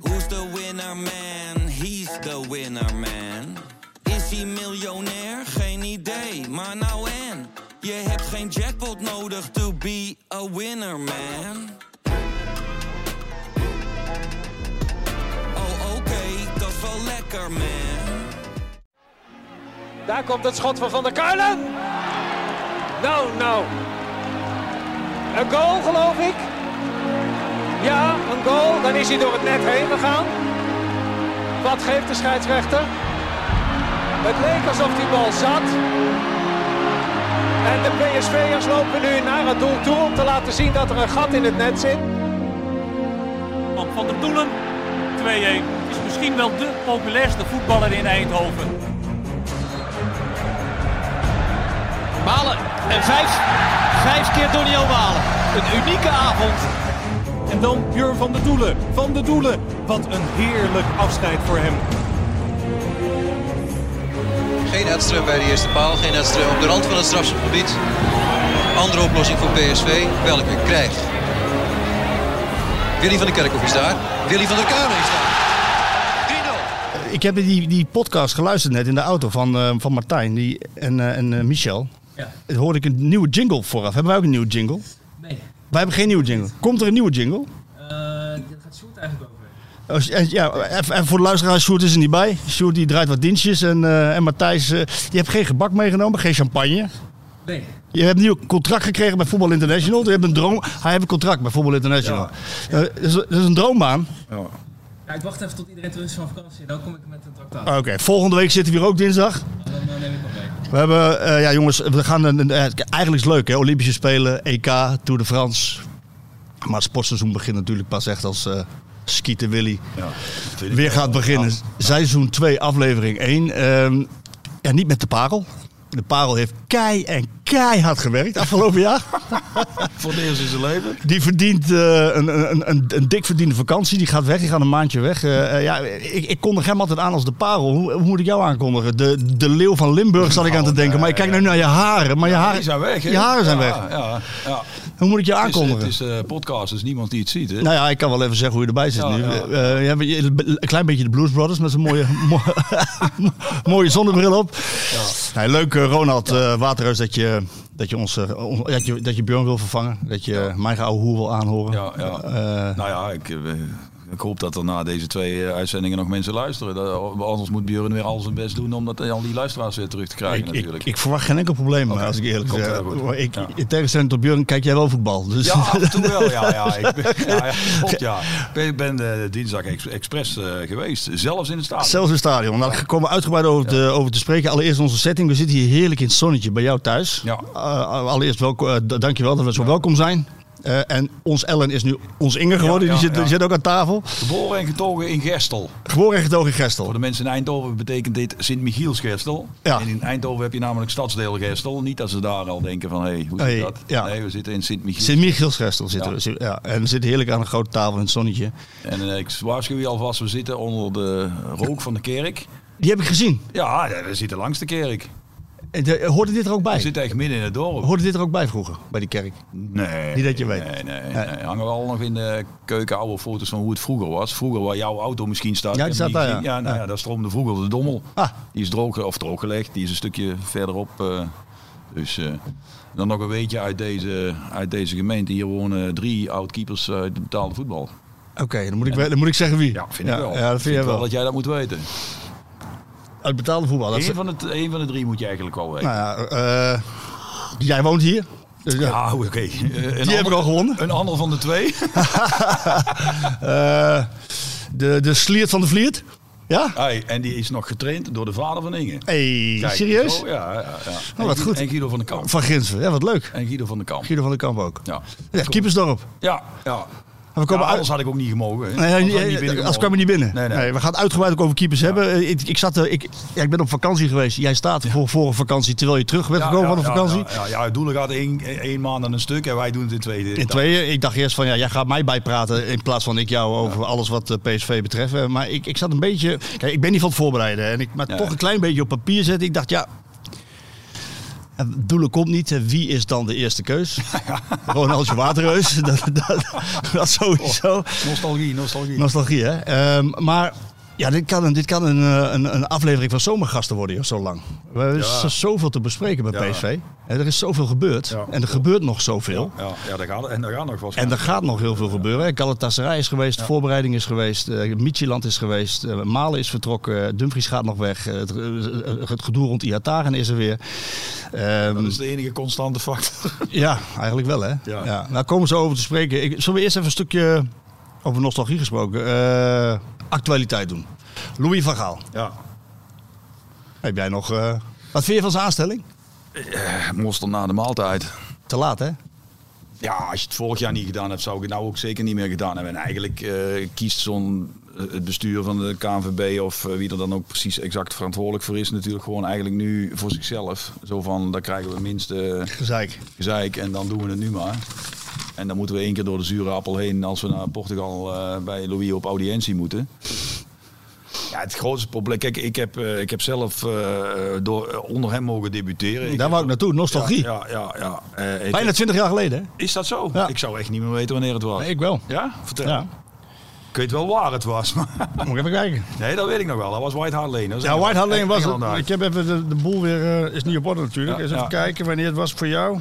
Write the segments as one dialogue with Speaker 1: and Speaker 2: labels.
Speaker 1: Who's the winner man? He's the winner man. Is hij miljonair? Geen idee, maar nou en. Je hebt geen jackpot nodig to be a winner man. Oh oké, dat is wel lekker man.
Speaker 2: Daar komt het schot van Van der Kuilen. Nou, nou. Een goal, geloof ik. Ja, een goal. Dan is hij door het net heen gegaan. Wat geeft de scheidsrechter? Het leek alsof die bal zat. En de PSV'ers lopen nu naar het doel toe om te laten zien dat er een gat in het net zit.
Speaker 3: Van Van der Doelen, 2-1. Is misschien wel de populairste voetballer in Eindhoven.
Speaker 4: Malen en vijf, vijf keer Doniel Malen. Een unieke avond.
Speaker 5: En dan Jur van de Doelen. Van de Doelen. Wat een heerlijk afscheid voor hem.
Speaker 6: Geen Edström bij de eerste paal, geen Edström op de rand van het strafschopgebied. Andere oplossing voor PSV, welke krijgt? Willy van der Kerkhoff is daar, Willy van der Kamer is daar. 3-0.
Speaker 7: Ik heb die, die podcast geluisterd net in de auto van, eh, van Martijn die, en, eh, en eh, Michel.
Speaker 8: Ja.
Speaker 7: Toen hoorde ik een nieuwe jingle vooraf. Hebben wij ook een nieuwe jingle?
Speaker 8: Nee.
Speaker 7: Wij hebben geen nieuwe jingle. Komt er een nieuwe jingle?
Speaker 8: Eh dit gaat Sjoerd eigenlijk over.
Speaker 7: Als- en- Ja, even, even voor de luisteraar, Sjoerd is er niet bij. Sjoerd die draait wat dienstjes en, eh, en Matthijs, eh, je hebt geen gebak meegenomen, geen champagne.
Speaker 8: Nee.
Speaker 7: Je hebt een nieuw contract gekregen bij Voetbal International. Je hebt een droom, hij heeft een contract bij Voetbal International. Eh, dat, is, dat is een droombaan.
Speaker 8: Ja, ik wacht even tot iedereen terug is van vakantie en dan kom ik met een traktaat.
Speaker 7: Oké, volgende week zitten we hier ook dinsdag.
Speaker 8: Dan eh, neem ik nog mee.
Speaker 7: We hebben, eh, ja jongens, we gaan een, een- eh, eigenlijk is het leuk hè, Olympische Spelen, EK, Tour de France. Maar het sportseizoen begint natuurlijk pas echt als eh Skieten Willy weer gaat beginnen. Seizoen 2, aflevering 1. Ehm ja, niet met de parel. De parel heeft kei en keihard gewerkt afgelopen jaar.
Speaker 9: Voor het eerst in zijn leven.
Speaker 7: Die verdient eh, een, een, een, een dik verdiende vakantie. Die gaat weg, die gaat een maandje weg. Eh, eh, ja, ik, ik kondig hem altijd aan als de parel. Hoe, hoe moet ik jou aankondigen? De, de leeuw van Limburg zat ik aan te
Speaker 9: Oh,
Speaker 7: denken. Maar ik kijk nu naar je haren. Maar je haren
Speaker 9: Die zijn weg, hè?
Speaker 7: Je haren zijn
Speaker 9: Ja,
Speaker 7: weg.
Speaker 9: Ja, ja.
Speaker 7: Hoe moet ik je
Speaker 9: Het is,
Speaker 7: aankondigen?
Speaker 9: het is eh, podcast, dus niemand die het ziet, hè?
Speaker 7: Nou ja, ik kan wel even zeggen hoe je erbij zit
Speaker 9: Ja,
Speaker 7: nu.
Speaker 9: Oh, ja.
Speaker 7: Eh, je hebt een een klein beetje de Blues Brothers met zijn mooie, mo- mooie zonnebril op. Nee, leuk, eh, Ronald eh Waterhuis, dat je, dat, je ons, eh, on- dat, je, dat je Björn wil vervangen. Dat je eh, mijn oude hoer wil aanhoren.
Speaker 9: Ja, ja.
Speaker 7: Eh,
Speaker 9: nou ja, ik, eh, ik hoop dat er na deze twee eh, uitzendingen nog mensen luisteren. Dat- eh, anders moet Björn weer al zijn best doen om dat, eh, al die luisteraars weer terug te krijgen
Speaker 7: ik, ik,
Speaker 9: natuurlijk.
Speaker 7: ik verwacht geen enkel probleem,
Speaker 9: Oké,
Speaker 7: als ik eerlijk
Speaker 9: komt
Speaker 7: zeg.
Speaker 9: helemaal goed.
Speaker 7: Ik,
Speaker 9: Ja.
Speaker 7: In tegenstelling tot Björn kijk jij wel voetbal. Dus
Speaker 9: Ja, af en toe wel. Ja, ja. Ik ben, ja, ja, klopt, ja. Ik ben, ben eh, dinsdag ex- expres eh, geweest. Zelfs in het stadion.
Speaker 7: Zelfs in het stadion. Nou, daar komen we uitgebreid over, te, over te spreken. Allereerst onze setting. We zitten hier heerlijk in het zonnetje bij jou thuis.
Speaker 9: Ja.
Speaker 7: Eh, allereerst welkom, eh, d- dankjewel dat we zo welkom zijn. Eh, en ons Ellen is nu ons Inge geworden.
Speaker 9: ja,
Speaker 7: die, zit,
Speaker 9: ja.
Speaker 7: die zit ook aan tafel.
Speaker 9: Geboren en getogen in Gestel.
Speaker 7: Geboren en getogen in Gestel.
Speaker 9: Voor de mensen in Eindhoven betekent dit Sint-Michiels-Gestel.
Speaker 7: Ja.
Speaker 9: En in Eindhoven heb je namelijk stadsdeel Gestel. Niet dat ze daar al denken van, hé, hey, hoe zit
Speaker 7: Hey,
Speaker 9: dat?
Speaker 7: ja.
Speaker 9: Nee, we zitten in Sint-Michiels.
Speaker 7: Sint-Michiels Gestel zitten
Speaker 9: Ja.
Speaker 7: we. Zit- Ja. En we zitten heerlijk aan een grote tafel in het zonnetje.
Speaker 9: en eh, ik waarschuw je alvast, we zitten onder de rook van de kerk.
Speaker 7: Die heb ik gezien.
Speaker 9: Ja, we zitten langs de kerk.
Speaker 7: Eh, de- Hoorde dit er ook
Speaker 9: We
Speaker 7: bij?
Speaker 9: zitten echt midden in het dorp.
Speaker 7: Hoorde dit er ook bij vroeger, bij die kerk?
Speaker 9: Nee.
Speaker 7: Niet dat je weet.
Speaker 9: Nee, nee, nee.
Speaker 7: Nee.
Speaker 9: Hangen wel nog in de keuken oude foto's van hoe het vroeger was. Vroeger waar jouw auto misschien
Speaker 7: Ja,
Speaker 9: staat.
Speaker 7: die
Speaker 9: heb je
Speaker 7: staat
Speaker 9: niet
Speaker 7: daar,
Speaker 9: gezien.
Speaker 7: ja.
Speaker 9: Ja, nou
Speaker 7: Ja.
Speaker 9: ja, daar stroomde vroeger de dommel.
Speaker 7: Ah.
Speaker 9: Die is droog, of drooggelegd. Die is een stukje verderop. eh, dus eh, dan nog een weetje uit deze, uit deze gemeente. Hier wonen drie oud-keepers uit de betaalde voetbal.
Speaker 7: Oké, dan, moet ik wel- dan moet ik zeggen wie.
Speaker 9: Ja, vind ik wel.
Speaker 7: Ja, dat vind jij wel.
Speaker 9: dat jij dat moet weten.
Speaker 7: Uit betaalde voetbal. Dat is,
Speaker 9: Eén van, het, één van de drie moet je eigenlijk wel weten.
Speaker 7: nou ja, eh, jij woont hier. Dus ja.
Speaker 9: Ah, oké. Eh, een
Speaker 7: Die heb
Speaker 9: ander-
Speaker 7: ik al gewonnen.
Speaker 9: Een ander van de twee.
Speaker 7: Eh, de, de sliert van de vliert. Ja?
Speaker 9: Hey, en die is nog getraind door de vader van Inge.
Speaker 7: Hey,
Speaker 9: Kijk,
Speaker 7: serieus?
Speaker 9: zo, ja, ja, ja.
Speaker 7: Oh, wat
Speaker 9: En-
Speaker 7: goed.
Speaker 9: En Guido van den Kamp.
Speaker 7: Van Grinsen. Ja, wat leuk.
Speaker 9: En Guido van den Kamp.
Speaker 7: Guido van den Kamp ook.
Speaker 9: Ja.
Speaker 7: Ja, Kiepersdorp.
Speaker 9: Ja, ja.
Speaker 7: We komen
Speaker 9: Ja,
Speaker 7: uit...
Speaker 9: anders had ik ook niet gemogen. hè.
Speaker 7: Nee,
Speaker 9: Anders
Speaker 7: nee,
Speaker 9: had ik
Speaker 7: nee,
Speaker 9: niet binnen
Speaker 7: als
Speaker 9: gemogen.
Speaker 7: kwam je niet binnen.
Speaker 9: Nee, nee.
Speaker 7: we gaan het uitgebreid ook over keepers hebben. Eh, Ik, ik, zat, eh, ik, ja, ik ben op vakantie geweest. Jij staat voor, voor een vakantie terwijl je terug bent
Speaker 9: Ja,
Speaker 7: gekomen
Speaker 9: ja,
Speaker 7: van een
Speaker 9: ja,
Speaker 7: vakantie.
Speaker 9: Ja, ja, ja, Doelen gaat één, één maand aan een stuk en wij doen het in twee.
Speaker 7: In tweeën. Ik dacht eerst van ja, jij gaat mij bijpraten in plaats van ik jou over alles wat eh, PSV betreft. Eh, Maar ik, ik zat een beetje. Kijk, ik ben niet van het voorbereiden. En ik, maar
Speaker 9: Ja.
Speaker 7: toch een klein beetje op papier zetten. Ik dacht ja. En Doelen komt niet. eh, Wie is dan de eerste keus? Ronaldje Waterreus. dat, dat, dat sowieso.
Speaker 10: Nostalgie, nostalgie.
Speaker 7: Nostalgie, hè? Ehm, maar ja, dit kan, een, dit kan een, eh, een, een aflevering van Zomergasten worden, joh, zo lang. We hebben z- zoveel te bespreken bij
Speaker 9: Ja.
Speaker 7: PSV. En er is zoveel gebeurd.
Speaker 9: Ja.
Speaker 7: En er gebeurt nog zoveel.
Speaker 9: Ja, ja daar gaat, en daar gaat nog wel.
Speaker 7: En er gaat nog heel veel gebeuren. hè. Galatasaray is geweest, voorbereiding is geweest, eh Michieland is geweest, eh, Malen is vertrokken, eh, Dumfries gaat nog weg, eh, het, eh, het gedoe rond Iataren is er weer. Ehm,
Speaker 9: Dat is de enige constante factor.
Speaker 7: ja, eigenlijk wel hè. Ja.
Speaker 9: Ja.
Speaker 7: Nou komen ze over te spreken. Ik, zullen we eerst even een stukje over nostalgie gesproken, eh, actualiteit doen. Louis van Gaal,
Speaker 9: Ja.
Speaker 7: heb jij nog... eh, wat vind je van zijn aanstelling?
Speaker 10: Monster Eh, na de maaltijd.
Speaker 7: Te laat hè?
Speaker 10: Ja, als je het vorig jaar niet gedaan hebt, zou ik het nou ook zeker niet meer gedaan hebben. En eigenlijk eh, kiest zo'n eh, het bestuur van de KNVB of eh, wie er dan ook precies exact verantwoordelijk voor is, natuurlijk gewoon eigenlijk nu voor zichzelf. Zo van, daar krijgen we het minste
Speaker 7: Gezeik.
Speaker 10: gezeik en dan doen we het nu maar. En dan moeten we één keer door de zure appel heen als we naar Portugal eh, bij Louis op audiëntie moeten. Ja, het grootste probleem. Kijk, ik heb, eh, ik heb zelf eh, door, eh, onder hem mogen debuteren. Ik
Speaker 7: Daar wou ik naartoe, nostalgie.
Speaker 10: Ja, ja, ja. ja. Eh, ik-
Speaker 7: Bijna 20 jaar geleden hè?
Speaker 10: is dat zo?
Speaker 7: Ja.
Speaker 10: Ik zou echt niet meer weten wanneer het was.
Speaker 7: Nee, ik wel.
Speaker 10: Ja? Vertel.
Speaker 7: Ja,
Speaker 10: Ik weet wel waar het was, maar...
Speaker 7: moet ik even kijken.
Speaker 10: Nee, dat weet ik nog wel. Dat was White Hart Lane. Dat is
Speaker 7: Ja, White Hart Lane was
Speaker 10: Engeland
Speaker 7: het.
Speaker 10: uit.
Speaker 7: Ik heb even de, de boel weer, eh, is niet op orde natuurlijk.
Speaker 10: Ja,
Speaker 7: Eens even
Speaker 10: ja.
Speaker 7: kijken wanneer het was voor jou.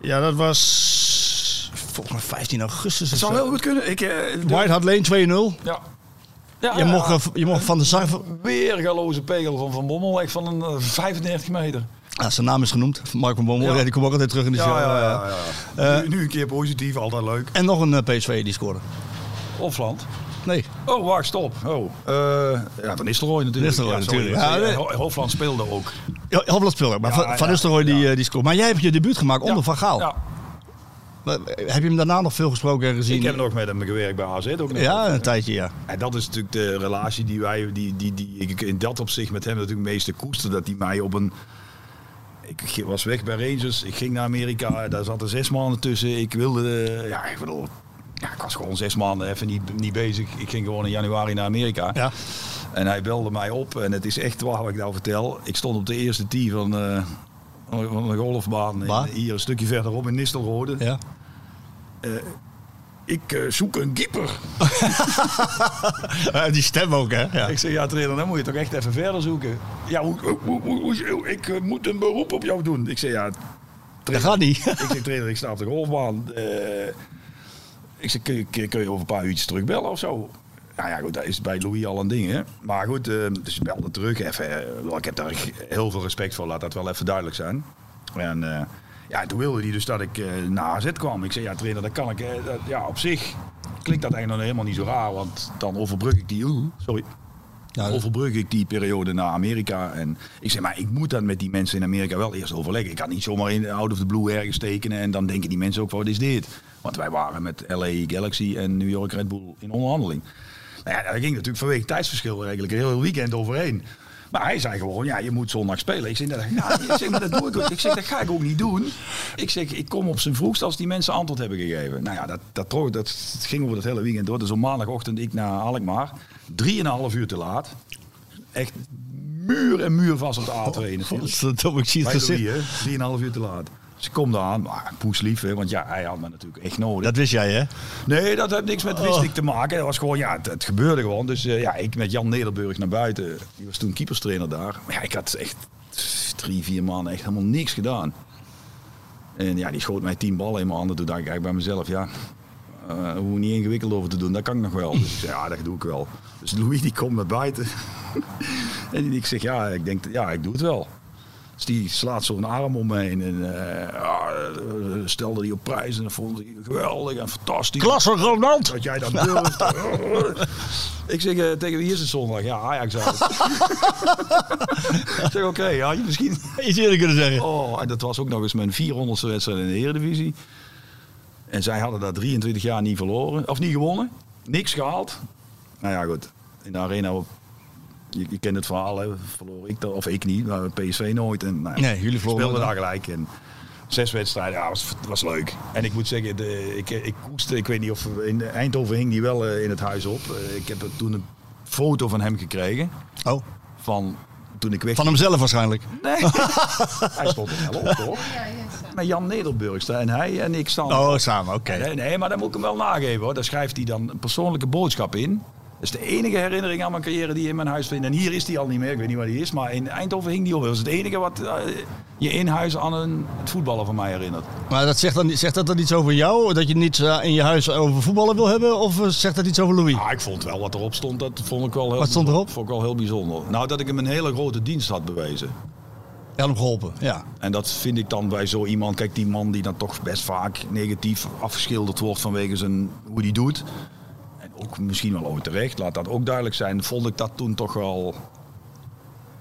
Speaker 7: Ja, dat was volgens mij 15 augustus.
Speaker 10: Het
Speaker 7: of
Speaker 10: zou
Speaker 7: zo.
Speaker 10: heel goed kunnen. Ik, eh, de-
Speaker 7: White Hart Lane 2-0.
Speaker 10: Ja. Ja,
Speaker 7: Je,
Speaker 10: ja.
Speaker 7: mocht, eh, je mocht van de Sar...
Speaker 10: Weer galoze pegel van Van Bommel. Echt van een eh, 35 meter.
Speaker 7: Ah, zijn naam is genoemd, van Mark van Bommel. Ja.
Speaker 10: Ja.
Speaker 7: die komt ook altijd terug in de show.
Speaker 9: Ja, ja, ja. ja,
Speaker 7: Dus Eh,
Speaker 9: nu, nu een keer positief, altijd leuk.
Speaker 7: En nog een eh, PSV die scoorde.
Speaker 10: Ofland.
Speaker 7: Nee,
Speaker 10: Oh, wacht, stop. Oh. eh, ja, van Nistelrooy natuurlijk.
Speaker 7: Nistelrooy
Speaker 10: Ja, sorry.
Speaker 7: natuurlijk. Ja,
Speaker 10: Eh,
Speaker 7: nee.
Speaker 10: Ho- Hofland speelde ook.
Speaker 7: ja, Hofland speelde. Maar
Speaker 10: Ja,
Speaker 7: Van,
Speaker 10: ja,
Speaker 7: van Nistelrooy die,
Speaker 10: ja.
Speaker 7: eh, die scoorde. Maar jij hebt je debuut gemaakt onder
Speaker 10: Ja,
Speaker 7: Van Gaal.
Speaker 10: Ja.
Speaker 7: Maar, eh, Heb je hem daarna nog veel gesproken en gezien?
Speaker 9: Ik heb nog met hem gewerkt bij AZ. Ook nog.
Speaker 7: Ja, een tijdje, ja.
Speaker 9: En dat is natuurlijk de relatie die wij, die, die, die ik in dat opzicht met hem natuurlijk het meeste koester. Dat hij mij op een. Ik was weg bij Rangers, ik ging naar Amerika, daar zaten zes maanden tussen. Ik wilde. eh, Ja, ik bedoel. Ja, ik was gewoon zes maanden even niet, niet bezig. Ik ging gewoon in januari naar Amerika.
Speaker 7: ja.
Speaker 9: En hij belde mij op en het is echt waar wat ik nou vertel. Ik stond op de eerste tee van, eh, van de golfbaan. in-
Speaker 7: Waar?
Speaker 9: hier een stukje verderop in Nistelrode.
Speaker 7: ja.
Speaker 9: Ik eh, zoek een keeper.
Speaker 7: Eh, die stem ook, hè? Ja.
Speaker 9: Ik zeg, ja trainer, dan moet je toch echt even verder zoeken. Ja, hoe, hoe, hoe, hoe- hoe- ik eh, moet een beroep op jou doen. Ik zeg, ja,
Speaker 7: Dat gaat niet.
Speaker 9: ik zeg, trainer, ik sta op de golfbaan. Eh, ik zeg, kun je, kun je- kun je over een paar uurtjes terugbellen of zo? Nou ja, goed, dat is bij Louis al een ding, hè. Maar goed, eh, dus ik belde terug even. eh, wel, Ik heb daar heel veel respect voor, laat dat wel even duidelijk zijn. En eh, ja, toen wilde hij dus dat ik eh, naar AZ kwam. Ik zei, ja trainer, dat kan ik. eh, dat- ja, op zich klinkt dat eigenlijk nog helemaal niet zo raar, want dan overbrug ik die... Oeh, sorry
Speaker 7: Ja,
Speaker 9: overbrug ik die periode naar Amerika. En ik zeg, maar ik moet dat met die mensen in Amerika wel eerst overleggen. Ik kan niet zomaar in out of the blue ergens tekenen. En dan denken die mensen ook, wat is dit? Want wij waren met LA Galaxy en New York Red Bull in onderhandeling. Nou ja, daar ging natuurlijk vanwege het tijdsverschil eigenlijk een heel weekend overheen. Maar hij zei gewoon, ja, je moet zondag spelen. Ik zeg, dat, ja, ik zeg, maar dat doe ik ook. Ik zeg, dat ga ik ook niet doen. Ik zeg, ik kom op zijn vroegst als die mensen antwoord hebben gegeven. Nou ja, dat, dat, trok- dat ging over dat hele weekend door. Dus op maandagochtend ik naar Alkmaar. Drieënhalf uur te laat echt muur en muur vast op de A2 natuurlijk.
Speaker 7: Godverdomme, ik Oh, zie het
Speaker 9: Bij
Speaker 7: gezicht.
Speaker 9: Louis, hè. Drieënhalf uur te laat. Dus ik kom daar aan, maar poes lief, hè, want ja, hij had me natuurlijk echt nodig.
Speaker 7: Dat wist jij, hè?
Speaker 9: Nee, dat heeft niks met wist ik te maken. Dat was gewoon, ja, het, het gebeurde gewoon. Dus eh, ja, ik met Jan Nederburg naar buiten. Die was toen keeperstrainer daar. Maar ja, ik had echt drie, vier maanden echt helemaal niks gedaan. En ja, die schoot mij tien ballen in mijn handen. Toen dacht ik eigenlijk bij mezelf, ja, eh hoe niet ingewikkeld over te doen, dat kan ik nog wel. Dus ik zei, ja, dat doe ik wel. Dus Louis die komt naar buiten. en ik zeg, ja, ik denk, ja, ik doe het wel. Dus die slaat zo'n arm om me heen en eh, ah, eh, stelde die op prijs en dat vond hij geweldig en fantastisch.
Speaker 7: Klasse Ronald!
Speaker 9: Dat jij dat durft. ik zeg eh, tegen wie is het zondag? Ja, Ajax uit. ik zeg oké, ja, had je misschien...
Speaker 7: Iets eerder kunnen zeggen.
Speaker 9: Oh, en dat was ook nog eens mijn 400ste wedstrijd in de Eredivisie. En zij hadden daar 23 jaar niet verloren. Of niet gewonnen. Niks gehaald. Nou ja, goed. In de arena... op- Je, je kent het verhaal, hè. verloor ik dat, of ik niet, maar PSV nooit. En, nou ja,
Speaker 7: Nee, jullie verloren
Speaker 9: Speelden
Speaker 7: nooit.
Speaker 9: daar gelijk. En zes wedstrijden, ja, was, was leuk. En ik moet zeggen, de, ik, ik koester, ik weet niet of... In Eindhoven hing die wel eh, in het huis op. Eh, ik heb er toen een foto van hem gekregen
Speaker 7: Oh,
Speaker 9: van toen ik weg...
Speaker 7: Van hemzelf waarschijnlijk.
Speaker 9: Nee, hij stond er wel op, hoor. Met Jan Nederburgster en hij en ik staan...
Speaker 7: Oh, samen, oké.
Speaker 9: Nee, nee, maar dan moet ik hem wel nageven, hoor. Daar schrijft hij dan een persoonlijke boodschap in. Dat is de enige herinnering aan mijn carrière die in mijn huis vindt. En hier is die al niet meer, ik weet niet waar die is. Maar in Eindhoven hing die op. Dat is het enige wat eh, je in huis aan een, het voetballen van mij herinnert.
Speaker 7: Maar dat zegt, dan, niet- zegt dat dan iets over jou? Dat je niets eh, in je huis over voetballen wil hebben? Of eh, zegt dat iets over Louis?
Speaker 9: Ah, ik vond wel wat erop stond, dat vond ik wel heel,
Speaker 7: Wat stond erop?
Speaker 9: Vond ik wel heel bijzonder. Nou, dat ik hem een hele grote dienst had bewezen.
Speaker 7: Hij had hem geholpen, ja.
Speaker 9: En dat vind ik dan bij zo iemand, kijk die man die dan toch best vaak negatief afgeschilderd wordt vanwege zijn, hoe die doet. En ook misschien wel ooit terecht, laat dat ook duidelijk zijn. Vond ik dat toen toch wel...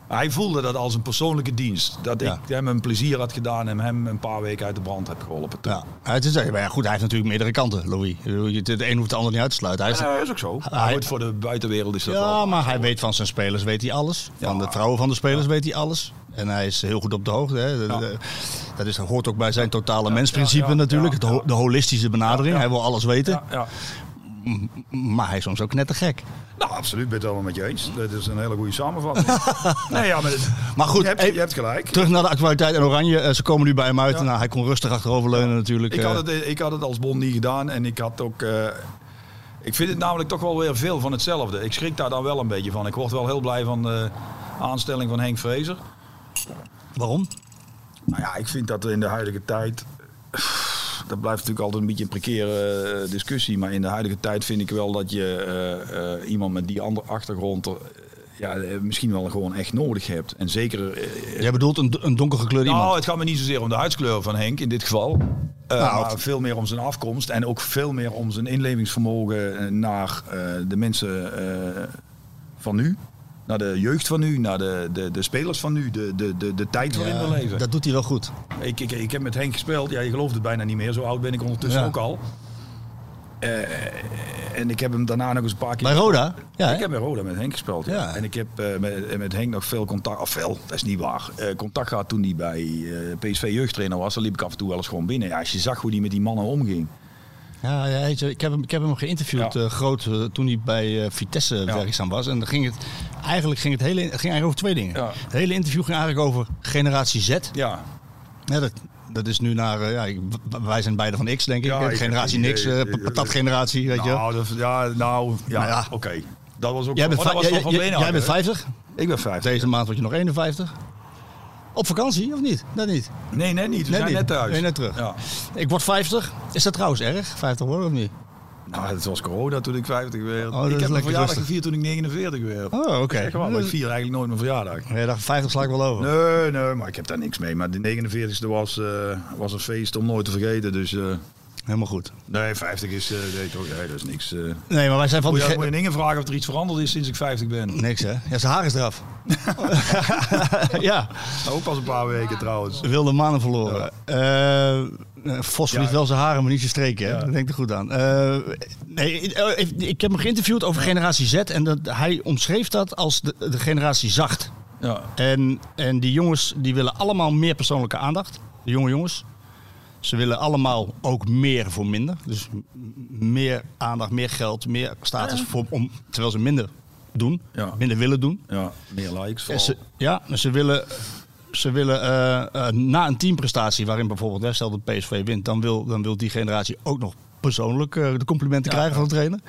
Speaker 9: Hij voelde dat als een persoonlijke dienst. Dat
Speaker 7: Ja.
Speaker 9: ik hem een plezier had gedaan en hem een paar weken uit de brand heb geholpen.
Speaker 7: ja. Het is, maar ja, goed, hij heeft natuurlijk meerdere kanten, Louis. Ik bedoel, je- De een hoeft de ander niet uit te sluiten. Hij is,
Speaker 9: Ja, is ook zo.
Speaker 7: Hij-
Speaker 9: Maar goed, voor de buitenwereld is dat wel...
Speaker 7: ja, maar hij weet van zijn spelers weet hij alles. Van de vrouwen van de spelers weet hij alles. En hij is heel goed op de hoogte. Hè. De- de- Dat is, hoort ook bij zijn totale mensprincipe
Speaker 9: ja, ja,
Speaker 7: natuurlijk.
Speaker 9: ja,
Speaker 7: Het ho- de holistische benadering. Hij wil alles weten.
Speaker 9: Ja, ja.
Speaker 7: M- Maar hij is soms ook net te gek.
Speaker 9: Nou, absoluut, ik ben het allemaal met je eens. Dat is een hele goede samenvatting. nee, ja, maar, het-
Speaker 7: Maar goed,
Speaker 9: je hebt,
Speaker 7: even-
Speaker 9: je hebt gelijk.
Speaker 7: Terug naar de actualiteit en Oranje. Eh, ze komen nu bij hem uit. Nou, hij kon rustig achteroverleunen natuurlijk.
Speaker 9: Ik
Speaker 7: Eh,
Speaker 9: had, het, ik had het als Bond niet gedaan en ik had ook. eh, ik vind het namelijk toch wel weer veel van hetzelfde. Ik schrik daar dan wel een beetje van. Ik word wel heel blij van de aanstelling van Henk Vrezer.
Speaker 7: Waarom?
Speaker 9: Nou ja, ik vind dat in de huidige tijd. Dat blijft natuurlijk altijd een beetje een precaire eh, discussie. Maar in de huidige tijd vind ik wel dat je eh, eh, iemand met die andere achtergrond. er, eh, ja, eh, misschien wel gewoon echt nodig hebt. En zeker. eh,
Speaker 7: Jij bedoelt een, een donkergekleurde
Speaker 9: nou,
Speaker 7: iemand.
Speaker 9: het gaat me niet zozeer om de huidskleur van Henk in dit geval. Eh,
Speaker 7: Nou,
Speaker 9: maar
Speaker 7: het-
Speaker 9: veel meer om zijn afkomst en ook veel meer om zijn inlevingsvermogen eh, naar eh, de mensen eh, van nu. Naar de jeugd van nu, naar de, de, de spelers van nu, de, de, de, de tijd waarin we
Speaker 7: Ja,
Speaker 9: leven.
Speaker 7: dat doet hij wel goed.
Speaker 9: Ik, ik, ik heb met Henk gespeeld. Ja, je gelooft het bijna niet meer. Zo oud ben ik ondertussen
Speaker 7: Ja.
Speaker 9: ook al. Eh, en ik heb hem daarna nog eens een paar keer...
Speaker 7: Bij Roda? Ja,
Speaker 9: ik
Speaker 7: hè?
Speaker 9: heb bij Roda met Henk gespeeld. Ja.
Speaker 7: Ja.
Speaker 9: En ik heb eh, met, met Henk nog veel contact... Of veel, dat is niet waar. eh, contact gehad toen hij bij eh, PSV jeugdtrainer was. Dan liep ik af en toe wel eens gewoon binnen. Ja, als je zag hoe hij met die mannen omging.
Speaker 7: Ja, ja, weet je, ik, heb hem, ik heb hem geïnterviewd
Speaker 9: Ja.
Speaker 7: eh, groot eh, toen hij bij eh, Vitesse werkzaam was. En dan ging het, eigenlijk ging het, hele, het ging eigenlijk over twee dingen.
Speaker 9: Ja.
Speaker 7: Het hele interview ging eigenlijk over generatie Z.
Speaker 9: Ja,
Speaker 7: Ja, dat, dat is nu naar, eh, ja, ik- w- wij zijn beide van X denk ik.
Speaker 9: Ja,
Speaker 7: hè.
Speaker 9: ik
Speaker 7: generatie
Speaker 9: heb-
Speaker 7: niks, eh,
Speaker 9: eh, eh,
Speaker 7: patatgeneratie, weet je wel.
Speaker 9: nou, dat, ja, nou, ja,
Speaker 7: Nou ja.
Speaker 9: oké. Dat was ook...
Speaker 7: Jij bent,
Speaker 9: oh, dat
Speaker 7: vij-
Speaker 9: was
Speaker 7: jij-
Speaker 9: van
Speaker 7: jij-
Speaker 9: Beenhakker,
Speaker 7: jij bent
Speaker 9: hè?
Speaker 7: 50,
Speaker 9: Ik ben vijf.
Speaker 7: deze maand word je nog 51. Op vakantie of niet? Dat niet.
Speaker 9: Nee, nee, niet. We
Speaker 7: Nee,
Speaker 9: zijn
Speaker 7: niet.
Speaker 9: net thuis.
Speaker 7: Ben je net terug?
Speaker 9: Ja.
Speaker 7: Ik word 50. Is dat trouwens erg? 50 worden of niet?
Speaker 9: Nou, het was corona toen ik 50 werd.
Speaker 7: Oh, dat is
Speaker 9: ik heb
Speaker 7: lekker
Speaker 9: mijn verjaardag
Speaker 7: rustig.
Speaker 9: gevierd toen ik 49 werd.
Speaker 7: Oh, oké.
Speaker 9: Echt waar, maar ik vier eigenlijk nooit mijn verjaardag.
Speaker 7: Ja, dacht, 50 sla ik wel over.
Speaker 9: Nee, nee, maar ik heb daar niks mee. Maar de 49ste was, eh, was een feest om nooit te vergeten. Dus eh,
Speaker 7: Helemaal goed.
Speaker 9: nee, 50 is, eh, nee, toch, nee, dat is niks. eh.
Speaker 7: Nee, maar wij zijn van
Speaker 9: Moet
Speaker 7: die
Speaker 9: je,
Speaker 7: ge-
Speaker 9: moet je aan Inge vragen of er iets veranderd is sinds ik 50 ben?
Speaker 7: Niks hè? Ja, zijn haar is eraf. ja,
Speaker 9: Ook pas een paar weken trouwens.
Speaker 7: wilde manen verloren. Eh, eh, Vos verliest
Speaker 9: Ja.
Speaker 7: wel zijn haren, maar niet zijn streken. Hè?
Speaker 9: Ja.
Speaker 7: Dat denk er goed aan. Eh, nee, eh, ik, ik heb hem geïnterviewd over generatie Z. En dat, hij omschreef dat als de, de generatie zacht.
Speaker 9: Ja.
Speaker 7: En, en die jongens die willen allemaal meer persoonlijke aandacht. De jonge jongens. Ze willen allemaal ook meer voor minder. Dus m- meer aandacht, meer geld, meer status. Voor, om, terwijl ze minder doen,
Speaker 9: Ja.
Speaker 7: minder willen doen.
Speaker 9: Ja, meer likes
Speaker 7: En
Speaker 9: vooral.
Speaker 7: Ze, ja, maar ze willen, ze willen eh, eh, na een teamprestatie waarin bijvoorbeeld, hè, stel dat PSV wint, dan wil, dan wil die generatie ook nog persoonlijk eh, de complimenten krijgen van de trainer.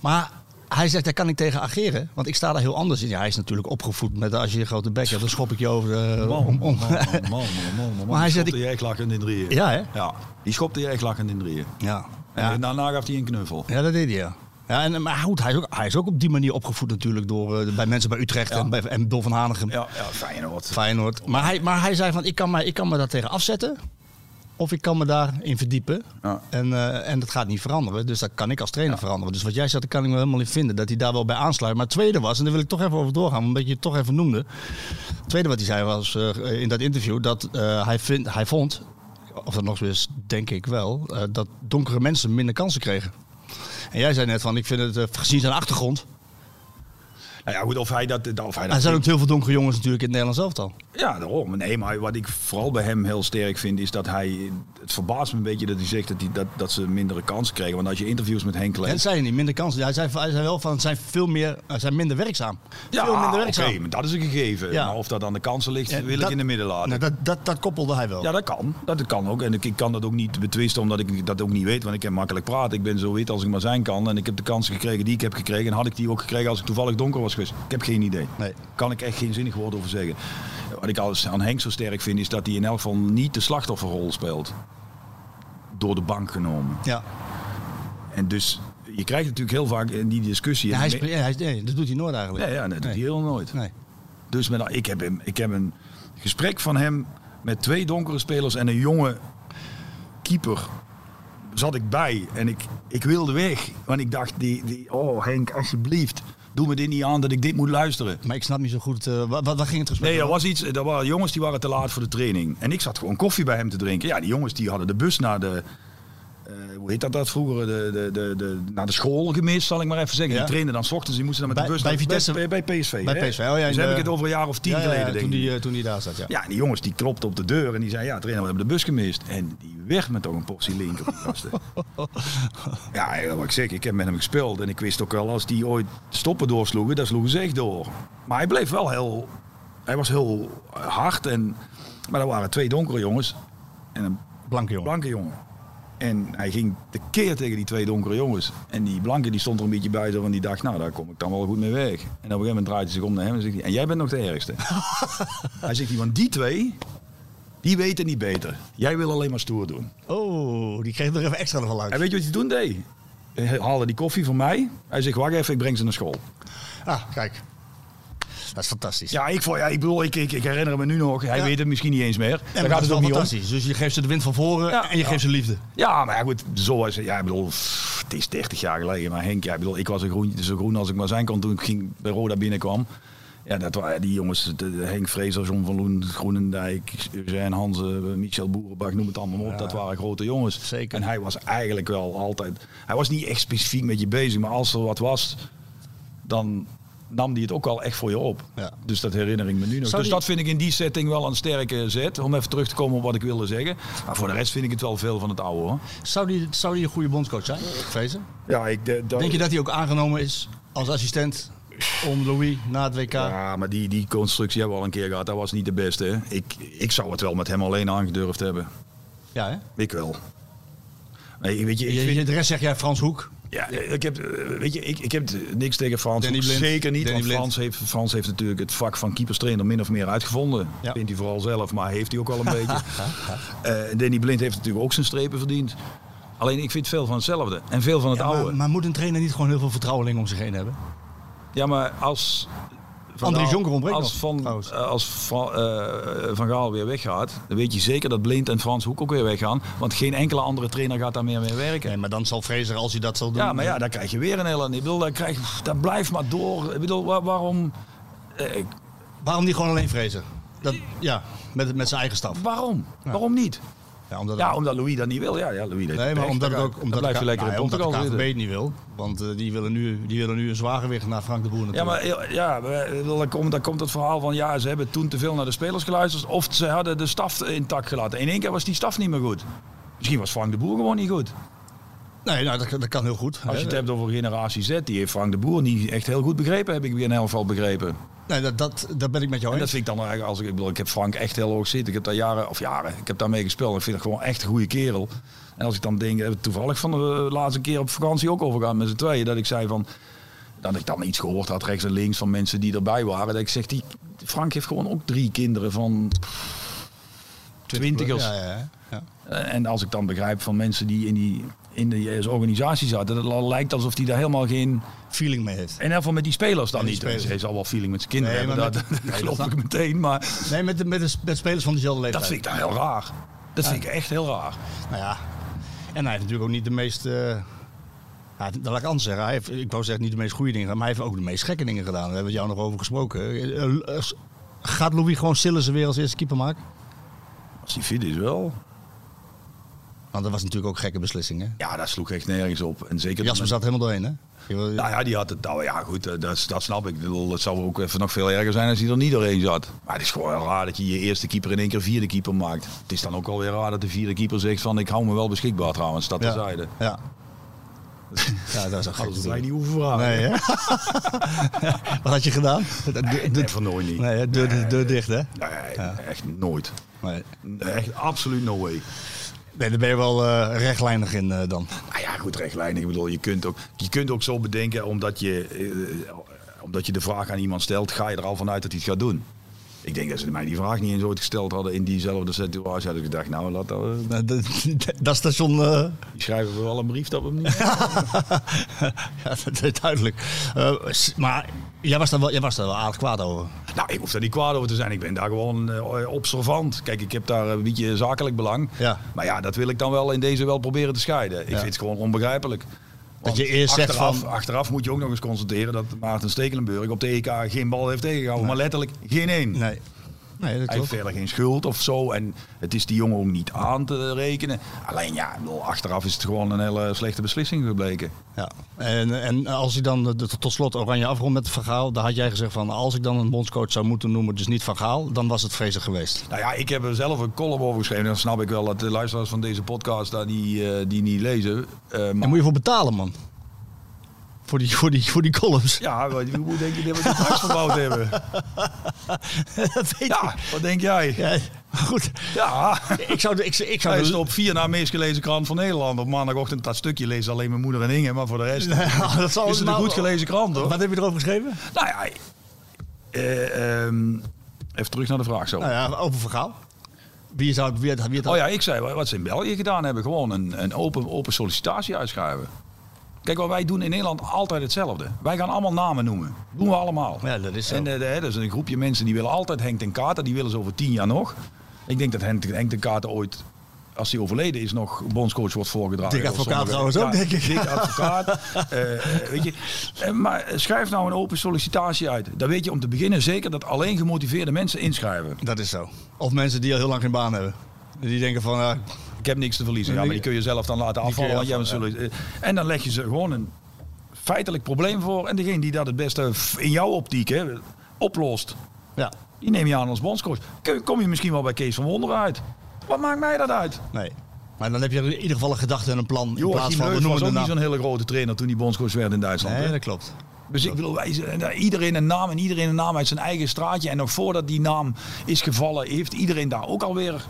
Speaker 7: Maar hij zegt, daar kan ik tegen ageren, want ik sta daar heel anders in. Ja, hij is natuurlijk opgevoed met als je een grote bek hebt, dan schop ik je over de...
Speaker 9: Man,
Speaker 7: om, om.
Speaker 9: man, man, man, man, man, man.
Speaker 7: Maar hij zei,
Speaker 9: Die schopte je echt lachend in drieën.
Speaker 7: Ja, hè?
Speaker 9: Ja, die schopte je echt lachend in drieën.
Speaker 7: Ja,
Speaker 9: En
Speaker 7: ja.
Speaker 9: daarna gaf hij een knuffel.
Speaker 7: ja, dat deed hij, ja. Ja, en, maar goed, hij is, ook, hij is ook op die manier opgevoed natuurlijk door, eh, bij mensen bij Utrecht en, bij, en Dol van Hanegem.
Speaker 9: Ja, ja Feyenoord.
Speaker 7: Feyenoord. Maar hij, maar hij zei van, ik kan, mij, ik kan me daar tegen afzetten. Of ik kan me daarin verdiepen.
Speaker 9: Ja.
Speaker 7: En, eh, en dat gaat niet veranderen. Dus dat kan ik als trainer veranderen. Dus wat jij zegt, daar kan ik me helemaal in vinden. Dat hij daar wel bij aansluit. Maar het tweede was, en daar wil ik toch even over doorgaan. Omdat je het toch even noemde. Het tweede wat hij zei was eh, in dat interview. Dat eh, hij, vind, hij vond, of dat nog zo is, denk ik wel. eh, dat donkere mensen minder kansen kregen. En jij zei net van, ik vind het eh, gezien zijn achtergrond.
Speaker 9: Nou ja, goed, of hij dat... Of hij
Speaker 7: Er
Speaker 9: dat
Speaker 7: zijn ook heel veel donkere jongens natuurlijk in het Nederlands elftal.
Speaker 9: Ja, daarom. Nee, maar wat ik vooral bij hem heel sterk vind, is dat hij... Het verbaast me een beetje dat hij zegt dat, hij, dat, dat ze mindere kansen kregen. Want als je interviews met Henk leest...
Speaker 7: Dat zei je niet, minder kansen. Hij zei, hij zei wel van, het zijn veel meer, het zijn minder werkzaam.
Speaker 9: Ja,
Speaker 7: veel minder
Speaker 9: oké,
Speaker 7: werkzaam.
Speaker 9: maar dat is een gegeven.
Speaker 7: Ja.
Speaker 9: Maar of dat aan de kansen ligt,
Speaker 7: Ja,
Speaker 9: wil
Speaker 7: dat-
Speaker 9: ik in de midden laten.
Speaker 7: Nou, dat, dat, dat koppelde hij wel.
Speaker 9: Ja, dat kan. Dat kan ook. En ik, ik kan dat ook niet betwisten, omdat ik dat ook niet weet. Want ik heb makkelijk praten. Ik ben zo wit als ik maar zijn kan. En ik heb de kansen gekregen die ik heb gekregen. En had ik die ook gekregen als ik toevallig donker was geweest? Ik heb geen idee.
Speaker 7: Nee.
Speaker 9: Kan ik echt geen zinnig woord over zeggen. Wat ik alles aan Henk zo sterk vind, is dat hij in elk geval niet de slachtofferrol speelt. Door de bank genomen.
Speaker 7: Ja.
Speaker 9: En dus, je krijgt natuurlijk heel vaak in die discussie...
Speaker 7: Ja, hij is, ja, hij is- nee, dat doet hij nooit eigenlijk.
Speaker 9: Nee, ja, dat doet
Speaker 7: Nee.
Speaker 9: hij heel nooit.
Speaker 7: Nee.
Speaker 9: Dus met, ik, heb hem, ik heb een gesprek van hem met twee donkere spelers en een jonge keeper. Zat ik bij en ik, ik wilde weg. Want ik dacht, die, die, oh Henk, alsjeblieft, doe me dit niet aan dat ik dit moet luisteren.
Speaker 7: Maar ik snap niet zo goed, eh wat, wat ging het gesprek
Speaker 9: Nee, er
Speaker 7: over?
Speaker 9: was iets. Er waren jongens die waren te laat voor de training. En ik zat gewoon koffie bij hem te drinken. Ja, die jongens die hadden de bus naar de. eh, hoe heet dat dat vroeger? De, de, de, de, naar de school gemist, zal ik maar even zeggen.
Speaker 7: Ja.
Speaker 9: Die trainden dan 's ochtends, die moesten dan met
Speaker 7: Bij-
Speaker 9: de bus
Speaker 7: bij
Speaker 9: naar
Speaker 7: Vitesse-
Speaker 9: bij, bij PSV.
Speaker 7: Bij
Speaker 9: hè?
Speaker 7: PSV, oh ja, in
Speaker 9: Dus heb
Speaker 7: de-
Speaker 9: ik het over een jaar of tien
Speaker 7: Ja, ja, ja,
Speaker 9: geleden, denk
Speaker 7: toen
Speaker 9: ik.
Speaker 7: die, eh, toen die daar zat, ja.
Speaker 9: Ja, en die jongens die klopte op de deur en die zei: Ja, trainer, we hebben de bus gemist. En die werd me toch een portie link op die gasten. ja, ja, wat ik zeg, ik heb met hem gespeeld. En ik wist ook wel, als die ooit stoppen doorsloegen, dan sloegen ze echt door. Maar hij bleef wel heel. Hij was heel hard. En, maar er waren twee donkere jongens en een
Speaker 7: Blanke jongen.
Speaker 9: blanke jongen. En hij ging tekeer tegen die twee donkere jongens. En die blanke die stond er een beetje bij, zo, want die dacht, nou daar kom ik dan wel goed mee weg. En op een gegeven moment draait hij zich om naar hem en zegt hij, en jij bent nog de ergste. hij zegt, want die twee, die weten niet beter. Jij wil alleen maar stoer doen.
Speaker 7: Oh, die kreeg er even extra van langs.
Speaker 9: En weet je wat hij toen deed? Hij haalde die koffie voor mij. Hij zegt, wacht even, ik breng ze naar school.
Speaker 7: Ah, kijk. Dat is fantastisch.
Speaker 9: Ja, ik, vond, ja, ik bedoel, ik, ik, ik herinner me nu nog, hij
Speaker 7: Ja.
Speaker 9: weet het misschien niet eens meer.
Speaker 7: En
Speaker 9: Daar gaat het
Speaker 7: wel
Speaker 9: ook niet om.
Speaker 7: fantastisch. Dus je geeft ze de wind van voren
Speaker 9: Ja.
Speaker 7: en je geeft ze liefde.
Speaker 9: Ja, maar ja, goed, zo was het. Ja, ik bedoel, pff, het is 30 jaar geleden. Maar Henk, ja, ik bedoel, ik was een groen, zo groen als ik maar zijn kon toen ik ging, bij Roda binnenkwam. Ja, dat waren die jongens, de, de Henk Vrezer, John van Loen, Groenendijk, Eugène Hansen, Michel Boerenbach, noem het allemaal op. Dat waren grote jongens.
Speaker 7: Zeker.
Speaker 9: En hij was eigenlijk wel altijd... Hij was niet echt specifiek met je bezig, maar als er wat was, dan nam hij het ook wel echt voor je op.
Speaker 7: Ja.
Speaker 9: Dus dat herinner ik me nu nog.
Speaker 7: Zou
Speaker 9: dus
Speaker 7: die-
Speaker 9: dat vind ik in die setting wel een sterke zet. Om even terug te komen op wat ik wilde zeggen. Maar voor de rest vind ik het wel veel van het oude hoor.
Speaker 7: Zou die, zou die een goede bondscoach zijn, Vrezen?
Speaker 9: Ja, ik de- dat-
Speaker 7: Denk je dat hij ook aangenomen is als assistent om Louis na het WK?
Speaker 9: Ja, maar die, die constructie hebben we al een keer gehad. Dat was niet de beste. hè. Ik, ik zou het wel met hem alleen aangedurfd hebben.
Speaker 7: Ja, hè?
Speaker 9: Ik wel. Nee, weet je, ik
Speaker 7: Je,
Speaker 9: vind,
Speaker 7: je- de rest zeg jij Frans Hoek.
Speaker 9: ja, ik heb, eh, weet je, ik, ik heb eh, niks tegen Frans.
Speaker 7: Danny Blind.
Speaker 9: Zeker niet,
Speaker 7: Danny
Speaker 9: want
Speaker 7: Blind.
Speaker 9: Frans heeft, Frans heeft natuurlijk het vak van keeperstrainer min of meer uitgevonden.
Speaker 7: Ja.
Speaker 9: Vindt hij vooral zelf, maar heeft hij ook al een beetje. Eh Danny Blind heeft natuurlijk ook zijn strepen verdiend. Alleen ik vind veel van hetzelfde en veel van het
Speaker 7: Ja,
Speaker 9: oude.
Speaker 7: maar, maar moet een trainer niet gewoon heel veel vertrouweling om zich heen hebben?
Speaker 9: Ja, maar als... Van
Speaker 7: Andries
Speaker 9: Gaal-
Speaker 7: Jonker ontbreekt
Speaker 9: als
Speaker 7: nog,
Speaker 9: van,
Speaker 7: trouwens.
Speaker 9: eh, als van, eh, van Gaal weer weggaat, dan weet je zeker dat Blind en Frans Hoek ook weer weggaan. Want geen enkele andere trainer gaat daar meer mee werken.
Speaker 7: Nee, maar dan zal Vrezer, als hij dat zal doen...
Speaker 9: Ja, maar ja, dan krijg je weer een hele... Ik bedoel, dan krijg, dat blijft maar door. Ik bedoel, wa- waarom... eh, ik-
Speaker 7: Waarom niet gewoon alleen Vrezer? Dat, ja, met, met zijn eigen staf.
Speaker 9: waarom? Waarom niet?
Speaker 7: Ja, omdat
Speaker 9: Ja, omdat Louis dat niet wil. Ja, ja Louis dat
Speaker 7: Nee, maar omdat het ook
Speaker 9: omdat
Speaker 7: omdat
Speaker 9: blijft
Speaker 7: de
Speaker 9: hij
Speaker 7: K-
Speaker 9: lekker in
Speaker 7: nou ja, omdat
Speaker 9: Portugal
Speaker 7: de
Speaker 9: zitten.
Speaker 7: KVB het niet wil, want eh, die, willen nu, die willen nu een zwaargewicht naar Frank de Boer
Speaker 9: Ja,
Speaker 7: natuurlijk.
Speaker 9: maar ja, ja, maar, eh, dan komt, dan komt het verhaal van ja, ze hebben toen te veel naar de spelers geluisterd of ze hadden de staf intact gelaten. In één keer was die staf niet meer goed. Misschien was Frank de Boer gewoon niet goed.
Speaker 7: Nee, nou, dat, kan- dat kan heel goed.
Speaker 9: Als je het hebt over generatie Z, die heeft Frank de Boer niet echt heel goed begrepen, heb ik weer in elk geval begrepen.
Speaker 7: Nee, dat, dat, dat ben ik met jou
Speaker 9: En
Speaker 7: eens.
Speaker 9: dat vind ik dan eigenlijk, als ik, ik bedoel, ik heb Frank echt heel hoog zitten. Ik heb daar jaren, of jaren, ik heb daarmee gespeeld. Ik vind het gewoon echt een goede kerel. En als ik dan denk, eh, toevallig van de eh, laatste keer op vakantie ook overgaan met z'n tweeën, dat ik zei van, dat ik dan iets gehoord had rechts en links van mensen die erbij waren. Dat ik zeg, die, Frank heeft gewoon ook drie kinderen van twintigers.
Speaker 7: Ja, ja, ja. ja.
Speaker 9: Eh, En als ik dan begrijp van mensen die in die, in die eh, organisatie zaten, dat lijkt alsof die daar helemaal geen...
Speaker 7: Feeling mee heeft.
Speaker 9: En van met die spelers dan
Speaker 7: Met die
Speaker 9: niet. Hij
Speaker 7: spelers.
Speaker 9: Ze zal wel feeling met zijn kinderen
Speaker 7: Nee,
Speaker 9: hebben.
Speaker 7: maar
Speaker 9: Dat,
Speaker 7: met-
Speaker 9: dat geloof ik meteen. Maar
Speaker 7: Nee, met, de, met, de, met spelers van dezelfde leeftijd.
Speaker 9: dat vind ik dan heel raar. Dat vind ik echt heel raar.
Speaker 7: Nou ja, en hij heeft natuurlijk ook niet de meest... eh, hij heeft- dat laat ik anders zeggen. Hij heeft, ik wou zeggen niet de meest goede dingen gedaan, maar hij heeft ook de meest gekke dingen gedaan. Daar hebben we het jou nog over gesproken. Eh, eh, s- Gaat Louis gewoon Sillissen weer als eerste keeper maken?
Speaker 9: Als hij fit is wel.
Speaker 7: Want dat was natuurlijk ook een gekke beslissing, hè?
Speaker 9: Ja, dat sloeg echt nergens op. En zeker
Speaker 7: Jasper zat helemaal doorheen, hè? Je wil-
Speaker 9: Nou ja, die had het. Nou ja, goed, eh, dat, dat snap ik. Ik bedoel, het zou ook even nog veel erger zijn als hij er niet doorheen zat. Maar het is gewoon heel raar dat je je eerste keeper in één keer vierde keeper maakt. Het is dan ook alweer raar dat de vierde keeper zegt van ik hou me wel beschikbaar trouwens, dat
Speaker 7: Ja.
Speaker 9: terzijde.
Speaker 7: Ja. Ja, dat is ook gek.
Speaker 9: Hadden ze mij
Speaker 7: natuurlijk.
Speaker 9: niet hoeven vragen.
Speaker 7: Nee, hè? Wat had je gedaan?
Speaker 9: Nee, nee, van nooit niet.
Speaker 7: Nee, hè? deur, deur, deur dicht, hè?
Speaker 9: Nee, echt nooit.
Speaker 7: Nee.
Speaker 9: Echt absoluut no way.
Speaker 7: nee, daar ben je wel eh, rechtlijnig in eh, dan.
Speaker 9: Nou ja, goed, rechtlijnig. Ik bedoel, je kunt ook, je kunt ook zo bedenken, omdat je, eh, omdat je de vraag aan iemand stelt, ga je er al vanuit dat hij het gaat doen. Ik denk dat ze mij die vraag niet eens ooit gesteld hadden in diezelfde situatie. Had ik gedacht, nou, laat dat, eh,
Speaker 7: Nou, Dat, dat station. eh,
Speaker 9: die schrijven we wel een brief dat we hem niet.
Speaker 7: ja, dat is duidelijk. Eh, s- maar jij was, daar wel, jij was daar wel aardig kwaad over.
Speaker 9: Nou, ik hoef daar niet kwaad over te zijn. Ik ben daar gewoon eh, observant. Kijk, ik heb daar een beetje zakelijk belang.
Speaker 7: Ja.
Speaker 9: Maar ja, dat wil ik dan wel in deze wel proberen te scheiden. Ik
Speaker 7: Ja.
Speaker 9: vind het gewoon onbegrijpelijk. Want
Speaker 7: je eerst zegt
Speaker 9: achteraf,
Speaker 7: van-
Speaker 9: Achteraf moet je ook nog eens constateren dat Maarten Stekelenburg op de EK geen bal heeft tegengehouden. Maar letterlijk geen één.
Speaker 7: Nee. Nee, dat
Speaker 9: Hij heeft
Speaker 7: klopt.
Speaker 9: verder geen schuld of zo. En het is die jongen ook niet aan te rekenen. Alleen ja, ik bedoel, achteraf is het gewoon een hele slechte beslissing gebleken.
Speaker 7: Ja. En, en als hij dan de- de- tot slot Oranje afrond met Van Gaal, dan had jij gezegd van als ik dan een bondscoach zou moeten noemen, dus niet Van Gaal, dan was het vreselijk geweest.
Speaker 9: Nou ja, ik heb er zelf een column over geschreven. Dan snap ik wel dat de luisteraars van deze podcast daar die, eh, die niet lezen. Eh, maar-
Speaker 7: Daar moet je voor betalen, man. Voor die, voor die, voor die columns.
Speaker 9: Ja, wat- hoe denk je dat we die straks verbouwd hebben?
Speaker 7: dat weet
Speaker 9: Ja, wat denk jij?
Speaker 7: Ja, goed.
Speaker 9: Ja,
Speaker 7: Ik zou, de- ik, ik zou dus-
Speaker 9: hij
Speaker 7: de-
Speaker 9: is de op vier na meest gelezen krant van Nederland. Op maandagochtend dat stukje lezen alleen mijn moeder en Inge, maar voor de rest
Speaker 7: Nou, dat zal
Speaker 9: is het een
Speaker 7: nou-
Speaker 9: goed gelezen krant hoor.
Speaker 7: Wat heb je erover geschreven?
Speaker 9: Nou ja, eh, ehm, even terug naar de vraag zo.
Speaker 7: Nou ja, over Van Gaal. Wie zou wie, had- wie had-
Speaker 9: Oh ja, ik zei wat ze in België gedaan hebben. Gewoon een, een open, open sollicitatie uitschrijven. Kijk, wat wij doen in Nederland altijd hetzelfde. Wij gaan allemaal namen noemen. Doen we allemaal.
Speaker 7: Ja, dat is zo.
Speaker 9: En eh, de- hè, dat is een groepje mensen die willen altijd Henk ten Katen. Die willen ze over tien jaar nog. Ik denk dat Henk, Henk ten Katen ooit, als hij overleden is, nog bondscoach wordt voorgedragen.
Speaker 7: Dik advocaat
Speaker 9: Of sommige-
Speaker 7: trouwens ook, denk ik.
Speaker 9: dik advocaat. Eh, eh, weet je. Eh, maar schrijf nou een open sollicitatie uit. Dan weet je om te beginnen zeker dat alleen gemotiveerde mensen inschrijven.
Speaker 7: Dat is zo. Of mensen die al heel lang geen baan hebben. Die denken van, eh,
Speaker 9: Ik heb niks te verliezen. Ja, maar die kun je zelf dan laten
Speaker 7: kun je
Speaker 9: afvallen. Want jij
Speaker 7: afvallen,
Speaker 9: bent zullen- eh, En dan leg je ze gewoon een feitelijk probleem voor. En degene die dat het beste f- in jouw optiek hè, oplost,
Speaker 7: ja,
Speaker 9: die neem je aan als bondscoach. Kun- Kom je misschien wel bij Kees van Wonder uit. Wat maakt mij dat uit?
Speaker 7: nee. Maar dan heb je in ieder geval een gedachte en een plan in plaats
Speaker 9: Joachim
Speaker 7: van, we
Speaker 9: Löw
Speaker 7: noemen
Speaker 9: was
Speaker 7: de
Speaker 9: ook niet
Speaker 7: naam.
Speaker 9: zo'n hele grote trainer toen hij bondscoach werd in Duitsland.
Speaker 7: Nee,
Speaker 9: hè?
Speaker 7: dat klopt.
Speaker 9: Dus ik bedoel, wij zijn- eh, iedereen een naam en iedereen een naam uit zijn eigen straatje. En nog voordat die naam is gevallen, heeft iedereen daar ook alweer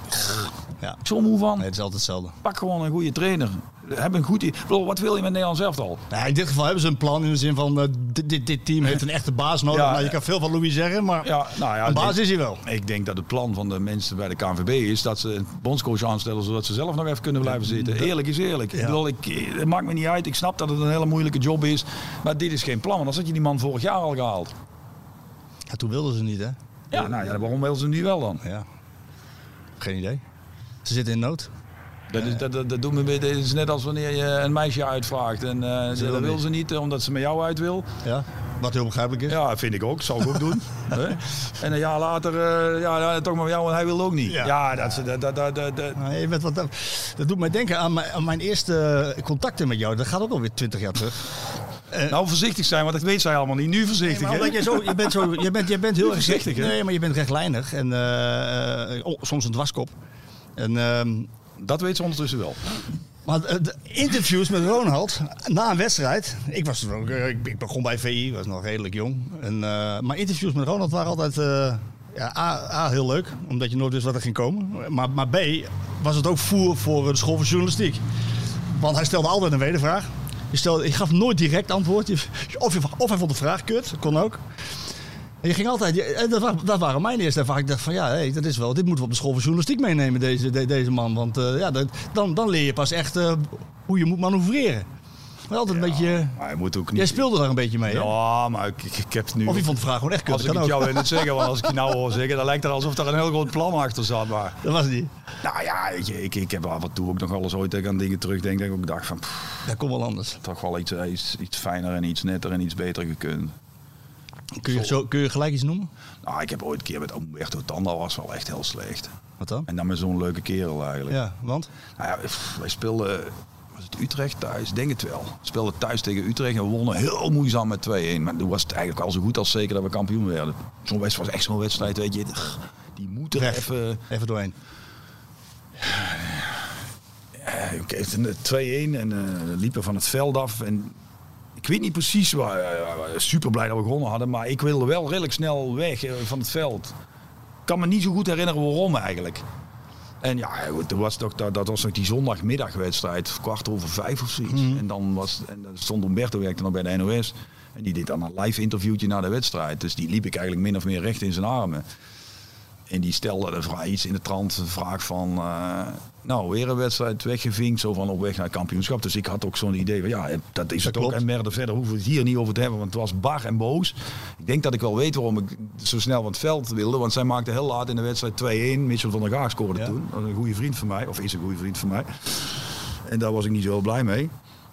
Speaker 7: Ja.
Speaker 9: zo moe van.
Speaker 7: Nee, het is altijd hetzelfde.
Speaker 9: Pak gewoon een goede trainer. Heb een goed, ik bedoel, wat wil je met Nederland zelf al?
Speaker 7: Nou, in dit geval hebben ze een plan in de zin van, eh, dit, dit, dit team heeft een echte baas nodig.
Speaker 9: Ja.
Speaker 7: nou, je kan veel van Louis zeggen, maar
Speaker 9: Ja, nou ja,
Speaker 7: een baas
Speaker 9: ik-
Speaker 7: is hij wel.
Speaker 9: Ik denk dat het plan van de mensen bij de KNVB is dat ze een bondscoach aanstellen zodat ze zelf nog even kunnen blijven zitten. Eerlijk is eerlijk. Ik bedoel, ik, eh, het maakt me niet uit. Ik snap dat het een hele moeilijke job is. Maar dit is geen plan. Want dan had je die man vorig jaar al gehaald.
Speaker 7: Ja, toen wilden ze niet, hè?
Speaker 9: Ja, nou ja, waarom wil ze hem nu wel dan?
Speaker 7: Ja. Geen idee. Ze zitten in nood.
Speaker 9: Dat is, dat, dat, dat, doet me, een beetje- dat is net als wanneer je een meisje uitvraagt. En eh, dat wil ze niet eh, omdat ze met jou uit wil.
Speaker 7: Ja. Wat heel begrijpelijk is.
Speaker 9: Ja, vind ik ook. Zou ik ook doen. Hè? En een jaar later, eh, ja, ja, toch maar jou, want hij wil ook niet.
Speaker 7: Ja.
Speaker 9: Ja, dat, is- dat, dat, dat, dat, dat-
Speaker 7: Nou, je bent wat, dat, dat doet mij denken aan mijn, aan mijn eerste contacten met jou. Dat gaat ook alweer twintig jaar terug.
Speaker 9: Nou, voorzichtig zijn, want dat weet zij allemaal niet. Nu voorzichtig,
Speaker 7: Maar
Speaker 9: hè?
Speaker 7: omdat je, zo, je, bent zo, je, bent, je bent heel erg
Speaker 9: Voorzichtig, hè?
Speaker 7: Nee, maar je bent rechtlijnig. En eh, eh, oh, soms een dwarskop. En, ehm,
Speaker 9: Dat weet ze ondertussen wel.
Speaker 7: maar eh, de interviews met Ronald na een wedstrijd. Ik, was, er ook, eh, ik, ik begon bij VI, was nog redelijk jong. En, eh, maar interviews met Ronald waren altijd eh, ja, A, A, heel leuk. Omdat je nooit wist wat er ging komen. Maar, maar B, was het ook voer voor de school van journalistiek. Want hij stelde altijd een wedervraag. Je, stelde, je gaf nooit direct antwoord. Je- Of, je, of hij vond de vraag kut, dat kon ook. En je ging altijd, je- en dat, wa- dat waren mijn eerste ervaringen. Ik dacht van ja, hey, dat is wel, dit moeten we op de school van journalistiek meenemen, deze, de- deze man. Want eh, ja, dat- dan, dan leer je pas echt eh, hoe je moet manoeuvreren. Maar altijd een beetje,
Speaker 9: Maar hij moet ook niet...
Speaker 7: jij speelde daar een beetje mee, hè?
Speaker 9: Ja, maar ik, ik, ik heb het nu...
Speaker 7: Of je vond de vraag gewoon echt kut,
Speaker 9: als
Speaker 7: dat
Speaker 9: ik
Speaker 7: kan
Speaker 9: het jou
Speaker 7: ook.
Speaker 9: wil niet zeggen, want als ik je nou hoor zeggen, dan lijkt het alsof er een heel groot plan achter zat. Maar
Speaker 7: Dat was het niet.
Speaker 9: nou ja, weet je, ik, ik heb af en toe ook nog wel eens ooit dat ik aan dingen terugdenk. Dat ik ook dacht van, pff,
Speaker 7: Dat komt wel anders.
Speaker 9: toch wel iets, eh, iets, iets fijner en iets netter en iets beter gekund.
Speaker 7: Kun je, zo, kun je gelijk iets noemen?
Speaker 9: Nou, ik heb ooit een keer met Umberto Tanda was wel echt heel slecht.
Speaker 7: Wat dan?
Speaker 9: En dan met zo'n leuke kerel eigenlijk.
Speaker 7: Ja, want?
Speaker 9: Nou ja, pff, wij speelden was het Utrecht thuis, denk het wel. We speelden thuis tegen Utrecht en we wonnen heel moeizaam met 2-1. Maar toen was het eigenlijk al zo goed als zeker dat we kampioen werden. Zo'n wedstrijd was echt zo'n wedstrijd, weet je. Die moeten er
Speaker 7: Ref.
Speaker 9: even...
Speaker 7: Even doorheen.
Speaker 9: Eh, Oké, het is een 2-1 en eh liepen van het veld af. En ik weet niet precies waar. super blij dat we gewonnen hadden, maar ik wilde wel redelijk snel weg eh, van het veld. Ik kan me niet zo goed herinneren waarom eigenlijk. En ja, goed, toen was toch, dat, dat was nog die zondagmiddagwedstrijd, kwart over vijf of zoiets. En dan was, en dan stond Umberto werkte nog bij de NOS. En die deed dan een live interviewtje na de wedstrijd. Dus die liep ik eigenlijk min of meer recht in zijn armen. En die stelde de vraag, iets in de trant, een vraag van... eh, nou, weer een wedstrijd weggevinkt, zo van op weg naar het kampioenschap. Dus ik had ook zo'n idee van, ja, dat is het ook.
Speaker 7: klopt.
Speaker 9: En merder verder hoeven we het hier niet over te hebben, want het was bar en boos. Ik denk dat ik wel weet waarom ik zo snel van het veld wilde. Want zij maakte heel laat in de wedstrijd 2-1. Mitchell van der Gaag scoorde
Speaker 7: Ja.
Speaker 9: toen. Dat was een goede vriend van mij, of is een goede vriend van mij. En daar was ik niet zo heel blij mee.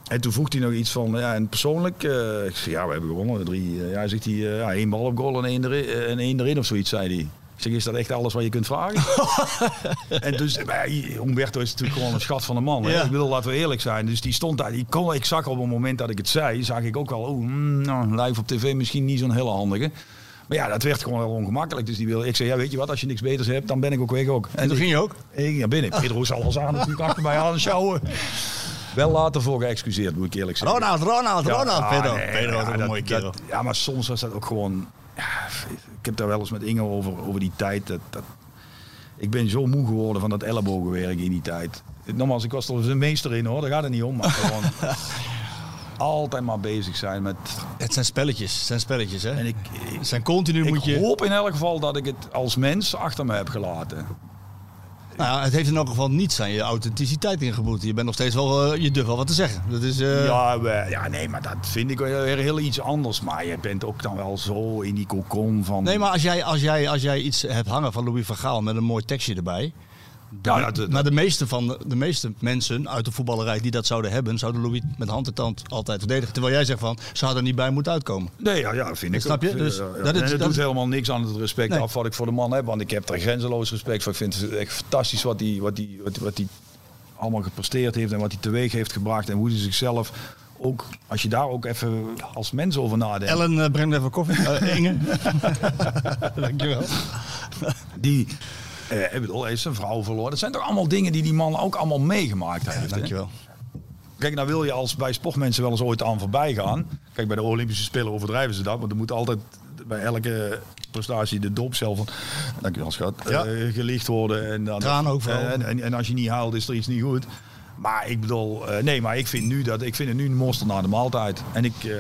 Speaker 9: En toen vroeg hij nog iets van, ja, en persoonlijk, eh, ik zei, ja, we hebben gewonnen. Drie, eh, ja, zegt hij, eh, ja, één bal op goal en één, erin, eh, en één erin of zoiets, zei hij. Ik zeg, is dat echt alles wat je kunt vragen? en dus, eh, maar ja, Humberto is natuurlijk gewoon een schat van een man. hè.
Speaker 7: Ja.
Speaker 9: Ik bedoel, laten we eerlijk zijn. Dus die stond daar, die kon, ik zag op het moment dat ik het zei, zag ik ook al, oh, mm, nou, live op tv misschien niet zo'n hele handige. Maar ja, dat werd gewoon heel ongemakkelijk. Dus die wilde, ik zei, ja, weet je wat, als je niks beters hebt, dan ben ik ook weg ook. En
Speaker 7: toen
Speaker 9: ik-
Speaker 7: ging je ook?
Speaker 9: ik ging naar binnen. Pedro zal ons aan natuurlijk achter mij aan sjouwen. Wel later voor geëxcuseerd, moet ik eerlijk zeggen.
Speaker 7: Ronald, Ronald, Ronald.
Speaker 9: ah,
Speaker 7: Pedro.
Speaker 9: nee,
Speaker 7: Pedro was
Speaker 9: ja,
Speaker 7: ook een
Speaker 9: dat-
Speaker 7: mooie
Speaker 9: dat-
Speaker 7: kerel.
Speaker 9: Ja, maar soms was dat ook gewoon... Ja, ik heb daar wel eens met Inge over, over die tijd. Dat, dat, ik ben zo moe geworden van dat ellebogenwerk in die tijd. Nogmaals, ik was er een meester in hoor, daar gaat het niet om. Maar gewoon altijd maar bezig zijn met...
Speaker 7: Het zijn spelletjes, het zijn spelletjes, hè?
Speaker 9: En ik,
Speaker 7: het zijn continu moet
Speaker 9: ik
Speaker 7: je...
Speaker 9: hoop in elk geval dat ik het als mens achter me heb gelaten.
Speaker 7: Nou, ja, het heeft in elk geval niets aan je authenticiteit ingeboet. Je bent nog steeds wel, eh, je durft wel wat te zeggen. Dat is, eh,
Speaker 9: Ja, we- ja, nee, maar dat vind ik wel weer heel iets anders. Maar je bent ook dan wel zo in die cocon van...
Speaker 7: Nee, maar als jij, als, jij, als jij iets hebt hangen van Louis van Gaal met een mooi tekstje erbij... Dan,
Speaker 9: Ja, dat- dat-
Speaker 7: maar de meeste, van de, de meeste mensen uit de voetballerij die dat zouden hebben... zouden Louis met hand en tand altijd verdedigen. Terwijl jij zegt van, ze hadden er niet bij moeten uitkomen.
Speaker 9: Nee, ja, ja vind ik
Speaker 7: Snap je?
Speaker 9: ook. eh,
Speaker 7: Dus
Speaker 9: Ja, ja.
Speaker 7: dat is-
Speaker 9: en het
Speaker 7: dat
Speaker 9: doet
Speaker 7: is-
Speaker 9: helemaal niks aan het respect
Speaker 7: Nee.
Speaker 9: af wat ik voor de man heb. Want ik heb daar grenzeloos respect voor. Ik vind het echt fantastisch wat hij wat die, wat, wat die allemaal gepresteerd heeft. En wat hij teweeg heeft gebracht. En hoe hij zichzelf ook... Als je daar ook even als mens over nadenkt.
Speaker 7: Ellen, eh, breng even koffie. Eh, Inge. Dankjewel.
Speaker 9: Die... eh, ik bedoel, hij is zijn vrouw verloren. Dat zijn toch allemaal dingen die die man ook allemaal meegemaakt heeft. hè?
Speaker 7: Dankjewel.
Speaker 9: Kijk, nou wil je als bij sportmensen wel eens ooit aan voorbij gaan. Kijk, bij de Olympische Spelen overdrijven ze dat. Want er moet altijd bij elke prestatie de dop zelf van... Dankjewel, schat.
Speaker 7: Ja.
Speaker 9: eh, gelicht worden. En dan,
Speaker 7: Tranen ook vooral.
Speaker 9: En, en, en als je niet haalt, is er iets niet goed. Maar ik bedoel... eh, nee, maar ik vind, nu dat, ik vind het nu een monster na de maaltijd. En ik... eh,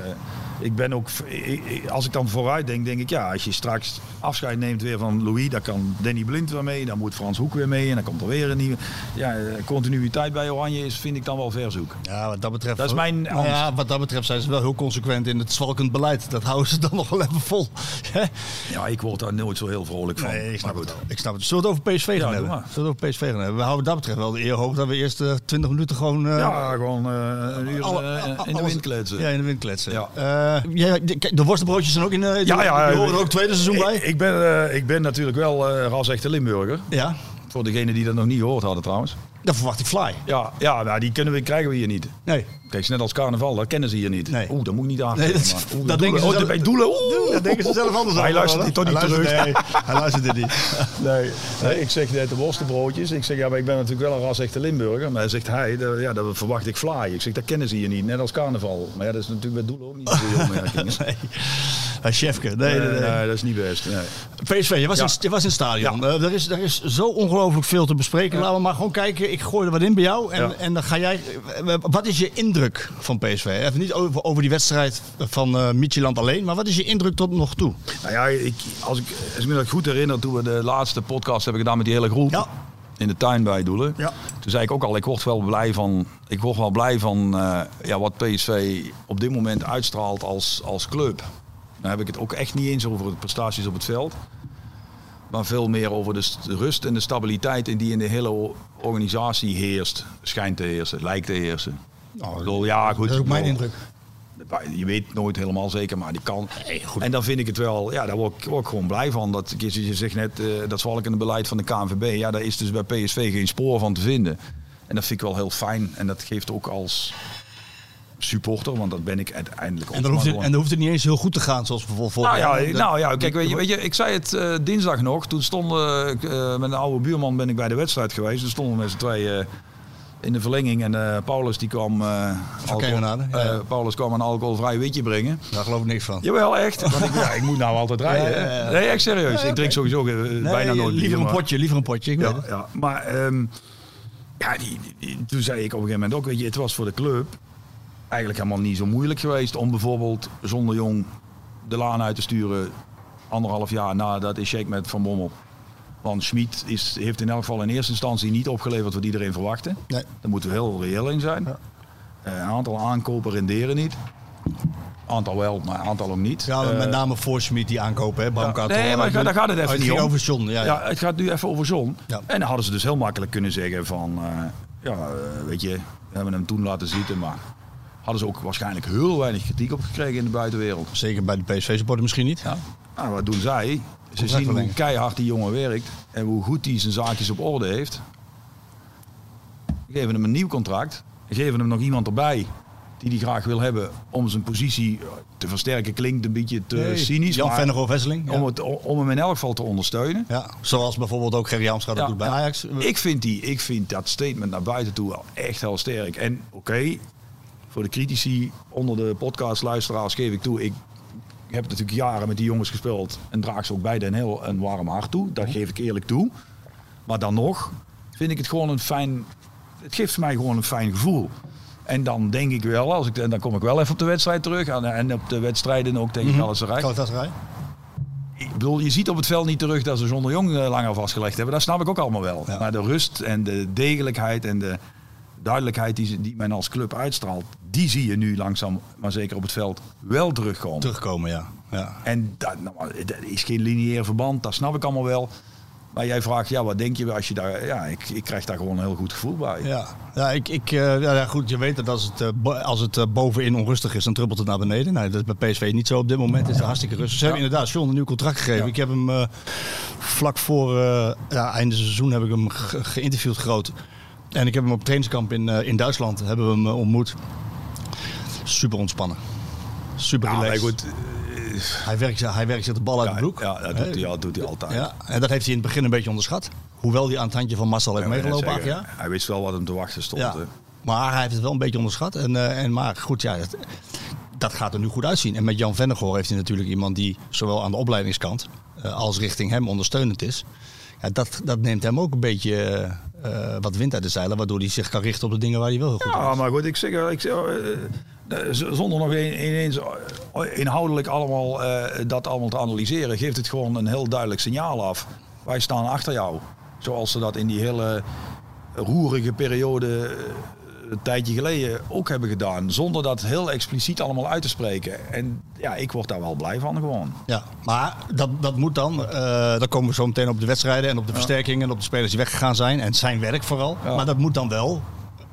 Speaker 9: ik ben ook, ik- ik- als ik dan vooruit denk, denk ik ja, als je straks afscheid neemt weer van Louis, dan kan Danny Blind weer mee, dan moet Frans Hoek weer mee en dan komt er weer een nieuwe. Ja, eh, continuïteit bij Oranje is, vind ik dan wel verzoek.
Speaker 7: Ja, wat dat betreft...
Speaker 9: Dat is mijn
Speaker 7: Nou
Speaker 9: angst.
Speaker 7: ja, wat dat betreft zijn ze wel heel consequent in het zwalkend beleid. Dat houden ze dan nog wel even vol. Hè?
Speaker 9: Ja, ik word daar nooit zo heel vrolijk van.
Speaker 7: Nee, ik snap,
Speaker 9: Maar
Speaker 7: het,
Speaker 9: goed.
Speaker 7: wel. ik snap het. Zullen we het over PSV gaan
Speaker 9: doe
Speaker 7: hebben?
Speaker 9: maar.
Speaker 7: Zullen we het over PSV gaan hebben? We houden wat dat betreft wel de eer hoog dat we eerst eh, 20 minuten gewoon... eh,
Speaker 9: Ja, gewoon eh, een uur
Speaker 7: alle-
Speaker 9: eh, in de
Speaker 7: alles-
Speaker 9: wind kletsen.
Speaker 7: Ja, in de wind kletsen.
Speaker 9: Ja.
Speaker 7: Eh, jij- de, kijk, de worstenbroodjes zijn ook in... eh, die- Die horen er ook tweede seizoen bij.
Speaker 9: Ik, ik ben, eh, ik ben natuurlijk wel eh ras echte Limburger.
Speaker 7: ja,
Speaker 9: Voor degenen die dat nog niet gehoord hadden trouwens.
Speaker 7: dan verwacht ik fly.
Speaker 9: Ja, ja nou, die kunnen we, krijgen we hier niet.
Speaker 7: Nee.
Speaker 9: Kijk, het is net als carnaval, dat kennen ze hier niet.
Speaker 7: Nee.
Speaker 9: Oeh, dat moet ik niet aan.
Speaker 7: Nee, dat-
Speaker 9: maar,
Speaker 7: dat
Speaker 9: Oeh,
Speaker 7: denken
Speaker 9: doelen.
Speaker 7: ze
Speaker 9: Oh,
Speaker 7: zelf-
Speaker 9: bij doelen. Oeh.
Speaker 7: Dat denken ze zelf anders
Speaker 9: Hij
Speaker 7: over, hoor.
Speaker 9: luistert die toch niet
Speaker 7: Hij luistert-
Speaker 9: terug.
Speaker 7: nee, hij luistert dit niet.
Speaker 9: Nee. nee, ik zeg net de worstenbroodjes. Ik zeg, ja, maar ik ben natuurlijk wel een ras echte Limburger. Maar zegt hij, dat- ja, dat verwacht ik fly. Ik zeg, dat kennen ze hier niet, net als carnaval. Maar ja, dat is natuurlijk bij doelen ook niet een goede opmerking. hè.
Speaker 7: Ah, Chefke. Nee, nee, nee.
Speaker 9: Nee, dat is niet best. Nee.
Speaker 7: PSV, je was,
Speaker 9: Ja.
Speaker 7: in, je was in het stadion. Eh, er, is, er is zo ongelooflijk veel te bespreken. Laten we maar gewoon kijken. Ik gooi er wat in bij jou. En,
Speaker 9: Ja.
Speaker 7: en dan ga jij... eh, Wat is je indruk van PSV? Even niet over, over die wedstrijd van eh Midtjylland alleen. Maar wat is je indruk tot nog toe?
Speaker 9: Nou ja, ik, als, ik, als ik me dat goed herinner, toen we de laatste podcast hebben gedaan met die hele groep.
Speaker 7: Ja.
Speaker 9: In de tuin bij Doelen.
Speaker 7: Ja.
Speaker 9: Toen zei ik ook al, ik word wel blij van, ik word wel blij van eh, ja, wat PSV op dit moment uitstraalt als, als club. Dan heb ik het ook echt niet eens over de prestaties op het veld. Maar veel meer over de st- rust en de stabiliteit in die in de hele o- organisatie heerst. Schijnt te heersen, lijkt te heersen. Ik bedoel, ja,
Speaker 7: Nou,
Speaker 9: goed.
Speaker 7: Dat is ook mijn
Speaker 9: ik bedoel,
Speaker 7: indruk.
Speaker 9: je weet nooit helemaal zeker, maar die kan. En dan vind ik het wel, ja, daar word ik, word ik gewoon blij van. Dat, je je zegt net, eh, dat zwalkende beleid van de KNVB, ja, daar is dus bij PSV geen spoor van te vinden. En dat vind ik wel heel fijn. En dat geeft ook als supporter, want dat ben ik uiteindelijk ook
Speaker 7: En dan,
Speaker 9: maar
Speaker 7: hoeft het,
Speaker 9: gewoon-
Speaker 7: en dan hoeft het niet eens heel goed te gaan, zoals bijvoorbeeld vorig
Speaker 9: nou ja,
Speaker 7: jaar.
Speaker 9: nou ja, kijk, weet je, weet je, ik zei het eh, dinsdag nog. Toen stonden, eh, met een oude buurman ben ik bij de wedstrijd geweest. Toen stonden we met z'n tweeën eh, in de verlenging. En eh, Paulus die kwam, eh,
Speaker 7: Kemenade, ja.
Speaker 9: eh, Paulus kwam een alcoholvrij witje brengen.
Speaker 7: Daar geloof ik niks van.
Speaker 9: Jawel, echt. Want ik, ja, ik moet nou altijd rijden.
Speaker 7: Ja, ja,
Speaker 9: hè.
Speaker 7: ja.
Speaker 9: Nee, echt serieus.
Speaker 7: Ja,
Speaker 9: Ik drink
Speaker 7: oké.
Speaker 9: sowieso eh, bijna nooit bier,
Speaker 7: Liever een
Speaker 9: maar-
Speaker 7: potje, liever een potje. Ik weet
Speaker 9: ja,
Speaker 7: het.
Speaker 9: ja. Maar ehm, ja, die, die- toen zei ik op een gegeven moment ook, weet je, het was voor de club eigenlijk helemaal niet zo moeilijk geweest om bijvoorbeeld zonder jong de laan uit te sturen anderhalf jaar nadat is check met Van Bommel. Want Schmid is, heeft in elk geval in eerste instantie niet opgeleverd wat iedereen verwachtte.
Speaker 7: Nee.
Speaker 9: Daar moeten we heel reëel in zijn. Eh, een aantal aankopen renderen niet. Aantal wel, maar een aantal ook niet.
Speaker 7: Ja, maar
Speaker 9: Eh,
Speaker 7: met name voor Smit die aankopen, hè? Bramka,
Speaker 9: Nee,
Speaker 7: Torreira,
Speaker 9: maar daar
Speaker 7: die-
Speaker 9: gaat het
Speaker 7: Oh,
Speaker 9: even niet
Speaker 7: ging
Speaker 9: om.
Speaker 7: over John, ja. ja.
Speaker 9: het gaat nu even over John.
Speaker 7: Ja.
Speaker 9: En dan hadden ze dus heel makkelijk kunnen zeggen van... eh, ja, eh, weet je, we hebben hem toen laten zitten, maar... Hadden ze ook waarschijnlijk heel weinig kritiek op gekregen in de buitenwereld.
Speaker 7: Zeker bij de PSV-supporter misschien niet.
Speaker 9: Nou, wat doen zij? Ze zien hoe
Speaker 7: Contractverlenging.
Speaker 9: keihard die jongen werkt en hoe goed hij zijn zaakjes op orde heeft. Geven hem een nieuw contract. Geven hem nog iemand erbij die die graag wil hebben om zijn positie te versterken. Klinkt een beetje te
Speaker 7: Nee,
Speaker 9: cynisch.
Speaker 7: Jan
Speaker 9: maar
Speaker 7: Vennegoor Wesseling. Eh, Ja.
Speaker 9: om, het, om hem in elk geval te ondersteunen.
Speaker 7: Ja, Zoals bijvoorbeeld ook Gerry Amstra dat
Speaker 9: Ja,
Speaker 7: doet bij
Speaker 9: ja.
Speaker 7: Ajax.
Speaker 9: Ik vind, die, ik vind dat statement naar buiten toe wel echt heel sterk. En oké, voor de critici onder de podcastluisteraars geef ik toe... Ik heb natuurlijk jaren met die jongens gespeeld... en draag ze ook bij Den heel een warm hart toe. Dat geef ik eerlijk toe. Maar dan nog vind ik het gewoon een fijn... Het geeft mij gewoon een fijn gevoel. En dan denk ik wel, als ik, en dan kom ik wel even op de wedstrijd terug... en, en op de wedstrijden ook tegen Mhm. Galatasaray.
Speaker 7: Eh, Galatasaray.
Speaker 9: Ik bedoel, je ziet op het veld niet terug dat ze zonder jong eh, langer vastgelegd hebben. Dat snap ik ook allemaal wel. Maar de rust en de degelijkheid en de duidelijkheid die, ze- die men als club uitstraalt, die zie je nu langzaam, maar zeker op het veld, wel terugkomen.
Speaker 7: Terugkomen, ja. ja.
Speaker 9: En dat, nou, maar dat is geen lineair verband, dat snap ik allemaal wel. Maar jij vraagt, ja, wat denk je als je daar... Ja, ik, ik krijg daar gewoon een heel goed gevoel bij.
Speaker 7: Ja, ja, ik, ik, eh, ja ja, goed, je weet dat als het, eh, bo- als het eh, bovenin onrustig is, dan druppelt het naar beneden. Nou, dat is bij PSV niet zo op dit moment. Het is hartstikke rustig. Ze hebben inderdaad John een nieuw contract gegeven. Ik heb hem eh, vlak voor eh, ja, einde seizoen heb ik hem ge- geïnterviewd groot. En ik heb hem op trainingskamp in, eh, in Duitsland hebben we hem eh, ontmoet. Super ontspannen. Super
Speaker 9: Ja, maar
Speaker 7: relaxed.
Speaker 9: goed,
Speaker 7: hij, werkt, zich- hij werkt zich de bal uit
Speaker 9: ja,
Speaker 7: de broek.
Speaker 9: ja, dat doet hij, al- doet hij altijd.
Speaker 7: Ja, en dat heeft hij in het begin een beetje onderschat. Hoewel hij aan het handje van Marcel heeft
Speaker 9: Ik wou net
Speaker 7: meegelopen acht
Speaker 9: zeggen,
Speaker 7: jaar.
Speaker 9: Hij wist wel wat hem te wachten stond.
Speaker 7: Ja.
Speaker 9: hè.
Speaker 7: Maar hij heeft het wel een beetje onderschat. En, eh, en, maar goed, ja, dat, dat gaat er nu goed uitzien. En met Jan Vennegoor heeft hij natuurlijk iemand die zowel aan de opleidingskant eh, als richting hem ondersteunend is. Ja, dat, dat neemt hem ook een beetje eh, eh, wat wind uit de zeilen, waardoor hij zich kan richten op de dingen waar hij wel heel goed
Speaker 9: Ja,
Speaker 7: in is.
Speaker 9: maar goed, ik zeg, eh, ik zeg eh, eh, z- zonder nog een- ineens eh, inhoudelijk allemaal eh, dat allemaal te analyseren, geeft het gewoon een heel duidelijk signaal af. Wij staan achter jou. Zoals ze dat in die hele roerige periode eh, een tijdje geleden ook hebben gedaan. Zonder dat heel expliciet allemaal uit te spreken. En ja, ik word daar wel blij van gewoon.
Speaker 7: Ja, maar dat, dat moet dan. eh dan komen we zo meteen op de wedstrijden en op de versterkingen en op de spelers die weggegaan zijn. En zijn werk vooral.
Speaker 9: Ja.
Speaker 7: Maar dat moet dan wel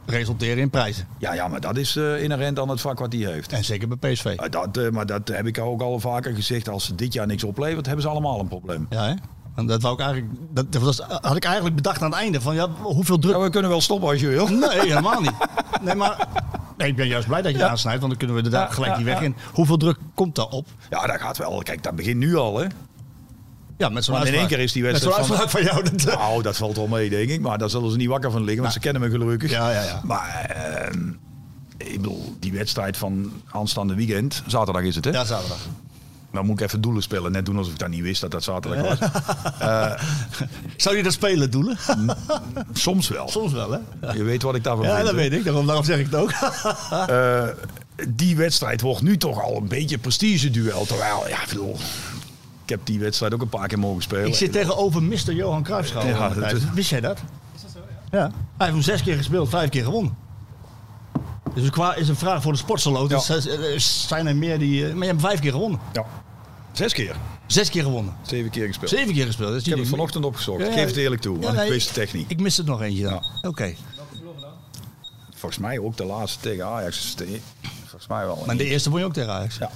Speaker 7: resulteren in prijzen.
Speaker 9: Ja, ja maar dat is eh, inherent aan het vak wat hij heeft.
Speaker 7: En zeker bij PSV.
Speaker 9: Eh, Dat, eh, maar dat heb ik ook al vaker gezegd. Als ze dit jaar niks oplevert, hebben ze allemaal een probleem.
Speaker 7: Ja, hè? Want dat, wou ik eigenlijk, dat, dat was- had ik eigenlijk bedacht aan het einde. Van, ja, hoeveel druk...
Speaker 9: Ja, we kunnen wel stoppen als je wil.
Speaker 7: Nee, helemaal niet. Nee, maar nee, ik ben juist blij dat je het aansnijdt. Want dan kunnen we er daar
Speaker 9: Ja,
Speaker 7: gelijk
Speaker 9: ja,
Speaker 7: die weg
Speaker 9: ja.
Speaker 7: in. Hoeveel druk komt daar op?
Speaker 9: Ja, dat gaat wel. Kijk, dat begint nu al, hè?
Speaker 7: Ja, met zo'n
Speaker 9: Want in
Speaker 7: uitspraak.
Speaker 9: één keer is die
Speaker 7: Met zo'n
Speaker 9: wedstrijd
Speaker 7: uitspraak van jou. dat-
Speaker 9: Nou, dat valt wel mee, denk ik. Maar daar zullen ze niet wakker van liggen, want ze kennen me gelukkig.
Speaker 7: Ja, ja, ja.
Speaker 9: Maar, ehm, ik bedoel, die wedstrijd van aanstaande weekend, zaterdag is het, hè?
Speaker 7: ja, zaterdag.
Speaker 9: Dan moet ik even doelen spelen. Net doen alsof ik dat niet wist dat dat zaterdag was.
Speaker 7: Zou je dat spelen, Doelen?
Speaker 9: Soms wel.
Speaker 7: Soms wel, hè?
Speaker 9: Je weet wat ik daarvan
Speaker 7: Ja,
Speaker 9: vind.
Speaker 7: dat
Speaker 9: hè?
Speaker 7: weet ik. Daarom, daarom zeg ik het ook.
Speaker 9: Eh, die wedstrijd wordt nu toch al een beetje een prestigeduel. Terwijl, ja, ik bedoel, ik heb die wedstrijd ook een paar keer mogen spelen.
Speaker 7: Ik zit tegenover Mr. Johan Cruijffschaal.
Speaker 9: Ja, dat is-
Speaker 7: Wist jij dat? Is dat zo, ja? Hij heeft hem zes keer gespeeld, vijf keer gewonnen. Dus qua is een vraag voor de sportsaloot.
Speaker 9: Ja.
Speaker 7: Dus er Zijn er meer die... eh, Maar je hebt vijf keer gewonnen.
Speaker 9: Ja. Zes keer.
Speaker 7: Zes keer gewonnen.
Speaker 9: Zeven keer gespeeld.
Speaker 7: Zeven keer gespeeld. Dus
Speaker 9: Ik heb het vanochtend opgezocht.
Speaker 7: Ja, ja.
Speaker 9: Ik geef het eerlijk toe, want
Speaker 7: Ja,
Speaker 9: ik
Speaker 7: nee,
Speaker 9: wist de techniek.
Speaker 7: Ik mis er nog eentje dan.
Speaker 9: Ja.
Speaker 7: Oké.
Speaker 9: Volgens mij ook de laatste tegen Ajax. Volgens mij wel.
Speaker 7: Maar in de eerste won je ook tegen Ajax.
Speaker 9: Ja.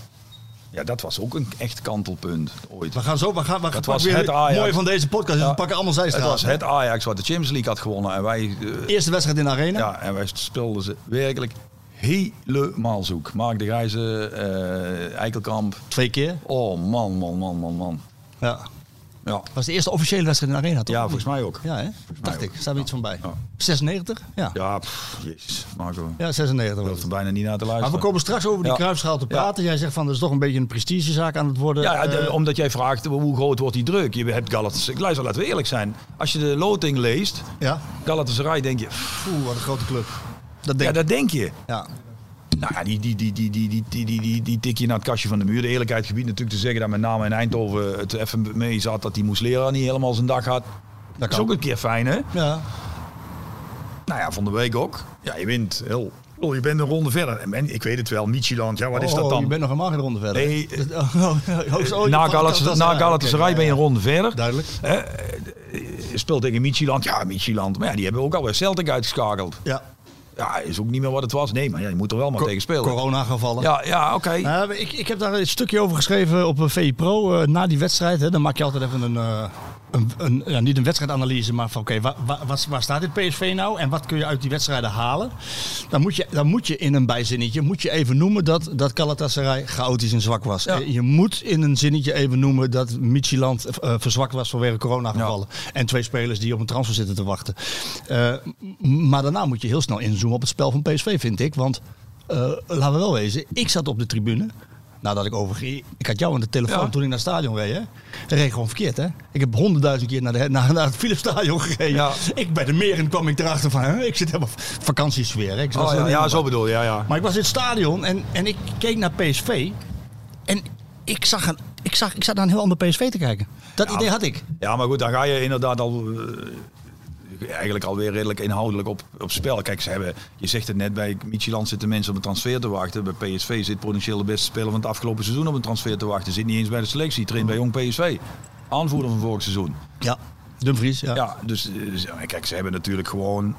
Speaker 9: Ja, dat was ook een echt kantelpunt ooit.
Speaker 7: We gaan zo, we gaan, we
Speaker 9: Dat
Speaker 7: gaan
Speaker 9: was
Speaker 7: weer
Speaker 9: het Ajax.
Speaker 7: mooi van deze podcast. is
Speaker 9: Ja.
Speaker 7: we pakken allemaal
Speaker 9: Het was
Speaker 7: zijstraat.
Speaker 9: het Ajax wat de Champions League had gewonnen. En wij, eh,
Speaker 7: Eerste wedstrijd in de arena.
Speaker 9: ja, en wij speelden ze werkelijk helemaal zoek. Mark de Grijze, eh, Eikelkamp.
Speaker 7: Twee keer.
Speaker 9: Oh man, man, man, man, man.
Speaker 7: Ja.
Speaker 9: Ja,
Speaker 7: Was de eerste officiële wedstrijd in de arena toch?
Speaker 9: ja volgens mij ook.
Speaker 7: Ja, hè? Dacht
Speaker 9: ook.
Speaker 7: ik. Staan we iets van bij.
Speaker 9: Ja.
Speaker 7: 96? Ja. Ja,
Speaker 9: Ja, pff, jezus, Marco. Ik
Speaker 7: 96 was
Speaker 9: durf
Speaker 7: het.
Speaker 9: er bijna niet naar te luisteren.
Speaker 7: Maar we komen straks over die
Speaker 9: Ja.
Speaker 7: kruipschaal te praten. Jij zegt van, dat is toch een beetje een prestigezaak aan het worden.
Speaker 9: Ja, ja, de-
Speaker 7: Eh,
Speaker 9: omdat jij vraagt hoe groot wordt die druk. Je hebt Galatasaray. Luister, laten we eerlijk zijn. Als je de loting leest,
Speaker 7: ja.
Speaker 9: Galatasaray denk je...
Speaker 7: Oeh, wat een grote club. Dat
Speaker 9: Ja,
Speaker 7: denk ik.
Speaker 9: dat denk je.
Speaker 7: Ja.
Speaker 9: Nou ja, die, die, die, die, die, die, die, die, die, die tik je naar het kastje van de muur. De eerlijkheid gebied natuurlijk te zeggen dat met name in Eindhoven het even mee zat dat die Moesleraar niet helemaal zijn dag had. Dat is
Speaker 7: kan.
Speaker 9: ook een keer fijn, hè?
Speaker 7: Ja.
Speaker 9: Nou ja, van de week ook. Ja, je wint. Heel. Ik bedoel, Oh, Je bent een ronde verder. En men- ik weet het wel, Michieland, ja, wat is
Speaker 7: Oh,
Speaker 9: dat
Speaker 7: oh,
Speaker 9: dan?
Speaker 7: Je bent nog helemaal geen ronde verder.
Speaker 9: Nee, eh,
Speaker 7: Dat- oh, oh, hoogst- oh, je
Speaker 9: na
Speaker 7: valt-
Speaker 9: Galatasaray, na Galatasaray
Speaker 7: Oké,
Speaker 9: ben
Speaker 7: ja,
Speaker 9: je een
Speaker 7: ja.
Speaker 9: ronde verder.
Speaker 7: Duidelijk.
Speaker 9: Je speelt tegen Michieland. Ja, Michieland. Maar ja, die hebben ook alweer Celtic uitgeschakeld.
Speaker 7: Ja.
Speaker 9: Ja, is ook niet meer wat het was. Nee, maar ja, je moet er wel maar tegen spelen.
Speaker 7: Corona gevallen.
Speaker 9: Ja, ja oké. Oh,
Speaker 7: Nou, ik, ik heb daar een stukje over geschreven op eh, VI Pro. eh, na die wedstrijd, hè, dan maak je altijd even een, eh, een, een ja, niet een wedstrijdanalyse, maar van oké, wa- wa- wat- waar staat dit PSV nou en wat kun je uit die wedstrijden halen? Dan moet je, dan moet je in een bijzinnetje moet je even noemen dat, dat Galatasaray chaotisch en zwak was.
Speaker 9: Ja.
Speaker 7: Eh, Je moet in een zinnetje even noemen dat Michieland eh, verzwakt was vanwege corona gevallen. En twee spelers die op een transfer zitten te wachten. Eh, m- maar daarna moet je heel snel inzoomen op het spel van PSV, vind ik. Want eh, laten we wel wezen, ik zat op de tribune. Nadat ik overging, ik had jou aan de telefoon
Speaker 9: Ja.
Speaker 7: toen ik naar het stadion reed. Hè? Dat reed gewoon verkeerd, hè? Ik heb honderdduizend keer naar, de, naar, naar het Philipsstadion gereden.
Speaker 9: Ja.
Speaker 7: Ik bij de meren kwam ik erachter van, hè? ik zit helemaal vakantiesfeer. Hè? Ik was
Speaker 9: Oh, ja,
Speaker 7: helemaal
Speaker 9: ja, zo bedoel je. Ja, ja.
Speaker 7: maar ik was in het stadion en, en ik keek naar PSV. En ik zag, een, ik, zag, ik zat naar een heel ander PSV te kijken. Dat idee had ik.
Speaker 9: Ja, maar goed, dan ga je inderdaad al. eh, eigenlijk alweer redelijk inhoudelijk op, op spel. Kijk, ze hebben, je zegt het net, bij Micheland zitten mensen op een transfer te wachten. Bij PSV zit potentieel de beste speler van het afgelopen seizoen op een transfer te wachten. Zit niet eens bij de selectie, traint bij jong PSV. Aanvoerder van vorig seizoen.
Speaker 7: Ja, Dumfries. Ja.
Speaker 9: Ja, dus eh, ze- kijk, ze hebben natuurlijk gewoon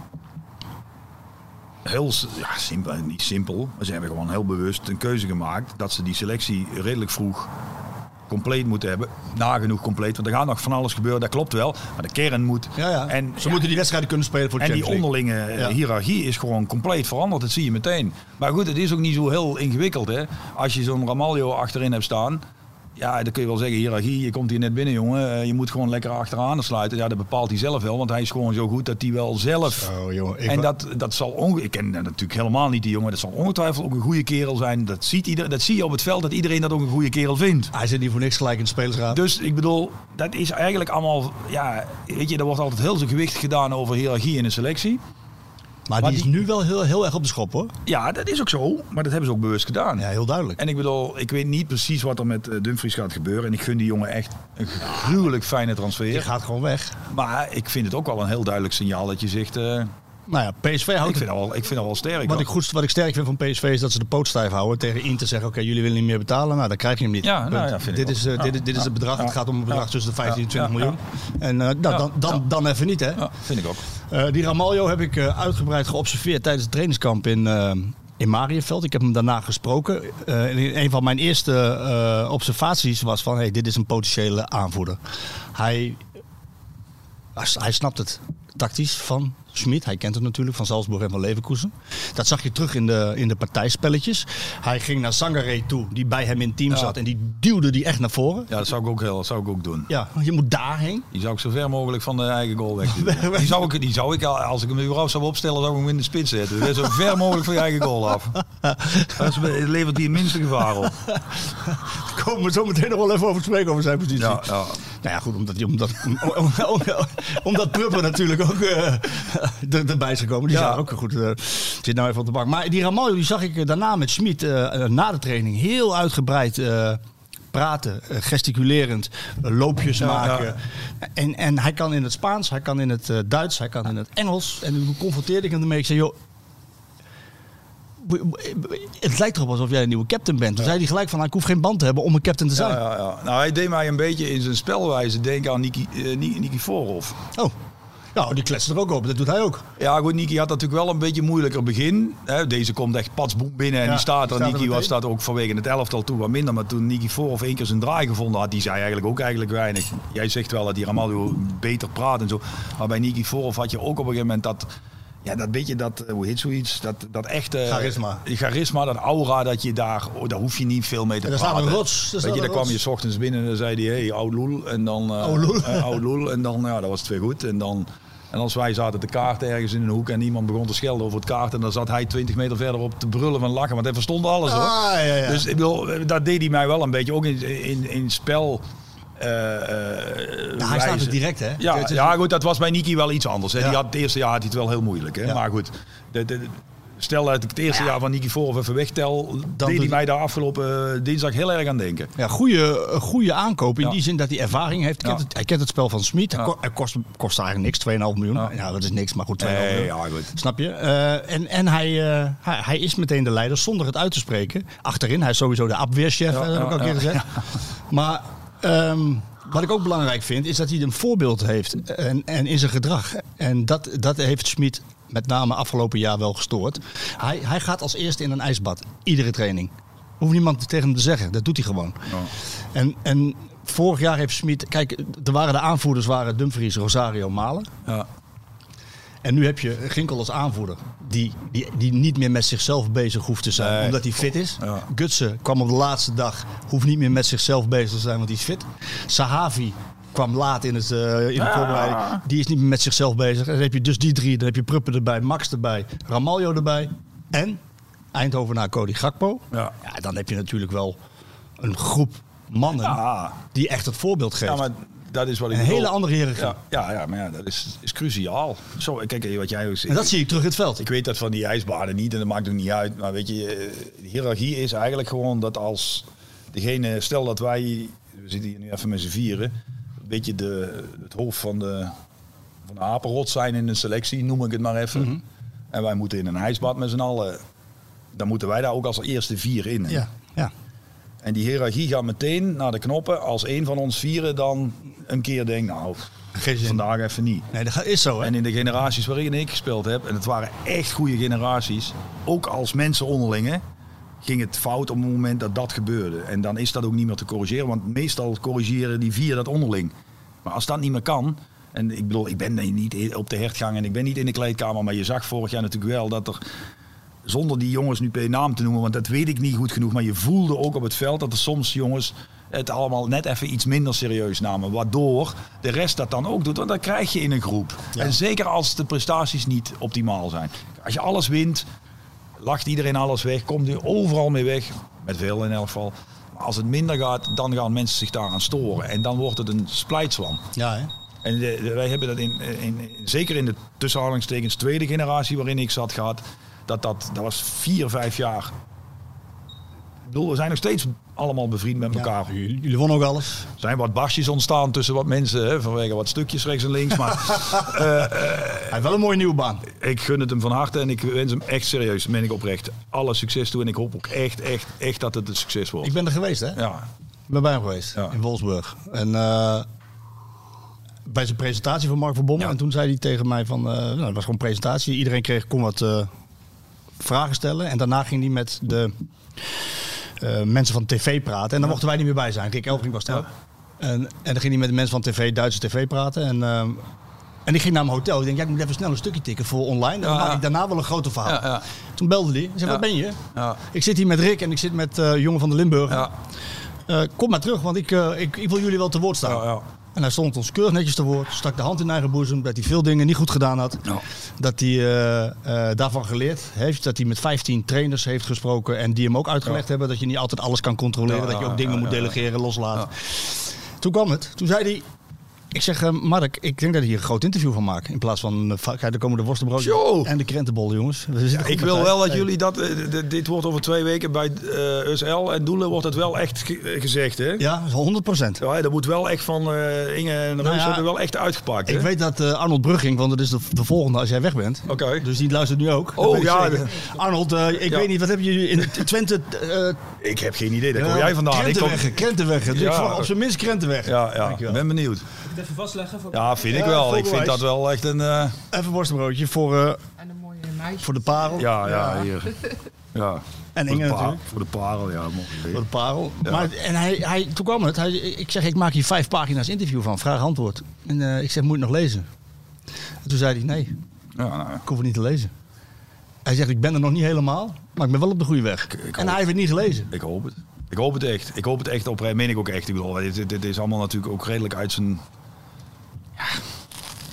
Speaker 9: heel s- ja, simpel, eh, niet simpel, maar ze hebben gewoon heel bewust een keuze gemaakt dat ze die selectie redelijk vroeg compleet moeten hebben. Nagenoeg compleet, want er gaat nog van alles gebeuren, dat klopt wel. Maar de kern moet.
Speaker 7: Ja, ja.
Speaker 9: En,
Speaker 7: Ze moeten die wedstrijden kunnen spelen voor de
Speaker 9: en die
Speaker 7: Champions League.
Speaker 9: onderlinge eh,
Speaker 7: Ja.
Speaker 9: hiërarchie is gewoon compleet veranderd, dat zie je meteen. Maar goed, het is ook niet zo heel ingewikkeld hè. Als je zo'n Ramaljo achterin hebt staan. Ja, dan kun je wel zeggen, hiërarchie, je komt hier net binnen, jongen. Eh, Je moet gewoon lekker achteraan sluiten. Ja, dat bepaalt hij zelf wel, want hij is gewoon zo goed dat hij wel zelf
Speaker 7: Oh, jongen, ik
Speaker 9: en
Speaker 7: wa-
Speaker 9: dat, dat zal onge ik ken natuurlijk helemaal niet die jongen. Dat zal ongetwijfeld ook een goede kerel zijn. Dat, ziet ieder, dat zie je op het veld, dat iedereen dat ook een goede kerel vindt.
Speaker 7: Hij zit niet voor niks gelijk in de spelersraad.
Speaker 9: Dus ik bedoel, dat is eigenlijk allemaal... Ja, weet je, er wordt altijd heel veel gewicht gedaan over hiërarchie in een selectie.
Speaker 7: maar,
Speaker 9: maar
Speaker 7: die is
Speaker 9: die-
Speaker 7: nu wel heel, heel erg op de schop, hoor.
Speaker 9: Ja, dat is ook zo. Maar dat hebben ze ook bewust gedaan.
Speaker 7: Ja, heel duidelijk.
Speaker 9: En ik bedoel, ik weet niet precies wat er met eh, Dumfries gaat gebeuren. En ik gun die jongen echt een gruwelijk fijne
Speaker 7: Die
Speaker 9: transfer.
Speaker 7: gaat gewoon weg.
Speaker 9: Maar ik vind het ook wel een heel duidelijk signaal dat je zegt... eh,
Speaker 7: Nou ja, PSV
Speaker 9: ik,
Speaker 7: houdt
Speaker 9: vind
Speaker 7: het.
Speaker 9: dat wel, ik vind dat wel sterk.
Speaker 7: Wat
Speaker 9: hoor.
Speaker 7: ik, goed, wat ik sterk vind van PSV is dat ze de poot stijf houden. Tegen Inter zeggen, oké, jullie willen niet meer betalen. Nou, dan krijg je hem niet.
Speaker 9: Ja, nou
Speaker 7: Punt.
Speaker 9: ja, vind
Speaker 7: dit,
Speaker 9: ik ook.
Speaker 7: is, eh,
Speaker 9: Ja,
Speaker 7: dit, is- dit is het bedrag.
Speaker 9: ja,
Speaker 7: Het gaat om een bedrag
Speaker 9: ja,
Speaker 7: tussen de 15 en
Speaker 9: ja,
Speaker 7: 20
Speaker 9: ja,
Speaker 7: miljoen. En eh, nou, dan, dan, dan even niet, hè.
Speaker 9: Ja, vind ik ook.
Speaker 7: Eh, die Ramaljo heb ik eh, uitgebreid geobserveerd tijdens het trainingskamp in, eh, in Marienveld. Ik heb hem daarna gesproken. Eh, en een van mijn eerste eh, observaties was van... Hey, dit is een potentiële aanvoerder. Hij, hij s- hij snapt het tactisch van Schmid. Hij kent het natuurlijk van Salzburg en van Leverkusen. Dat zag je terug in de, in de partijspelletjes. Hij ging naar Sangaré toe, die bij hem in het team
Speaker 9: Ja.
Speaker 7: zat. En die duwde die echt naar voren.
Speaker 9: Ja, dat zou ik ook, heel, dat zou ik ook doen.
Speaker 7: Ja, je moet daarheen.
Speaker 9: Die zou ik zo ver mogelijk van de eigen goal wegduwen. Die zou ik, die zou ik al- als ik hem überhaupt zou opstellen, zou ik hem in de spits zetten. Dus zo ver mogelijk van je eigen goal af. Dat is- het levert die het minste gevaar op.
Speaker 7: Daar komen we zo meteen nog wel even over te spreken over zijn positie.
Speaker 9: Ja, ja.
Speaker 7: Nou ja, goed, omdat, omdat, om- om- omdat Prupper natuurlijk ook eh, er, erbij is gekomen. Die
Speaker 9: Ja.
Speaker 7: zat ook goed. eh, zit nou even op de bank. Maar die Ramaljo die zag ik eh, daarna met Schmid eh, eh, na de training heel uitgebreid eh, praten, eh, gesticulerend, eh, loopjes maken. En, en hij kan in het Spaans, hij kan in het eh, Duits, hij kan in het Engels. En toen confronteerde ik hem ermee. Ik zei, joh, het lijkt erop alsof jij een nieuwe captain bent. Toen zei hij gelijk van, nou, ik hoef geen band te hebben om een captain te
Speaker 9: Ja,
Speaker 7: zijn.
Speaker 9: ja, ja. Nou, hij deed mij een beetje in zijn spelwijze denken aan Niki, eh, Ni- Nikiforov.
Speaker 7: Oh. Nou, die kletst er ook op. Dat doet hij ook.
Speaker 9: Ja, goed, Niki had natuurlijk wel een beetje moeilijker begin. Hè, Deze komt echt patsboem binnen en
Speaker 7: Ja,
Speaker 9: die staat
Speaker 7: die
Speaker 9: er.
Speaker 7: staat er
Speaker 9: Niki was
Speaker 7: meteen.
Speaker 9: dat ook vanwege het elftal toe wat minder. Maar toen Niki voor of één keer zijn draai gevonden had, die zei eigenlijk ook eigenlijk weinig. Jij zegt wel dat die Ramalho beter praat en zo. Maar bij Niki voor of had je ook op een gegeven moment dat... Ja, dat beetje, dat, eh, hoe heet zoiets? Dat, dat echte...
Speaker 7: Charisma.
Speaker 9: Charisma, dat aura, dat je daar... Oh, daar hoef je niet veel mee te
Speaker 7: En daar staat
Speaker 9: praten.
Speaker 7: een rots, daar staat
Speaker 9: Weet je,
Speaker 7: een
Speaker 9: daar kwam
Speaker 7: rots.
Speaker 9: je s ochtends binnen en dan zei hij, hey, oud loel. En dan... eh,
Speaker 7: Oude loel.
Speaker 9: eh, oude loel. En dan, ja, dat was het weer goed. En dan... En als wij zaten te kaarten ergens in een hoek en iemand begon te schelden over het kaart. En dan zat hij 20 meter verderop te brullen van lachen. Want hij verstond alles hoor.
Speaker 7: Ah, ja, ja.
Speaker 9: Dus ik bedoel, eh, dat deed hij mij wel een beetje. Ook in, in, in spel. eh, eh,
Speaker 7: hij staat
Speaker 9: wijze.
Speaker 7: er direct, hè?
Speaker 9: Ja,
Speaker 7: Het is-
Speaker 9: ja, goed, dat was bij Niki wel iets anders. Hè.
Speaker 7: Ja.
Speaker 9: Die had, het eerste jaar had hij het wel heel moeilijk. Hè.
Speaker 7: Ja.
Speaker 9: Maar goed, de, de- stel dat ik het eerste jaar van Niki Voorhoff even wegtel. deed hij
Speaker 7: doet-
Speaker 9: mij daar afgelopen eh, dinsdag heel erg aan denken.
Speaker 7: Ja, goede, eh, goede aankoop in
Speaker 9: Ja.
Speaker 7: die zin dat hij ervaring heeft. Hij kent
Speaker 9: Ja.
Speaker 7: het, hij kent het spel van Smit. Hij ko- Hij kost, kost eigenlijk niks, 2,5 miljoen. Ja. dat is niks, maar goed, 2,5
Speaker 9: Nee,
Speaker 7: miljoen.
Speaker 9: ja, goed.
Speaker 7: Snap je? Eh, en en hij, eh, hij, hij is meteen de leider zonder het uit te spreken. Achterin, hij is sowieso de abweerchef, eh, dat heb ik al een keer gezegd. Maar ehm, wat ik ook belangrijk vind, is dat hij een voorbeeld heeft en, en in zijn gedrag. En dat, dat heeft Smit met name afgelopen jaar wel gestoord. Hij, hij gaat als eerste in een ijsbad, iedere training. Hoeft niemand tegen hem te zeggen, dat doet hij gewoon. En, en vorig jaar heeft Smit, kijk, er waren de aanvoerders waren Dumfries, Rosario, Malen.
Speaker 9: Ja.
Speaker 7: En nu heb je Ginkel als aanvoerder. Die, die, die niet meer met zichzelf bezig hoeft te zijn.
Speaker 9: Nee.
Speaker 7: Omdat hij fit is.
Speaker 9: Ja.
Speaker 7: Gutsen kwam op de laatste dag. Hoeft niet meer met zichzelf bezig te zijn, want hij is fit. Sahavi kwam laat in, het, eh, in de voorbereiding. Die is niet meer met zichzelf bezig. En dan heb je dus die drie. Dan heb je Pruppen erbij, Max erbij, Ramaljo erbij. En Eindhoven naar Cody Gakpo.
Speaker 9: Ja.
Speaker 7: dan heb je natuurlijk wel een groep mannen
Speaker 9: Ja.
Speaker 7: die echt het voorbeeld geven.
Speaker 9: Ja, maar dat is wat ik
Speaker 7: Een
Speaker 9: bedoel.
Speaker 7: hele andere hiërarchie.
Speaker 9: Ja, ja, ja, maar ja, dat is, is cruciaal. Zo, kijk, eh, wat jij ook
Speaker 7: En dat zie ik terug in het veld.
Speaker 9: Ik weet dat van die ijsbaden niet en dat maakt ook niet uit. Maar weet je, eh, de hiërarchie is eigenlijk gewoon dat als degene, stel dat wij, we zitten hier nu even met z'n vieren, een beetje de, het hoofd van de, van de apenrot zijn in een selectie, noem ik het maar even.
Speaker 7: Mhm.
Speaker 9: En wij moeten in een ijsbad met z'n allen, dan moeten wij daar ook als eerste vier in.
Speaker 7: Ja, ja.
Speaker 9: En die hiërarchie gaat meteen naar de knoppen als één van ons vieren dan een keer denkt, nou,
Speaker 7: Geen zin.
Speaker 9: vandaag even niet.
Speaker 7: Nee, dat ga- is zo. Hè?
Speaker 9: En in de generaties waarin ik gespeeld heb, en het waren echt goede generaties, ook als mensen onderling, hè, ging het fout op het moment dat dat gebeurde. En dan is dat ook niet meer te corrigeren, want meestal corrigeren die vier dat onderling. Maar als dat niet meer kan, en ik bedoel, ik ben niet op de hertgang en ik ben niet in de kleedkamer, maar je zag vorig jaar natuurlijk wel dat er zonder die jongens nu bij naam te noemen, want dat weet ik niet goed genoeg. Maar je voelde ook op het veld dat er soms jongens het allemaal net even iets minder serieus namen. Waardoor de rest dat dan ook doet, want dat krijg je in een groep. En zeker als de prestaties niet optimaal zijn. Als je alles wint, lacht iedereen alles weg, komt nu overal mee weg. Met veel in elk geval. Maar als het minder gaat, dan gaan mensen zich daaraan storen. En dan wordt het een splijtswam.
Speaker 7: Ja, hè?
Speaker 9: En de- de- wij hebben dat in, in, in- zeker in de tussenhalingstekens tweede generatie waarin ik zat gehad, dat dat, dat was vier, vijf jaar. Ik bedoel, we zijn nog steeds allemaal bevriend met elkaar.
Speaker 7: Ja, jullie jullie wonnen ook alles.
Speaker 9: Er zijn wat basjes ontstaan tussen wat mensen, hè, vanwege wat stukjes rechts en links. Maar
Speaker 7: Hij heeft wel een mooie nieuwe baan.
Speaker 9: ik gun het hem van harte en ik wens hem echt serieus, meen ik oprecht, alle succes toe. En ik hoop ook echt, echt, echt dat het een succes wordt.
Speaker 7: Ik ben er geweest, hè?
Speaker 9: Ja,
Speaker 7: Ik ben bij hem geweest,
Speaker 9: Ja.
Speaker 7: in Wolfsburg. En eh, bij zijn presentatie van Mark Verbommel.
Speaker 9: Ja.
Speaker 7: En toen zei hij tegen mij van... eh, nou, het was gewoon presentatie. Iedereen kreeg, kon wat eh, vragen stellen. En daarna ging hij met de eh, mensen van tv praten. En dan mochten wij niet meer bij zijn. Rick Elfring was daar. ook. En, en dan ging hij met de mensen van tv, Duitse tv praten. En, ehm, en ik ging naar mijn hotel. Ik denk, ja, ik moet even snel een stukje tikken voor online. Dan maak ik daarna wel een grote verhaal.
Speaker 9: Ja, ja.
Speaker 7: Toen belde hij. Ik zei, wat ben je?
Speaker 9: Ja.
Speaker 7: Ik zit hier met Rick en ik zit met eh jongen van de Limburg.
Speaker 9: ja,
Speaker 7: Eh, kom maar terug, want ik, eh, ik, ik wil jullie wel te woord staan.
Speaker 9: ja. ja.
Speaker 7: En hij stond ons keurig netjes te woord, stak de hand in eigen boezem, dat hij veel dingen niet goed gedaan had.
Speaker 9: Ja.
Speaker 7: Dat hij eh, eh, daarvan geleerd heeft, dat hij met 15 trainers heeft gesproken en die hem ook uitgelegd hebben dat je niet altijd alles kan controleren,
Speaker 9: Ja,
Speaker 7: dat je
Speaker 9: ja,
Speaker 7: ook dingen
Speaker 9: ja,
Speaker 7: moet
Speaker 9: ja, ja.
Speaker 7: delegeren, loslaten. Toen kwam het, toen zei hij, ik zeg eh, Mark, ik denk dat ik hier een groot interview van maak in plaats van eh, va- kijk, er komen de
Speaker 9: Zo!
Speaker 7: worstenbroodjes en de krentenbollen jongens. We zitten goed
Speaker 9: Ik
Speaker 7: met
Speaker 9: wil
Speaker 7: tijd.
Speaker 9: wel dat
Speaker 7: Nee.
Speaker 9: jullie dat. eh, dit- Dit wordt over twee weken bij eh USL en Doelen wordt het wel echt ge- eh, gezegd, hè? Ja.
Speaker 7: Ja, 100
Speaker 9: dat moet wel echt van eh, Inge en Reus
Speaker 7: Nou ja,
Speaker 9: hebben wel echt uitgepakt. hè?
Speaker 7: Ik weet dat eh, Arnold Brugging, want dat is de, de volgende als jij weg bent.
Speaker 9: Oké.
Speaker 7: Dus die luistert nu ook. Dat
Speaker 9: Oh,
Speaker 7: weet ik
Speaker 9: ja.
Speaker 7: zeker. Arnold, eh, ik
Speaker 9: Ja.
Speaker 7: weet niet, wat hebben jullie in Twente... eh
Speaker 9: Ik heb geen idee. Daar kom jij vandaan. Ik kom...
Speaker 7: Krentenweg, Krentenweg. Dus
Speaker 9: Ja.
Speaker 7: ik vraag op zijn minst Krentenweg.
Speaker 9: Ja, ja.
Speaker 7: Dankjewel.
Speaker 9: Ben benieuwd.
Speaker 8: Ik even vastleggen. Voor
Speaker 9: Ja, vind ik
Speaker 7: Ja,
Speaker 9: wel. Ik
Speaker 7: voorbewijs.
Speaker 9: vind dat wel echt een... eh,
Speaker 7: Even worstenbroodje voor, eh,
Speaker 11: En een mooie meisje.
Speaker 7: voor de parel.
Speaker 9: ja, ja, hier. Ja.
Speaker 7: En
Speaker 9: voor,
Speaker 7: Inge
Speaker 9: de pa-
Speaker 7: natuurlijk.
Speaker 9: voor de parel, ja. mooi idee.
Speaker 7: Voor de parel.
Speaker 9: Ja.
Speaker 7: Maar, en hij, hij, toen kwam het. Hij, ik zeg, ik maak hier vijf pagina's interview van. Vraag antwoord. En eh, ik zeg, moet je het nog lezen? En toen zei hij, nee,
Speaker 9: Ja, nou ja.
Speaker 7: ik hoef het niet te lezen. Hij zegt, ik ben er nog niet helemaal, maar ik ben wel op de goede weg. en hij heeft het niet gelezen.
Speaker 9: Ik hoop het. Ik hoop het echt. Ik hoop het echt oprecht. Meen ik ook echt. Ik bedoel, dit, dit- dit is allemaal natuurlijk ook redelijk uit zijn... Ja,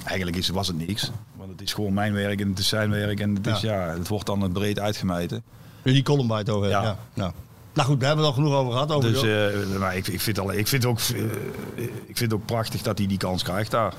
Speaker 9: eigenlijk is, was het niks. Want het is gewoon mijn werk en het is zijn werk. En het, is, ja, het wordt dan breed uitgemeten.
Speaker 7: Die column waar je het over hebt. Ja.
Speaker 9: Ja.
Speaker 7: Nou. nou goed, we hebben het al genoeg over gehad. Over
Speaker 9: Dus
Speaker 7: jou.
Speaker 9: eh, maar ik, ik, vind al, ik, vind ook, eh, ik vind ook prachtig dat hij die kans krijgt daar.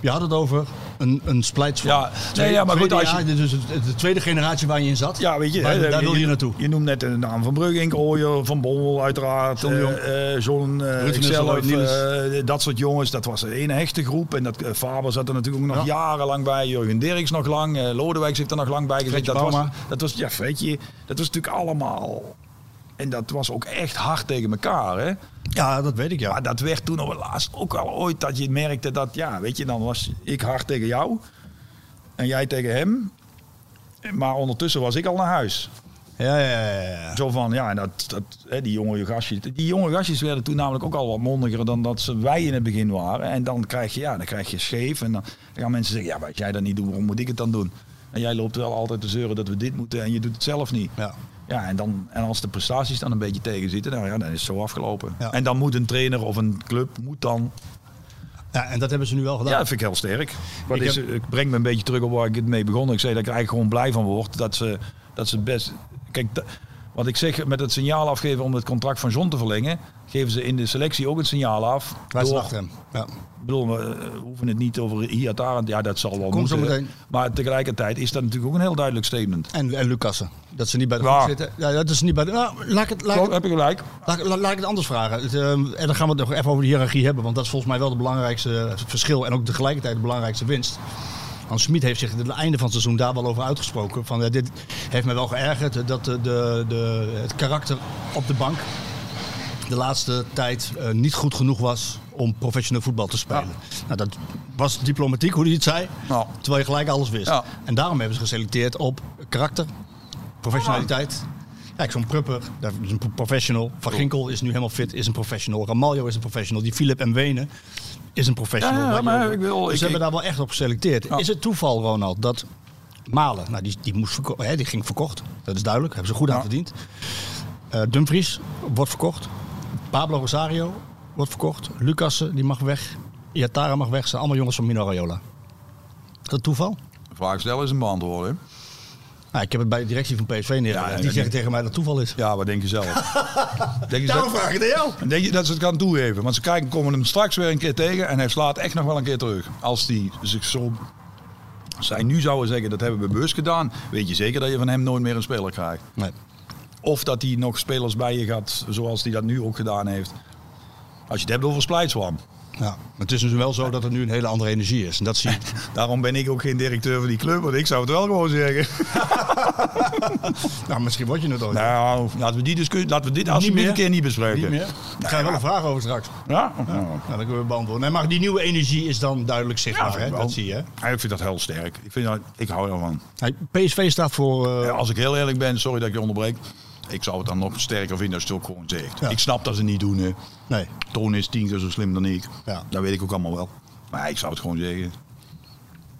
Speaker 7: je had het over een, een splijtsel.
Speaker 9: Ja, nee, ja, maar goed, als je-
Speaker 7: dus het- de tweede generatie waar je in zat.
Speaker 9: Ja, weet je,
Speaker 7: Waar-
Speaker 9: hè,
Speaker 7: daar wil je naartoe.
Speaker 9: Je noemt net de naam van Brugink, Ooyer, Van Bommel uiteraard,
Speaker 7: John Jong.
Speaker 9: eh, eh, John, eh,
Speaker 7: Ruud van
Speaker 9: ikzelf,
Speaker 7: Nistelrooy, Niels.
Speaker 9: eh, dat soort jongens. Dat was een hechte groep en dat, eh, Faber zat er natuurlijk ook nog jarenlang bij, Jurgen Dirks nog lang, eh, Lodewijk zit er nog lang bij gezeten.
Speaker 7: Fredje
Speaker 9: Dat was,
Speaker 7: Bouma.
Speaker 9: dat was, ja, Fredje, dat was natuurlijk allemaal... En dat was ook echt hard tegen elkaar, hè?
Speaker 7: Ja, dat weet ik, ja.
Speaker 9: Maar dat werd toen op het laatst ook al ooit dat je merkte dat, ja, weet je, dan was ik hard tegen jou en jij tegen hem. Maar ondertussen was ik al naar huis.
Speaker 7: Ja, ja, ja, ja.
Speaker 9: Zo van, ja, en dat, dat, hè, die, jonge gastjes, die jonge gastjes werden toen namelijk ook al wat mondiger dan dat ze wij in het begin waren. En dan krijg je, ja, dan krijg je scheef. En dan gaan mensen zeggen, ja, maar als jij dat niet doet, waarom moet ik het dan doen? En jij loopt wel altijd te zeuren dat we dit moeten en je doet het zelf niet.
Speaker 7: Ja.
Speaker 9: Ja, en, dan, en als de prestaties dan een beetje tegen zitten, nou ja, dan is het zo afgelopen.
Speaker 7: Ja.
Speaker 9: En dan moet een trainer of een club moet dan
Speaker 7: Ja, en dat hebben ze nu wel gedaan.
Speaker 9: ja, dat vind ik heel sterk. Wat
Speaker 7: Ik
Speaker 9: is,
Speaker 7: heb-
Speaker 9: Ik breng me een beetje terug op waar ik het mee begon. Ik zei dat ik er eigenlijk gewoon blij van word. Dat ze, dat ze best... Kijk, da- wat ik zeg met het signaal afgeven om het contract van John te verlengen... geven ze in de selectie ook het signaal af.
Speaker 7: Wij
Speaker 9: door-
Speaker 7: zijn achter hem. Ja.
Speaker 9: ik bedoel, we eh, hoeven het niet over Iataren. Ja, dat zal wel
Speaker 7: Komt zo
Speaker 9: moeten.
Speaker 7: meteen.
Speaker 9: Maar tegelijkertijd is dat natuurlijk ook een heel duidelijk statement.
Speaker 7: En, en Lucassen. Dat ze niet bij de
Speaker 9: Waar?
Speaker 7: groep zitten. Ja, dat is niet bij de... Nou, laat ik het, laat ik
Speaker 9: Klopt,
Speaker 7: het,
Speaker 9: heb je gelijk.
Speaker 7: laat, ik- laat- laat ik het anders vragen. Het, ehm, en dan gaan we het nog even over de hiërarchie hebben. Want dat is volgens mij wel het belangrijkste eh, verschil. En ook tegelijkertijd de belangrijkste winst. Hans Smit heeft zich aan het einde van het seizoen daar wel over uitgesproken. Van, eh, dit heeft me wel geërgerd. eh, Dat de, de, de, het karakter op de bank de laatste tijd eh, niet goed genoeg was om professioneel voetbal te spelen. Nou, dat was diplomatiek, hoe hij het zei.
Speaker 9: Nou,
Speaker 7: Terwijl je gelijk alles wist.
Speaker 9: Ja.
Speaker 7: En daarom hebben ze geselecteerd op karakter, professionaliteit. Kijk, zo'n Prupper dat is een pro- professional. Van Ginkel is nu helemaal fit, is een professional. Ramaljo is een professional. Die Philip en Wenen is een professional.
Speaker 9: Ja, ja,
Speaker 7: Waar je
Speaker 9: maar
Speaker 7: ook-
Speaker 9: ik wil-
Speaker 7: Dus
Speaker 9: ik-
Speaker 7: ze hebben
Speaker 9: ik-
Speaker 7: daar wel echt op geselecteerd. Is het toeval, Ronald, dat Malen, nou, die, die, moest verko- hè, die ging verkocht. Dat is duidelijk, hebben ze goed aan verdiend. Eh, Dumfries wordt verkocht. Pablo Rosario wordt verkocht. Lucassen, die mag weg. Iatara mag weg. Zijn allemaal jongens van Mino Raiola. Is dat toeval?
Speaker 9: vraag stellen is een beantwoorden.
Speaker 7: Nou, ik heb het bij de directie van PSV neergelegd.
Speaker 9: Ja, ja,
Speaker 7: die
Speaker 9: dat
Speaker 7: zeggen tegen mij dat toeval is.
Speaker 9: Ja, wat denk je zelf? denk je zelf-
Speaker 7: ik naar jou.
Speaker 9: En denk je dat ze het kan toegeven? Want ze kijken, komen hem straks weer een keer tegen en hij slaat echt nog wel een keer terug. Als hij zich zo... Zij nu zouden zeggen, dat hebben we bewust gedaan. Weet je zeker dat je van hem nooit meer een speler krijgt.
Speaker 7: Nee.
Speaker 9: Of dat hij nog spelers bij je gaat, zoals hij dat nu ook gedaan heeft. Als je het hebt over Splijtswam.
Speaker 7: Ja. Maar het is dus wel zo dat er nu een hele andere energie is. En dat zie je.
Speaker 9: Daarom ben ik ook geen directeur van die club, want ik zou het wel gewoon zeggen.
Speaker 7: nou, misschien word je het ooit.
Speaker 9: Nou, laten we, die discussie, laten we dit alsjeblieft
Speaker 7: meer.
Speaker 9: een keer niet bespreken.
Speaker 7: Niet meer. Ik ga je wel een vraag over straks.
Speaker 9: Ja?
Speaker 7: Nou, dan kunnen we beantwoorden. Nee, maar die nieuwe energie is dan duidelijk zichtbaar.
Speaker 9: vind
Speaker 7: hè?
Speaker 9: ik wel.
Speaker 7: Dat zie je. hè?
Speaker 9: Ja, ik vind dat heel sterk. Ik, vind dat, ik hou ervan.
Speaker 7: Hey, PSV staat voor... eh,
Speaker 9: Ja, Als ik heel eerlijk ben, sorry dat ik je onderbreek. Ik zou het dan nog sterker vinden als je het ook gewoon zegt.
Speaker 7: Ja.
Speaker 9: Ik snap dat ze het niet doen. Hè.
Speaker 7: Nee.
Speaker 9: Toon is tien keer zo slim dan ik.
Speaker 7: Ja.
Speaker 9: Dat weet ik ook allemaal wel. Maar ik zou het gewoon zeggen.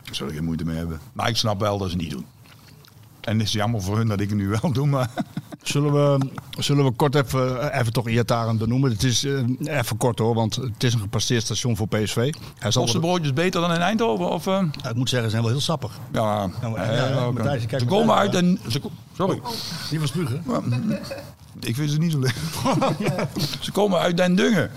Speaker 9: Ik zou er geen moeite mee hebben. Maar ik snap wel dat ze het niet doen. En het is jammer voor hun dat ik het nu wel doe. Maar
Speaker 7: Zullen we, zullen we kort even, eh, even toch Iataren benoemen? Het is eh, even kort hoor, want het is een gepasseerd station voor PSV. Hij zal
Speaker 9: kosten broodjes beter dan in Eindhoven? Of, eh,
Speaker 7: Ja, ik moet zeggen, ze zijn wel heel sappig.
Speaker 9: ja,
Speaker 7: Nou,
Speaker 9: eh,
Speaker 7: ja, ja,
Speaker 9: ook, eh,
Speaker 7: Matthijs, kijk,
Speaker 9: ze komen
Speaker 7: Matthijs,
Speaker 9: uit en... Ze, ko- sorry.
Speaker 7: Die was Spugen.
Speaker 9: Ik vind ze niet zo leuk. ze komen uit Den Dungen.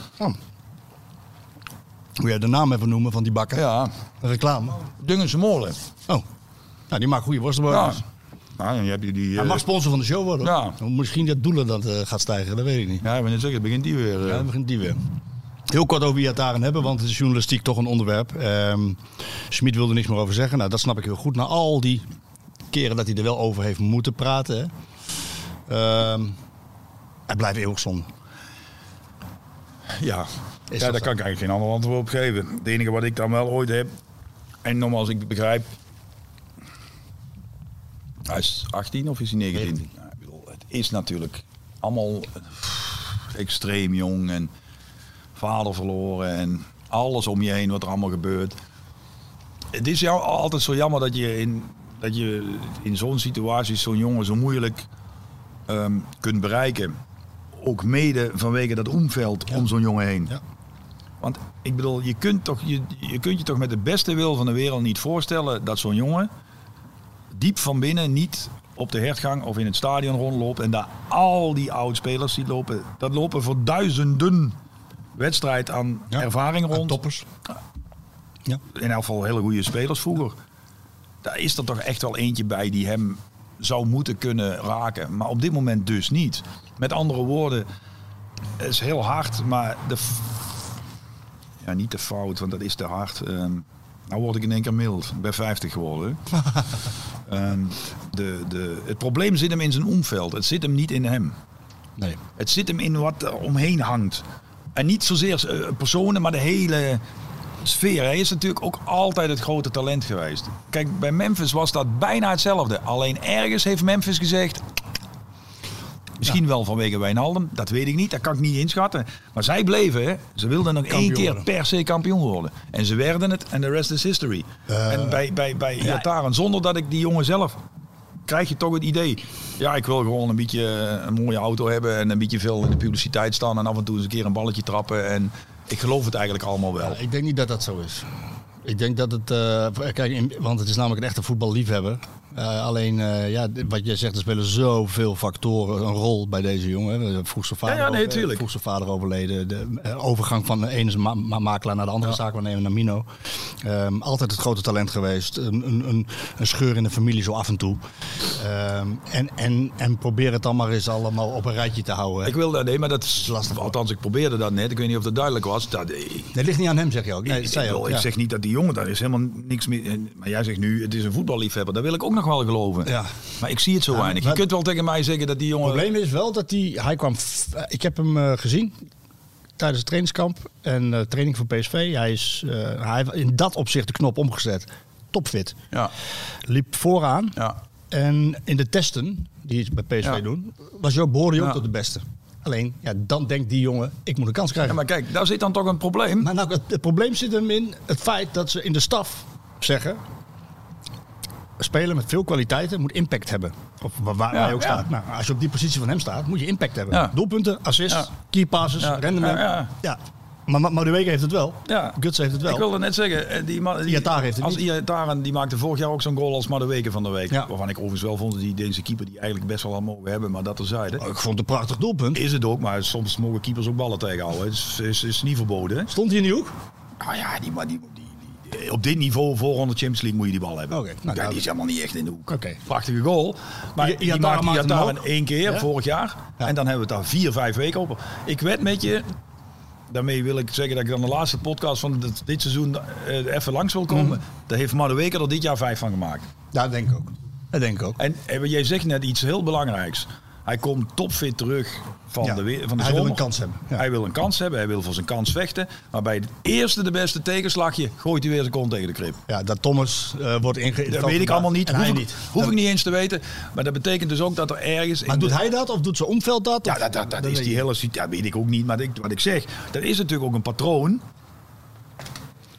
Speaker 7: Moet jij de naam even noemen van die bakker?
Speaker 9: Ja,
Speaker 7: Reclame.
Speaker 9: Dungense molen.
Speaker 7: Oh, nou, die maakt goede
Speaker 9: Ja.
Speaker 7: worstenbroodjes.
Speaker 9: Nou, dan heb je die...
Speaker 7: Hij
Speaker 9: eh,
Speaker 7: mag sponsor van de show worden. hoor. Nou, Misschien dat Doelen dat eh, gaat stijgen, dat weet ik niet.
Speaker 9: Ja, ik ben net zeker, begint die weer. eh.
Speaker 7: Ja, dan begint die weer. Heel kort over Iataren hebben, want het is journalistiek toch een onderwerp. Ehm Schmid wilde niks meer over zeggen. Nou, dat snap ik heel goed. Na al die keren dat hij er wel over heeft moeten praten. Hè. Ehm, hij blijft eeuwig zonde.
Speaker 9: Ja, ja daar kan ik eigenlijk geen ander antwoord op geven. Het enige wat ik dan wel ooit heb, en nogmaals, ik begrijp. Hij is 18 of is hij 19? Nou, ik bedoel, het is natuurlijk allemaal eh, extreem jong en vader verloren en alles om je heen wat er allemaal gebeurt. Het is jou altijd zo jammer dat je in, dat je in zo'n situatie zo'n jongen zo moeilijk ehm, kunt bereiken. Ook mede vanwege dat omveld om zo'n jongen heen. Want ik bedoel, je kunt, toch, je, je kunt je toch met de beste wil van de wereld niet voorstellen dat zo'n jongen diep van binnen niet op de hertgang of in het stadion rondloopt en daar al die oudspelers die lopen, dat lopen voor duizenden wedstrijd aan ervaring rond.
Speaker 7: toppers. Ja.
Speaker 9: In elk geval hele goede spelers vroeger. Daar is er toch echt wel eentje bij die hem zou moeten kunnen raken. Maar op dit moment dus niet. Met andere woorden, het is heel hard, maar de f- ja, niet de fout, want dat is te hard. Ehm, nou word ik in één keer mild. Ik ben 50 geworden. Ehm, de, de, het probleem zit hem in zijn omveld. Het zit hem niet in hem.
Speaker 7: Nee.
Speaker 9: Het zit hem in wat er omheen hangt. En niet zozeer eh, personen, maar de hele sfeer. Hij is natuurlijk ook altijd het grote talent geweest. Kijk, bij Memphis was dat bijna hetzelfde. Alleen ergens heeft Memphis gezegd... Misschien wel vanwege Wijnaldum, dat weet ik niet. Dat kan ik niet inschatten. Maar zij bleven, hè. Ze wilden nog één
Speaker 7: Kampioen
Speaker 9: keer
Speaker 7: worden.
Speaker 9: per se kampioen worden. En ze werden het en de rest is history.
Speaker 7: Eh,
Speaker 9: en bij, bij, bij Iataren, zonder dat ik die jongen zelf... Krijg je toch het idee. Ja, ik wil gewoon een beetje eh, een mooie auto hebben. En een beetje veel in de publiciteit staan. En af en toe eens een keer een balletje trappen. En ik geloof het eigenlijk allemaal wel.
Speaker 7: Nou, Ik denk niet dat dat zo is. Ik denk dat het. eh, kijk, in- want het is namelijk een echte voetballiefhebber. Eh, alleen, eh, ja, d- wat jij zegt, er spelen zoveel factoren een rol bij deze jongen. Eh, Vroeg zijn vader,
Speaker 9: Ja, ja, nee,
Speaker 7: over-
Speaker 9: tuurlijk.
Speaker 7: eh, vroeg zijn vader overleden. De eh, overgang van de ene ma- ma- makelaar naar de andere zaak, we nemen naar Mino. Ehm, altijd het grote talent geweest. Een, een, een, een scheur in de familie zo af en toe. Ehm, en, en, en probeer het dan maar eens allemaal op een rijtje te houden. hè.
Speaker 9: Ik wil dat, nee, maar dat is lastig. Althans, ik probeerde dat net. Ik weet niet of dat duidelijk was. Dat, eh, ik,
Speaker 7: Dat ligt niet aan hem, zeg je ook. Nee,
Speaker 9: ik,
Speaker 7: dat zei je
Speaker 9: wil-
Speaker 7: ook,
Speaker 9: ik
Speaker 7: ja.
Speaker 9: zeg niet dat die jongen daar is helemaal niks meer. en- Maar jij zegt nu, het is een voetballiefhebber. Daar wil ik ook nog wel geloven.
Speaker 7: Ja.
Speaker 9: Maar ik zie het zo weinig. Je
Speaker 7: maar-
Speaker 9: kunt wel tegen mij zeggen dat die jongen.
Speaker 7: Het probleem is wel dat hij, hij kwam, f- ik heb hem eh, gezien tijdens het trainingskamp en eh, training voor PSV. Hij is eh, hij heeft in dat opzicht de knop omgezet. Topfit.
Speaker 9: Ja.
Speaker 7: Liep vooraan.
Speaker 9: Ja.
Speaker 7: En in de testen die ze bij PSV
Speaker 9: Ja.
Speaker 7: doen, was Joop Borio
Speaker 9: Ja.
Speaker 7: tot de beste. Alleen, ja, dan denkt die jongen, ik moet een kans
Speaker 9: Ja,
Speaker 7: krijgen.
Speaker 9: maar kijk, daar zit dan toch een probleem.
Speaker 7: Maar nou, het, het probleem zit hem in het feit dat ze in de staf zeggen... Spelen met veel kwaliteiten moet impact hebben. Of waar, waar
Speaker 9: Ja,
Speaker 7: hij ook
Speaker 9: ja.
Speaker 7: staat. Nou, als je op die positie van hem staat, moet je impact hebben.
Speaker 9: Ja.
Speaker 7: Doelpunten, assists,
Speaker 9: Ja.
Speaker 7: key passes,
Speaker 9: Ja,
Speaker 7: rendement.
Speaker 9: ja,
Speaker 7: Ja,
Speaker 9: ja.
Speaker 7: Maar, maar Madueke heeft het wel.
Speaker 9: Ja.
Speaker 7: Guts heeft het wel.
Speaker 9: Ik wilde net zeggen, eh, die, ma- die
Speaker 7: Iataren heeft het
Speaker 9: als
Speaker 7: niet.
Speaker 9: Iataren, die maakte vorig jaar ook zo'n goal als maar de weken van de week.
Speaker 7: Ja.
Speaker 9: Waarvan ik overigens wel vond dat die deze keeper die eigenlijk best wel al mogen hebben, maar dat terzijde.
Speaker 7: Oh, ik vond het een prachtig doelpunt.
Speaker 9: Is het ook, maar soms mogen keepers ook ballen tegenhouden. Het is, is, is niet verboden. hè?
Speaker 7: Stond hij in die hoek?
Speaker 9: Nou ja, die, maar die, die, die- op dit niveau, voorronde Champions League, moet je die bal hebben.
Speaker 7: Oké, nou,
Speaker 9: ja,
Speaker 7: nou,
Speaker 9: die is helemaal niet echt in de hoek.
Speaker 7: Oké.
Speaker 9: Prachtige goal. Maar
Speaker 7: I-
Speaker 9: die
Speaker 7: Iataren
Speaker 9: maakte
Speaker 7: maakte hem
Speaker 9: Iataren
Speaker 7: ook.
Speaker 9: één keer
Speaker 7: Ja.
Speaker 9: vorig jaar.
Speaker 7: Ja.
Speaker 9: En dan hebben we het daar vier, vijf weken op. Ik wed met je... Daarmee wil ik zeggen dat ik dan de laatste podcast van dit, dit seizoen eh, even langs wil komen. Daar heeft Madueke er dit jaar vijf van gemaakt.
Speaker 7: Ja, dat denk ik ook. Dat denk ik ook.
Speaker 9: En, eh, jij zegt net iets heel belangrijks. Hij komt topfit terug van
Speaker 7: Ja,
Speaker 9: de, we- van de
Speaker 7: hij wil
Speaker 9: zomer.
Speaker 7: een kans hebben, ja.
Speaker 9: Hij wil een kans hebben. Hij wil voor zijn kans vechten. Maar bij het eerste de beste tegenslagje gooit hij weer zijn kont tegen de krip.
Speaker 7: Ja, dat Thomas eh, wordt ingeïnveld.
Speaker 9: Dat weet ik allemaal niet.
Speaker 7: En
Speaker 9: Hoef,
Speaker 7: hij
Speaker 9: ik,
Speaker 7: niet.
Speaker 9: hoef ik niet eens te weten. Maar dat betekent dus ook dat er ergens...
Speaker 7: Maar
Speaker 9: in
Speaker 7: doet
Speaker 9: de-
Speaker 7: hij dat of doet zijn omveld dat?
Speaker 9: Ja,
Speaker 7: Of-
Speaker 9: dat, dat, dat is
Speaker 7: weet
Speaker 9: die
Speaker 7: ik
Speaker 9: hele situatie. Ja, weet ik ook niet. Maar ik- wat ik zeg, dat is natuurlijk ook een patroon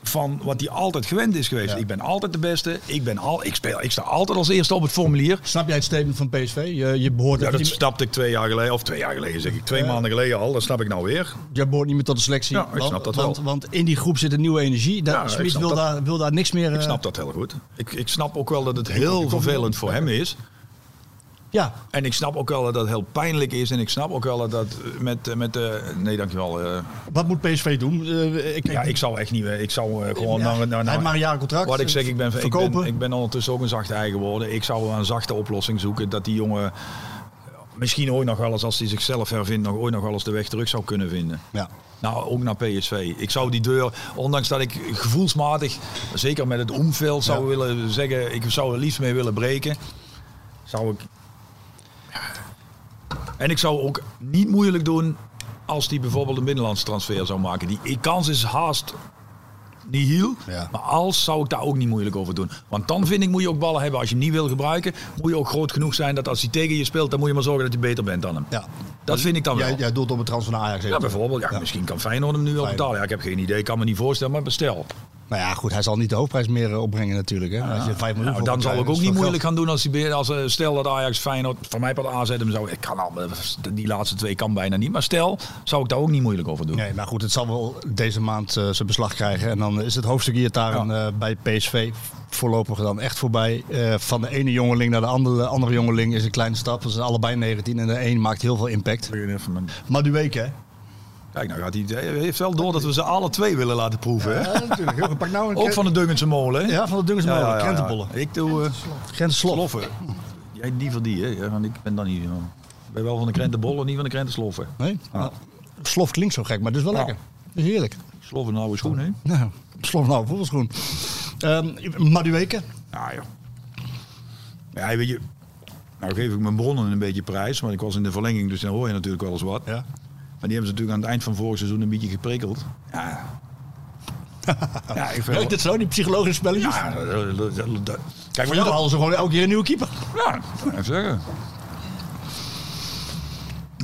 Speaker 9: van wat hij altijd gewend is geweest.
Speaker 7: Ja.
Speaker 9: Ik ben altijd de beste. Ik, ben al, ik, speel, ik sta altijd als eerste op het formulier.
Speaker 7: Snap jij het statement van PSV? Je, je behoort
Speaker 9: Ja,
Speaker 7: even
Speaker 9: dat
Speaker 7: niet,
Speaker 9: snapte ik twee jaar geleden, of twee jaar geleden zeg ik, twee maanden geleden al. Dat snap ik nou weer.
Speaker 7: je behoort niet meer tot de selectie.
Speaker 9: Ja, ik snap dat wel.
Speaker 7: want, want in die groep zit een nieuwe energie. Daar,
Speaker 9: Ja, ik
Speaker 7: Smit
Speaker 9: snap
Speaker 7: wil
Speaker 9: dat.
Speaker 7: daar, wil daar niks meer...
Speaker 9: Ik
Speaker 7: eh,
Speaker 9: snap dat heel goed. Ik, ik snap ook wel dat het heel vervelend voor hem is.
Speaker 7: Ja,
Speaker 9: En ik snap ook wel dat dat heel pijnlijk is. En ik snap ook wel dat dat eh, met... eh, met eh, nee, dankjewel. eh
Speaker 7: wat moet PSV doen? Eh, ik,
Speaker 9: ja, ik zou echt niet... eh, Ik zou eh, gewoon...
Speaker 7: Ja,
Speaker 9: naar, naar,
Speaker 7: hij
Speaker 9: naar-
Speaker 7: heeft maar een jaar contract. eh,
Speaker 9: Wat ik zeg, ik ben, ik, ben,
Speaker 7: Verkopen.
Speaker 9: ik ben ondertussen ook een zachte ei geworden. Ik zou een zachte oplossing zoeken. Dat die jongen misschien ooit nog wel eens, als hij zichzelf hervindt, nog ooit nog wel eens de weg terug zou kunnen vinden.
Speaker 7: Ja.
Speaker 9: Nou, ook naar PSV. Ik zou die deur, ondanks dat ik gevoelsmatig, zeker met het omveld, zou willen zeggen, ik zou er liefst mee willen breken. Zou ik. En ik zou ook niet moeilijk doen als die bijvoorbeeld een binnenlandse transfer zou maken. Die kans is haast nihil.
Speaker 7: Ja.
Speaker 9: Maar als zou ik daar ook niet moeilijk over doen. Want dan vind ik moet je ook ballen hebben. Als je hem niet wil gebruiken, moet je ook groot genoeg zijn dat als hij tegen je speelt, dan moet je maar zorgen dat je beter bent dan hem.
Speaker 7: Ja.
Speaker 9: Dat vind ik dan wel.
Speaker 7: Jij, jij doelt op het transfer naar Ajax.
Speaker 9: Ja, bijvoorbeeld. Ja, Misschien kan Feyenoord hem nu wel betalen. Ja, ik heb geen idee. Ik kan me niet voorstellen, maar bestel.
Speaker 7: Nou ja, goed, hij zal niet de hoofdprijs meer eh, opbrengen natuurlijk. Hè? Als je 5 miljoen
Speaker 9: Nou,
Speaker 7: voor
Speaker 9: dan
Speaker 7: moet
Speaker 9: zou ik
Speaker 7: krijgen,
Speaker 9: ook
Speaker 7: is
Speaker 9: niet
Speaker 7: veel
Speaker 9: moeilijk gaan doen als, die, beer- als eh, stel dat Ajax Feyenoord, van mij part AZ hem zou, ik kan al, die laatste twee kan bijna niet, maar stel, zou ik daar ook niet moeilijk over doen.
Speaker 7: Nee, maar goed, het zal wel deze maand eh, zijn beslag krijgen. En dan is het hoofdstuk Iataren eh bij PSV voorlopig dan echt voorbij. Eh, van de ene jongeling naar de andere, andere jongeling is een kleine stap. Dat zijn allebei 19 en de een maakt heel veel impact. Maar die week, hè?
Speaker 9: Kijk, nou gaat hij, hij heeft wel door dat we ze alle twee willen laten proeven. hè?
Speaker 7: natuurlijk. Joh, pak nou een
Speaker 9: Ook van de Dungense molen. hè?
Speaker 7: Ja, van de Dungense molen, krentenbollen.
Speaker 9: Ik doe eh
Speaker 7: Grenslof.
Speaker 9: sloffen. Jij die van die, hè? Ja, want ik ben dan niet. man. Ik ben wel van de krentenbollen, niet van de krentensloffen.
Speaker 7: Nee? Nou, slof klinkt zo gek, maar dat is wel
Speaker 9: Ja.
Speaker 7: lekker. Dat is heerlijk.
Speaker 9: Sloffen een oude schoen, hè?
Speaker 7: Nou, slof nou, voetbalschoen. Ehm Madueke.
Speaker 9: Nou ja. Ja, weet je. Nou geef ik mijn bronnen een beetje prijs, want ik was in de verlenging, dus dan hoor je natuurlijk wel eens wat.
Speaker 7: Ja.
Speaker 9: Maar die hebben ze natuurlijk aan het eind van vorig seizoen een beetje geprikkeld. Ja. ja, ik vind
Speaker 7: Leuk dat zo, die psychologische spelletjes.
Speaker 9: Ja, dat- dat- dat- dat- Kijk,
Speaker 7: Voor
Speaker 9: maar
Speaker 7: jou hadden ze gewoon elke keer een nieuwe keeper.
Speaker 9: Ja, even zeggen.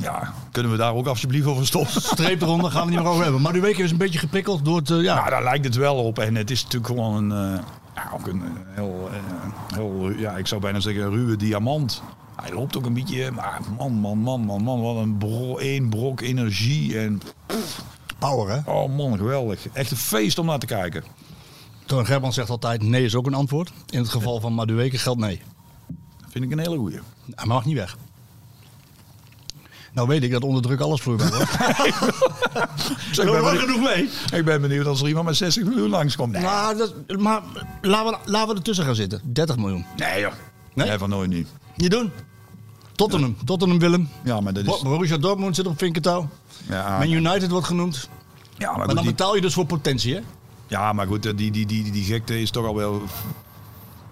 Speaker 9: Ja, kunnen we daar ook alsjeblieft over stoppen?
Speaker 7: Streep eronder, gaan we niet meer over hebben. Madueke is een beetje geprikkeld door het... eh, ja.
Speaker 9: Ja, Nou, daar lijkt het wel op. En het is natuurlijk gewoon een, eh, ja, ook een eh, heel, eh, heel, eh, ja, ik zou bijna zeggen, een ruwe diamant. Hij loopt ook een beetje, eh, maar man, man, man, man, man, wat een bro, één brok energie. En,
Speaker 7: Power, hè?
Speaker 9: oh man, geweldig. Echt een feest om naar te kijken.
Speaker 7: Toon Gerbrand zegt altijd nee is ook een antwoord. In het geval van Madueke geldt nee.
Speaker 9: Dat vind ik een hele goeie.
Speaker 7: Hij mag niet weg. Nou weet ik dat onder druk alles vloeibaar wordt.
Speaker 9: Zeg, Dus ik, ben benieuwd,
Speaker 7: mee.
Speaker 9: ik ben benieuwd als er iemand met 60 miljoen langskomt. Nee,
Speaker 7: Nou, dat, maar laten we, laten we ertussen gaan zitten. 30 miljoen.
Speaker 9: nee joh.
Speaker 7: Nee?
Speaker 9: Nee? van nooit niet.
Speaker 7: Niet doen. Tottenham. Tottenham Willem.
Speaker 9: Ja, maar dat
Speaker 7: Bo-
Speaker 9: is... Ah,
Speaker 7: Borussia Dortmund zit op vinkertouw.
Speaker 9: Ja,
Speaker 7: Man United wordt genoemd.
Speaker 9: ja, maar
Speaker 7: Maar
Speaker 9: goed,
Speaker 7: dan
Speaker 9: die-
Speaker 7: betaal je dus voor potentie, hè?
Speaker 9: Ja, maar goed, eh, die, die, die, die, die gekte is toch al wel. Ik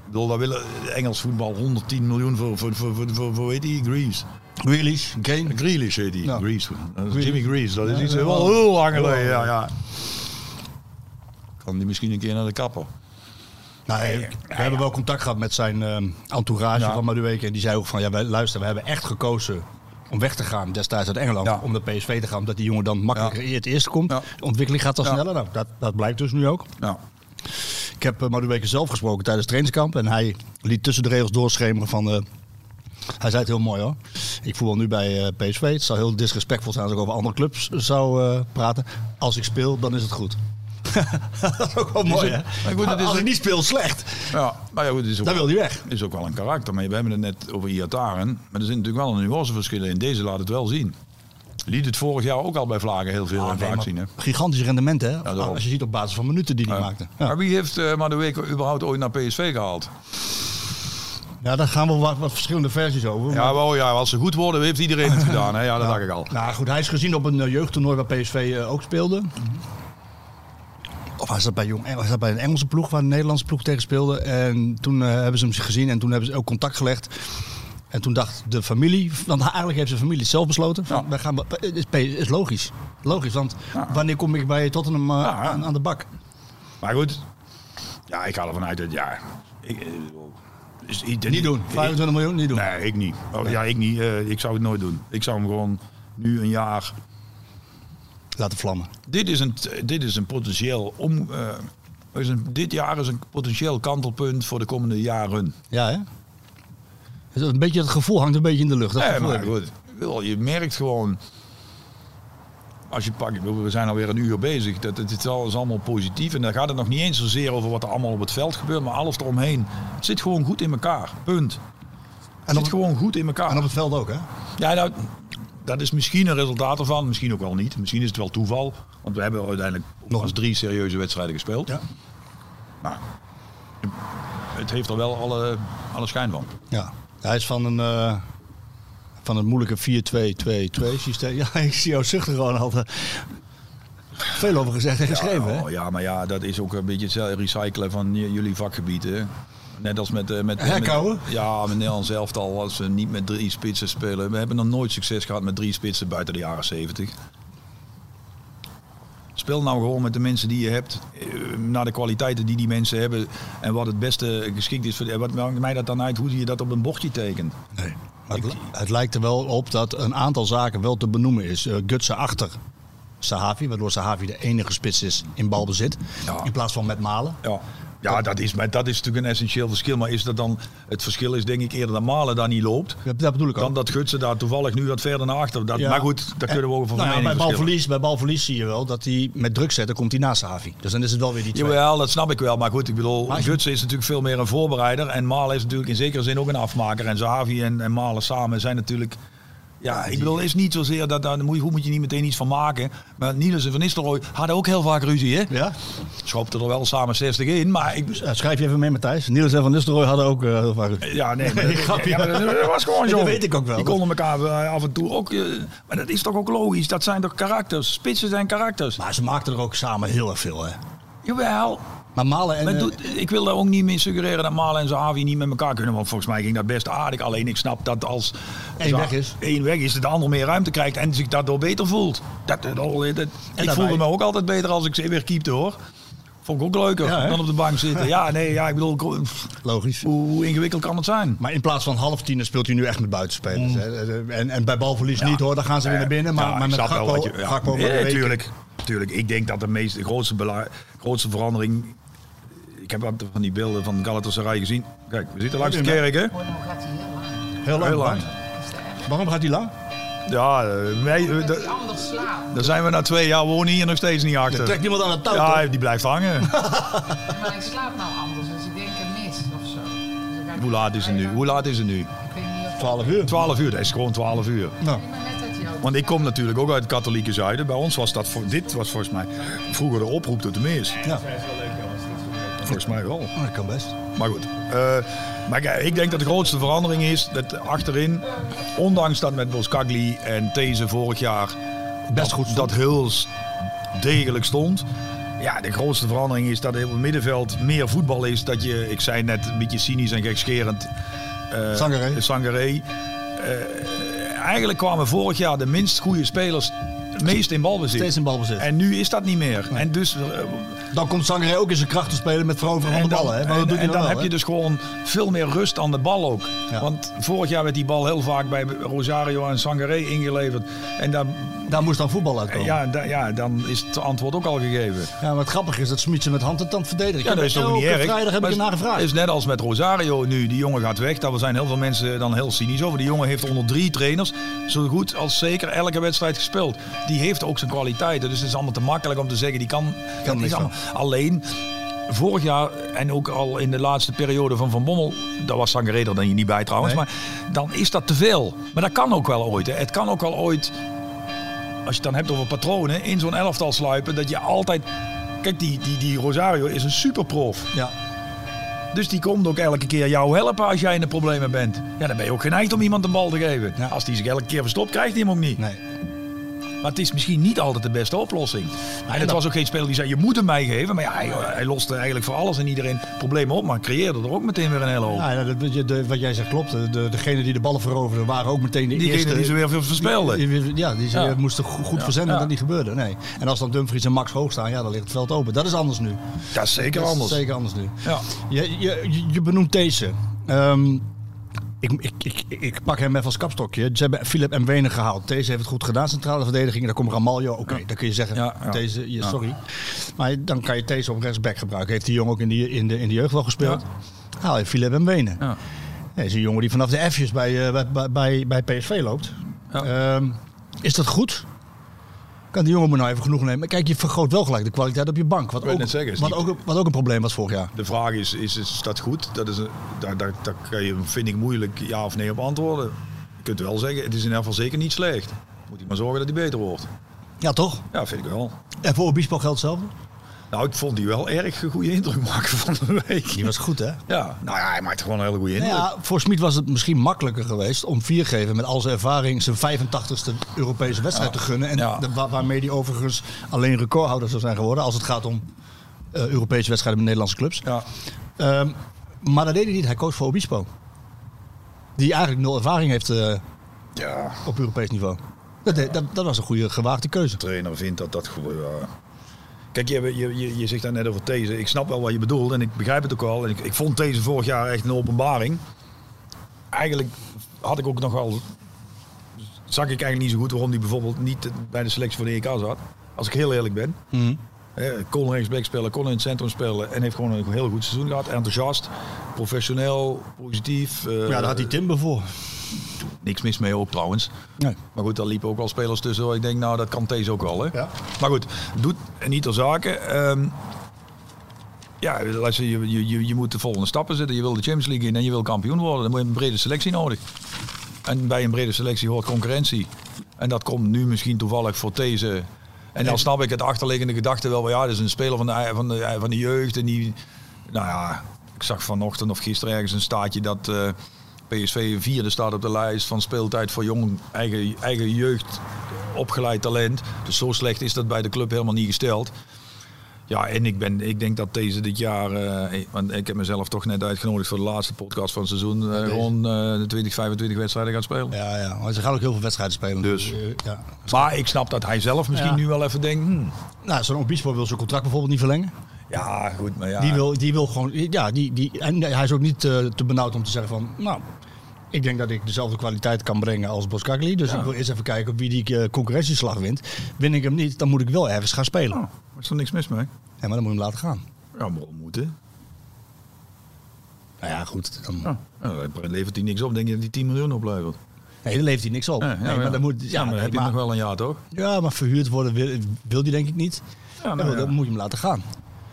Speaker 9: bedoel, daar willen Engels voetbal 110 miljoen voor, voor, voor, voor, voor, voor weet die, Greaves.
Speaker 7: Grealish, Kane.
Speaker 9: Grealish heet die.
Speaker 7: Ja.
Speaker 9: Greaves. Eh,
Speaker 7: Grealish.
Speaker 9: Jimmy Greaves, dat is
Speaker 7: Ja,
Speaker 9: iets
Speaker 7: ja,
Speaker 9: wel
Speaker 7: wel.
Speaker 9: heel lang geleden. Ja, ja. Kan die misschien een keer naar de kapper?
Speaker 7: Nou, we hebben wel contact gehad met zijn ehm, entourage
Speaker 9: Ja.
Speaker 7: van Madueke. En die zei ook van, ja, wij, luister, we hebben echt gekozen om weg te gaan destijds uit Engeland.
Speaker 9: Ja.
Speaker 7: Om naar PSV te gaan, omdat die jongen dan makkelijker het eerst komt.
Speaker 9: Ja.
Speaker 7: De ontwikkeling gaat dan
Speaker 9: Ja.
Speaker 7: sneller. Nou, dat, dat blijkt dus nu ook.
Speaker 9: Ja.
Speaker 7: Ik heb uh, Madueke zelf gesproken tijdens het trainingskamp. En hij liet tussen de regels doorschemeren van... eh, hij zei het heel mooi hoor. Ik voetbal nu bij eh, PSV. Het zou heel disrespectvol zijn als ik over andere clubs zou eh, praten. Als ik speel, dan is het goed. dat is ook wel mooi,
Speaker 9: het-
Speaker 7: hè?
Speaker 9: maar goed, het dus is
Speaker 7: als ik
Speaker 9: een-
Speaker 7: niet speel, slecht.
Speaker 9: Ja, maar ja, goed, het is ook,
Speaker 7: Dan wil hij weg.
Speaker 9: is ook wel een karakter. Maar we hebben het net over Iataren. Maar er zit natuurlijk wel een nuanceverschil in. Deze laat het wel zien. Liet het vorig jaar ook al bij Vlagen heel veel aan
Speaker 7: Ah, nee,
Speaker 9: vaak
Speaker 7: maar
Speaker 9: zien. Hè?
Speaker 7: Gigantisch rendement, hè?
Speaker 9: daarom.
Speaker 7: Als je ziet op basis van minuten die hij
Speaker 9: Ja.
Speaker 7: maakte. Ja.
Speaker 9: Maar wie heeft eh maar de week überhaupt ooit naar PSV gehaald?
Speaker 7: ja, daar gaan we wat, wat verschillende versies over.
Speaker 9: Ja, maar, oh ja, als ze goed worden, heeft iedereen het gedaan. Hè? Ja, dat dacht ik al.
Speaker 7: Nou goed, hij is gezien op een eh, jeugdtoernooi waar PSV eh, ook speelde.
Speaker 9: Mhm.
Speaker 7: Of was dat, bij Jong, was dat bij een Engelse ploeg waar een Nederlandse ploeg tegen speelde. En toen eh, hebben ze hem gezien en toen hebben ze ook contact gelegd. En toen dacht de familie, want eigenlijk heeft zijn familie het zelf besloten. Van,
Speaker 9: Ja.
Speaker 7: wij gaan, be- is, P- is logisch. Logisch, want wanneer kom ik bij Tottenham eh,
Speaker 9: ja.
Speaker 7: aan, aan de bak?
Speaker 9: Maar goed, ja, ik ga ervan uit dat ja. Ik, eh, is- ik-
Speaker 7: Niet doen. 25 miljoen, niet doen.
Speaker 9: Nee, ik niet. Oh, ja, ik niet. Eh, ik zou het nooit doen. Ik zou hem gewoon nu een jaar.
Speaker 7: Laten vlammen.
Speaker 9: Dit is een, dit is een potentieel om. eh, is een, dit jaar is een potentieel kantelpunt voor de komende jaren.
Speaker 7: Ja, hè? Het, is een beetje, het gevoel hangt een beetje in de lucht. Dat
Speaker 9: Nee,
Speaker 7: gevoel
Speaker 9: maar
Speaker 7: heb ik.
Speaker 9: goed. Ik bedoel, Je merkt gewoon. Als je pakt, ik bedoel, we zijn alweer een uur bezig. Dat, het is alles allemaal positief. En dan gaat het nog niet eens zozeer over wat er allemaal op het veld gebeurt. Maar alles eromheen. Het zit gewoon goed in elkaar. Punt. Het
Speaker 7: en, op,
Speaker 9: zit gewoon goed in elkaar.
Speaker 7: en op het veld ook, hè?
Speaker 9: Ja, nou, dat is misschien een resultaat ervan. Misschien ook wel niet. Misschien is het wel toeval. Want we hebben uiteindelijk nog eens drie serieuze wedstrijden gespeeld.
Speaker 7: Ja.
Speaker 9: Maar het heeft er wel alle, alle schijn van.
Speaker 7: Ja, hij is van een, eh, van een moeilijke 4-2-2-2 systeem. Ja, ik zie jou zuchten gewoon altijd. Veel over gezegd en geschreven,
Speaker 9: ja,
Speaker 7: hè?
Speaker 9: oh, ja, maar ja, dat is ook een beetje het recyclen van j- jullie vakgebieden. hè. Net als met... eh, met
Speaker 7: Herkouwen?
Speaker 9: met- Ja, met Nederland zelf al, als we niet met drie spitsen spelen. We hebben nog nooit succes gehad met drie spitsen buiten de jaren zeventig. Speel nou gewoon met de mensen die je hebt. eh, Naar de kwaliteiten die die mensen hebben. En wat het beste geschikt is. Voor, en wat maakt mij dat dan uit hoe je dat op een bochtje tekent?
Speaker 7: Nee. Het, li- het, lijkt er wel op dat een aantal zaken wel te benoemen is. Uh, Gutsen achter Sahavi, waardoor Sahavi de enige spits is in balbezit. Ja. In plaats van met Malen.
Speaker 9: Ja. Ja, dat is, maar dat is natuurlijk een essentieel verschil. Maar is dat dan, het verschil is denk ik eerder dat Malen daar niet loopt.
Speaker 7: Ja, dat bedoel ik
Speaker 9: dan
Speaker 7: ook.
Speaker 9: dat Gutsen daar toevallig nu wat verder naar achter. Dat, ja. Maar goed, daar kunnen we ook van nou
Speaker 7: ja, bij, balverlies, bij balverlies zie je wel dat hij met druk zetten komt hij naast Havi. Dus dan is het wel weer die twee.
Speaker 9: Jawel, dat snap ik wel. Maar goed, ik bedoel, maar Gutsen is natuurlijk veel meer een voorbereider. En Malen is natuurlijk in zekere zin ook een afmaker. En Zahavi en, en Malen samen zijn natuurlijk... Ja, ik bedoel, is niet zozeer dat daar moet, hoe moet je niet meteen iets van maken. Maar Niels en Van Nistelrooy hadden ook heel vaak ruzie, hè?
Speaker 7: Ja.
Speaker 9: Schopte er wel samen 60 in, maar ik...
Speaker 7: ja, schrijf je even mee, Matthijs. Niels en Van Nistelrooy hadden ook uh, heel vaak ruzie.
Speaker 9: Ja, nee, maar, ja, maar dat, dat, was gewoon zo.
Speaker 7: Dat weet ik ook wel.
Speaker 9: Die konden elkaar af en toe ook... Uh, maar dat is toch ook logisch? Dat zijn toch karakters? Spitsen zijn karakters?
Speaker 7: Maar ze maakten er ook samen heel erg veel, hè?
Speaker 9: Jawel.
Speaker 7: Maar Malen en... eh,
Speaker 9: Maar doe, ik wil daar ook niet mee suggereren dat Malen en Zahavi niet met elkaar kunnen. Want volgens mij ging dat best aardig. Alleen ik snap dat als...
Speaker 7: één Zahavi, weg is.
Speaker 9: één weg is, dat de ander meer ruimte krijgt en zich daardoor beter voelt. Dat, dat, dat, dat ik voelde mij... me ook altijd beter als ik ze weer keepte hoor. Vond ik ook leuker ja, dan op de bank zitten. Ja, nee, ja, ik bedoel...
Speaker 7: Eh, Logisch.
Speaker 9: Hoe, hoe, ingewikkeld kan het zijn?
Speaker 7: Maar in plaats van half tien speelt hij nu echt met buitenspelers. Mm. Hè? En, en bij balverlies ja. niet hoor, dan gaan ze weer naar binnen. Maar, ja, maar met Gakpo...
Speaker 9: Je, Gakpo nee, tuurlijk. Tuurlijk, ik denk dat de, meest, de grootste, bela- grootste verandering ik heb van die beelden van Galatasaray gezien. Kijk, we zitten langs de kerk, hè?
Speaker 7: Heel lang. Heel lang. Waarom gaat hij lang?
Speaker 9: Ja, eh, wij, d- daar zijn we na twee jaar wonen hier nog steeds niet achter. Er
Speaker 7: trekt niemand aan het touw.
Speaker 9: Ja, die blijft hangen.
Speaker 12: maar ik slaap nou anders, dus ik denk er mis of zo. Dus
Speaker 9: Hoe laat is het nu? Hoe laat is het nu?
Speaker 7: 12 uur.
Speaker 9: 12 uur, dat is gewoon 12 uur.
Speaker 7: Nou.
Speaker 9: Want ik kom natuurlijk ook uit het katholieke zuiden. Bij ons was dat, voor, dit was volgens mij vroeger de oproep tot de mis.
Speaker 7: Ja.
Speaker 9: Volgens mij wel.
Speaker 7: Oh, dat kan best.
Speaker 9: Maar goed. Uh, maar kijk, ik denk dat de grootste verandering is dat achterin, ondanks dat met Boskagli en These vorig jaar
Speaker 7: best dat, goed stond.
Speaker 9: dat heel degelijk stond. Ja, de grootste verandering is dat op het middenveld meer voetbal is. Dat je, ik zei net een beetje cynisch en gekscherend. Eh,
Speaker 7: Uh, Sangaré.
Speaker 9: Sangaré. Uh, eigenlijk kwamen vorig jaar de minst goede spelers meest in balbezit.
Speaker 7: Steeds in balbezit.
Speaker 9: En nu is dat niet meer.
Speaker 7: Nee.
Speaker 9: En dus, uh,
Speaker 7: dan komt Sangaré ook in zijn kracht te spelen met veroveren van de ballen. Hè?
Speaker 9: Maar en, en, en dan, wel, heb he? je dus gewoon veel meer rust aan de bal ook. Ja. Want vorig jaar werd die bal heel vaak bij Rosario en Sangaré ingeleverd. En dan,
Speaker 7: daar moest dan voetbal uitkomen.
Speaker 9: Ja, da, ja, dan is het antwoord ook al gegeven.
Speaker 7: Ja, maar het grappige is dat Smit ze met hand en tand verdedigen.
Speaker 9: Ja, dat is toch niet erg.
Speaker 7: vrijdag heb maar ik ernaar gevraagd.
Speaker 9: Het is net als met Rosario nu. Die jongen gaat weg. Daar zijn heel veel mensen dan heel cynisch over. Die jongen heeft onder drie trainers zo goed als zeker elke wedstrijd gespeeld die heeft ook zijn kwaliteiten. Dus het is allemaal te makkelijk om te zeggen, die kan,
Speaker 7: kan
Speaker 9: niet
Speaker 7: allemaal.
Speaker 9: Alleen, vorig jaar en ook al in de laatste periode van Van Bommel, daar was Sangaré er dan niet bij trouwens, nee. maar dan is dat te veel. Maar dat kan ook wel ooit. Hè. Het kan ook wel ooit, als je het dan hebt over patronen, in zo'n elftal sluipen, dat je altijd... Kijk, die, die, die Rosario is een superprof.
Speaker 7: Ja.
Speaker 9: Dus die komt ook elke keer jou helpen als jij in de problemen bent. Ja, dan ben je ook geneigd om iemand een bal te geven. Ja. Als die zich elke keer verstopt, krijgt hij hem ook niet.
Speaker 7: Nee.
Speaker 9: Maar het is misschien niet altijd de beste oplossing. En
Speaker 7: Nou.
Speaker 9: het was ook geen speler die zei: je moet hem mij geven. Maar ja, hij, hij loste eigenlijk voor alles en iedereen problemen op. Maar creëerde er ook meteen weer een hele hoop.
Speaker 7: Ja, dat, de, wat jij zegt klopt. De, degene die de ballen veroverden waren ook meteen de
Speaker 9: Diegene
Speaker 7: eerste.
Speaker 9: die ze weer verspelden.
Speaker 7: ja, die ze ja. moesten goed ja. verzenden. Dat niet gebeurde. Nee. En als dan Dumfries en Max hoog staan, ja, dan ligt het veld open. Dat is anders nu.
Speaker 9: Dat is zeker
Speaker 7: dat is
Speaker 9: anders.
Speaker 7: Zeker anders nu.
Speaker 9: Ja.
Speaker 7: Je, je, je benoemt deze. Um, ik, ik, ik, ik, pak hem even als kapstokje. Ze hebben Philip en Wenen gehaald. Deze heeft het goed gedaan, centrale verdediging. Daar komt Ramaljo. Oké, okay, ja. dan kun je zeggen, ja, ja. Deze, ja, sorry. Maar dan kan je deze op rechtsback gebruiken. Heeft die jongen ook in, die, in, de, in de jeugd wel gespeeld? Haal je Philip en Wenen. Ja. Nee, is een jongen die vanaf de F's bij, uh, bij, bij, bij, PSV loopt. Um, is dat goed? Kan die jongen me nou even genoeg nemen? Kijk, je vergroot wel gelijk de kwaliteit op je bank. Wat, ook,
Speaker 9: zeggen,
Speaker 7: wat, ook, wat ook een probleem was vorig jaar.
Speaker 9: De vraag is, is, is dat goed? Dat is een, daar, daar, daar kan je, vind ik moeilijk ja of nee op antwoorden. Je kunt wel zeggen, het is in ieder geval zeker niet slecht. Moet je maar zorgen dat hij beter wordt.
Speaker 7: Ja, toch?
Speaker 9: Ja, vind ik wel.
Speaker 7: En voor Obispo geldt hetzelfde?
Speaker 9: Nou, ik vond die wel erg een goede indruk maken van de week.
Speaker 7: Die was goed, hè?
Speaker 9: Ja. Nou ja, hij maakt gewoon een hele goede indruk. Nou ja,
Speaker 7: voor Smit was het misschien makkelijker geweest om viergever met al zijn ervaring zijn 85ste Europese wedstrijd ja. te gunnen. En ja. de, waar, waarmee hij overigens alleen recordhouder zou zijn geworden als het gaat om uh, Europese wedstrijden met Nederlandse clubs.
Speaker 9: Ja.
Speaker 7: Um, maar dat deed hij niet. Hij koos voor Obispo. Die eigenlijk nul ervaring heeft uh,
Speaker 9: ja.
Speaker 7: op Europees niveau. Dat, deed, dat, dat, was een goede gewaagde keuze.
Speaker 9: De trainer vindt dat dat goed... Uh, Kijk, je, je, je, je zegt daar net over These. Ik snap wel wat je bedoelt en ik begrijp het ook wel. En ik, ik vond deze vorig jaar echt een openbaring. Eigenlijk had ik ook nog wel... Zag ik eigenlijk niet zo goed waarom die bijvoorbeeld niet bij de selectie van de EK zat. Als ik heel eerlijk ben. Mm
Speaker 7: Mhm.
Speaker 9: -hmm. Kon rechtsback spelen, kon in het centrum spelen en heeft gewoon een heel goed seizoen gehad. Enthousiast, professioneel, positief. eh,
Speaker 7: ja, daar had hij Timber voor.
Speaker 9: Niks mis mee ook trouwens. Nee. Maar goed, daar liepen ook wel spelers tussen. Waar ik denk, nou, dat kan deze ook wel. Hè? Ja. Maar goed, doet niet ter zaken. Um, ja, je, je, je, je moet de volgende stappen zetten. Je wil de Champions League in en je wil kampioen worden. Dan moet je een brede selectie nodig. En bij een brede selectie hoort concurrentie. En dat komt nu misschien toevallig voor deze en dan snap ik het achterliggende gedachte wel. Ja, dat is een speler van de, van de, van de jeugd. En die, nou ja, ik zag vanochtend of gisteren ergens een staatje dat uh, PSV vierde staat op de lijst van speeltijd voor jong eigen, eigen jeugd opgeleid talent. Dus zo slecht is dat bij de club helemaal niet gesteld. Ja, en ik, ben, ik denk dat deze dit jaar, uh, want ik heb mezelf toch net uitgenodigd voor de laatste podcast van het seizoen, uh, rond uh, de 20, 25 wedstrijden gaat spelen.
Speaker 7: Ja, ja, maar ze gaan ook heel veel wedstrijden spelen. Eh,
Speaker 9: Dus. Ja. Maar ik snap dat hij zelf misschien ja. nu wel even denkt. Hmm.
Speaker 7: Nou, zo'n Obispo wil zijn contract bijvoorbeeld niet verlengen.
Speaker 9: Ja, goed, maar ja.
Speaker 7: Die wil, die wil gewoon, ja, die, die, en hij is ook niet eh, te benauwd om te zeggen van, nou, ik denk dat ik dezelfde kwaliteit kan brengen als Boskakli. Dus ja. ik wil eerst even kijken op wie die eh, concurrentieslag wint. Win ik hem niet, dan moet ik wel ergens gaan spelen. Oh,
Speaker 9: er is er niks mis mee.
Speaker 7: Ja, maar dan moet je hem laten gaan.
Speaker 9: Ja, maar moeten.
Speaker 7: Nou ja, goed. Dan... Ja.
Speaker 9: Nou, dan levert hij niks op. Denk je dat hij 10 miljoen oplevert?
Speaker 7: Nee, dan levert hij niks op.
Speaker 9: Ja, nee, maar dan moet, ja, maar nee, heb maar... je nog wel Ah, een jaar, toch?
Speaker 7: Ja, maar verhuurd worden wil, wil die denk ik niet. Ja, nou, Dan moet je hem laten gaan.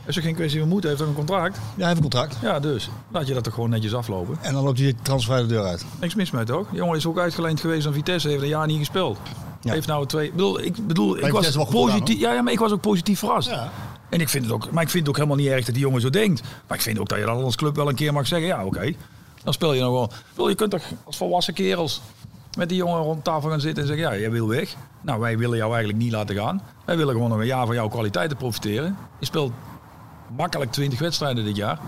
Speaker 9: Is er geen kwestie van moeten? Heeft hij een contract?
Speaker 7: Ja, hij heeft een contract.
Speaker 9: Ja, dus. Laat je dat toch gewoon netjes aflopen.
Speaker 7: En dan loopt hij transvrij de deur uit.
Speaker 9: Niks mis met ook. Die jongen is ook uitgeleend geweest aan Vitesse. Heeft een jaar niet gespeeld. Ja. Heeft nou twee... Ik bedoel, ik, bedoel, ik was positief... ja, ja, maar ik was ook positief verrast. Ja. En ik vind het ook... Maar ik vind het ook helemaal niet erg dat die jongen zo denkt. Maar ik vind ook dat je dat als club wel een keer mag zeggen. Ja, oké. Okay. Dan speel je nog wel. Bedoel, je kunt toch als volwassen kerels met die jongen rond tafel gaan zitten en zeggen... Ja, jij wil weg. Nou, wij willen jou eigenlijk niet laten gaan. Wij willen gewoon nog een jaar van jouw kwaliteiten profiteren. Je speelt makkelijk 20 wedstrijden dit jaar.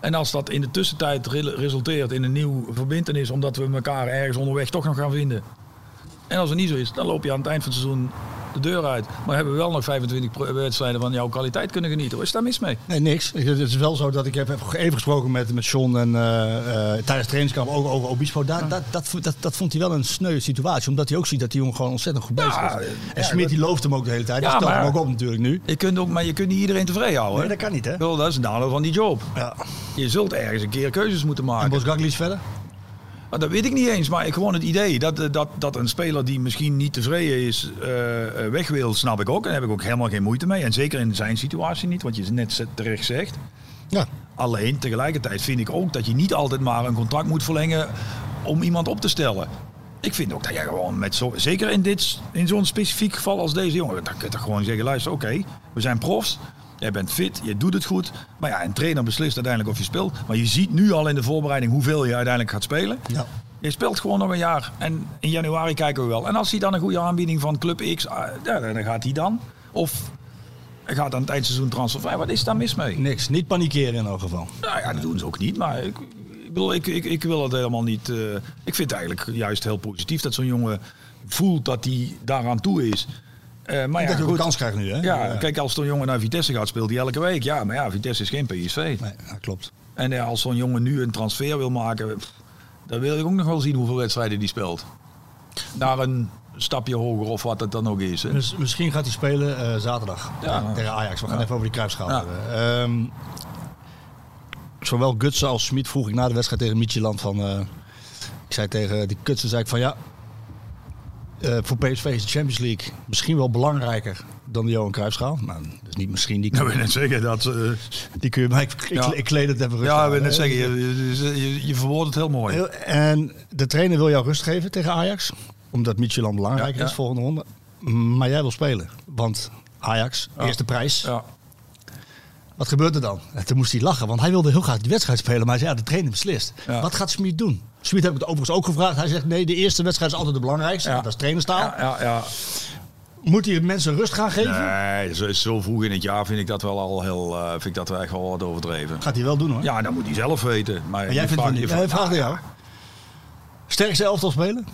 Speaker 9: En als dat in de tussentijd resulteert in een nieuw verbindenis, omdat we elkaar ergens onderweg toch nog gaan vinden. En als het niet zo is, dan loop je aan het eind van het seizoen de deur uit. Maar hebben we wel nog 25 wedstrijden van jouw kwaliteit kunnen genieten. Wat is daar mis mee?
Speaker 7: Nee, niks. Het is wel zo dat ik heb even gesproken met, met John en uh, uh, tijdens het trainingskamp ook over Obispo. Daar, ja. dat, dat, dat, dat, vond hij wel een sneu situatie. Omdat hij ook ziet dat die jongen gewoon ontzettend goed bezig ja, is. En ja, Smit die looft hem ook de hele tijd. Ja, dat stelt hem ook op natuurlijk nu.
Speaker 9: Je kunt ook, maar je kunt niet iedereen tevreden houden.
Speaker 7: Nee, dat kan niet hè.
Speaker 9: Wel, dat is een nadeel van die job. Je zult ergens een keer keuzes moeten maken. En
Speaker 7: Bos Gaglis verder?
Speaker 9: Dat weet ik niet eens, maar ik gewoon het idee dat, dat, dat een speler die misschien niet tevreden is, uh, weg wil, snap ik ook. En daar heb ik ook helemaal geen moeite mee. En zeker in zijn situatie niet, wat je net terecht zegt. Ja. Alleen tegelijkertijd vind ik ook dat je niet altijd maar een contract moet verlengen om iemand op te stellen. Ik vind ook dat jij gewoon met zo, zeker in, dit, in zo'n specifiek geval als deze jongen, dan kun je toch gewoon zeggen: luister, oké, okay, we zijn profs. Jij bent fit, je doet het goed. Maar ja, een trainer beslist uiteindelijk of je speelt. Maar je ziet nu al in de voorbereiding hoeveel je uiteindelijk gaat spelen. Ja. Je speelt gewoon nog een jaar. En in januari kijken we wel. En als hij dan een goede aanbieding van Club X, ah, ja, dan gaat hij dan. Of gaat aan het eindseizoen transfervrij. Wat is daar mis mee?
Speaker 7: Niks. Niet panikeren in elk geval.
Speaker 9: Nou ja, dat doen ze ook niet. Maar ik, ik bedoel, ik, ik, ik wil het helemaal niet. Uh, ik vind het eigenlijk juist heel positief dat zo'n jongen voelt dat hij daaraan toe is. Eh,
Speaker 7: Uh, maar dat ja, je een kans krijgt nu, hè?
Speaker 9: Ja, ja. kijk, als zo'n jongen naar Vitesse gaat, speelt hij elke week. Ja, maar ja, Vitesse is geen PSV. Nee,
Speaker 7: dat klopt.
Speaker 9: En ja, als zo'n jongen nu een transfer wil maken, pff, dan wil ik ook nog wel zien hoeveel wedstrijden die speelt. Naar een stapje hoger of wat het dan ook is. Hè?
Speaker 7: Dus misschien gaat hij spelen uh, zaterdag ja, tegen Ajax. We gaan even over die kruipschaal um, zowel Gutsen als Smit vroeg ik na de wedstrijd tegen Micheland van... Uh, ik zei tegen die Gutsen, zei ik van ja, uh, voor PSV is de Champions League misschien wel belangrijker dan de Johan Cruijffschaal. Nou, dus niet misschien. Die
Speaker 9: kun nou, je net zeggen dat... Uh,
Speaker 7: die kun je, maar ik, ik, ja. ik kleed het even rustig
Speaker 9: Ja, ik wil net zeggen, je, je, je, verwoordt het heel mooi. Heel,
Speaker 7: en de trainer wil jou rust geven tegen Ajax. Omdat Michelin belangrijk ja, ja. is volgende ronde. Maar jij wil spelen. Want Ajax, eerste prijs. Wat gebeurt er dan? En toen moest hij lachen, want hij wilde heel graag die wedstrijd spelen. Maar hij zei, ja, de trainer beslist. Wat gaat Smit doen? Smit heb ik het overigens ook gevraagd. Hij zegt nee, de eerste wedstrijd is altijd de belangrijkste. Ja. Dat is trainerstaal. Ja, ja, ja, Moet hij mensen rust gaan geven?
Speaker 9: Nee, zo, zo, vroeg in het jaar vind ik dat wel al heel, uh, vind ik dat echt wel wat overdreven.
Speaker 7: Gaat hij wel doen hoor.
Speaker 9: Ja, dat moet hij zelf weten. Maar,
Speaker 7: maar jij vindt het niet. Jij vraagt ja. jou. Sterkste elftal spelen?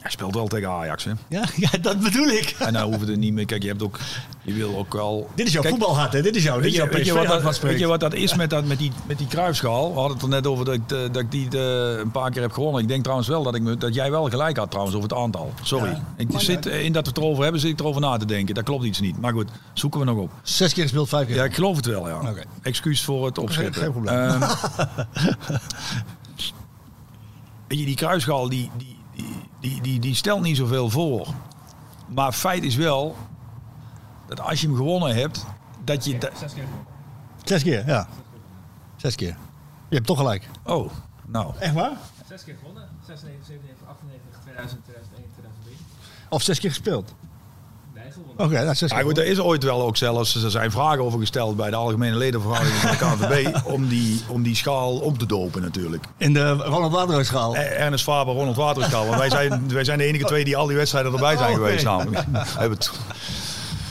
Speaker 9: Hij speelt wel tegen Ajax, hè?
Speaker 7: Ja, ja dat bedoel ik.
Speaker 9: En nou hoeven we er niet meer. Kijk, je hebt ook. Je wil ook wel.
Speaker 7: Dit is jouw
Speaker 9: Kijk,
Speaker 7: voetbalhart, hè? Dit is jouw. Dit
Speaker 9: Weet
Speaker 7: is
Speaker 9: je,
Speaker 7: jouw
Speaker 9: weet je wat
Speaker 7: PSV-hart wat
Speaker 9: dat, weet
Speaker 7: spreekt.
Speaker 9: je wat dat is met, dat, met die, met die kruisschaal? We hadden het er net over dat ik, eh, dat ik die eh, een paar keer heb gewonnen. Ik denk trouwens wel dat, ik me, dat jij wel gelijk had trouwens over het aantal. Sorry.
Speaker 7: Ja.
Speaker 9: Ik
Speaker 7: Maar
Speaker 9: zit, eh, in dat we het erover hebben, zit ik erover na te denken. Dat klopt iets niet. Maar goed, zoeken we nog op.
Speaker 7: Zes keer gespeeld, vijf keer.
Speaker 9: Ja, ik geloof het wel, ja.
Speaker 7: Oké.
Speaker 9: Excuus voor het opschippen.
Speaker 7: Geen- geen probleem.
Speaker 9: Ehm, weet je, die kruisschaal, die, die, die, die, die stelt niet zoveel voor. Maar feit is wel, dat als je hem gewonnen hebt, dat je... dat-
Speaker 7: Zes keer, ja. Zes keer. Je hebt toch gelijk.
Speaker 9: Oh, nou.
Speaker 7: Echt waar?
Speaker 8: Zes keer gewonnen. 96, 97, 98, 2000, 2001, 2003.
Speaker 7: Of zes keer gespeeld.
Speaker 8: Nee, gewonnen.
Speaker 7: Oké, nou, zes keer.
Speaker 9: Ja, Ah, goed, eh, er is ooit wel ook zelfs, er zijn vragen over gesteld bij de algemene ledenvergadering van de KNVB om die, om die schaal om te dopen natuurlijk.
Speaker 7: In de Ronald Waterhuisschaal.
Speaker 9: Eh, Ernest Faber, Ronald Waterschaal, want wij zijn, wij zijn de enige twee die al die wedstrijden erbij zijn
Speaker 7: Oh, oké.
Speaker 9: geweest namelijk. Hebben het-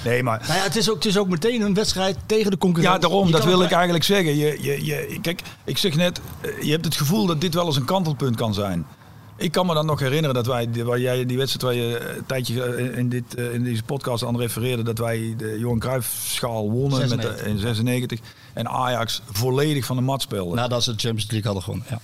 Speaker 9: Nee, maar
Speaker 7: Nou ja, het is, ook, het is ook meteen een wedstrijd tegen de concurrent.
Speaker 9: Ja, daarom.
Speaker 7: Je
Speaker 9: Dat
Speaker 7: kan
Speaker 9: wil
Speaker 7: ook-
Speaker 9: ik eigenlijk zeggen. Je, je, je, kijk, ik zeg net, eh, je hebt het gevoel dat dit wel eens een kantelpunt kan zijn. Ik kan me dan nog herinneren dat wij, die- waar jij die wedstrijd waar je eh, een tijdje ge- in, dit, eh, in deze podcast aan refereerde, dat wij de Johan Cruijffschaal wonnen Met,
Speaker 7: 96.
Speaker 9: de- in 96 en Ajax volledig van de mat speelde.
Speaker 7: Nadat ze de Champions League hadden gewonnen. Ja.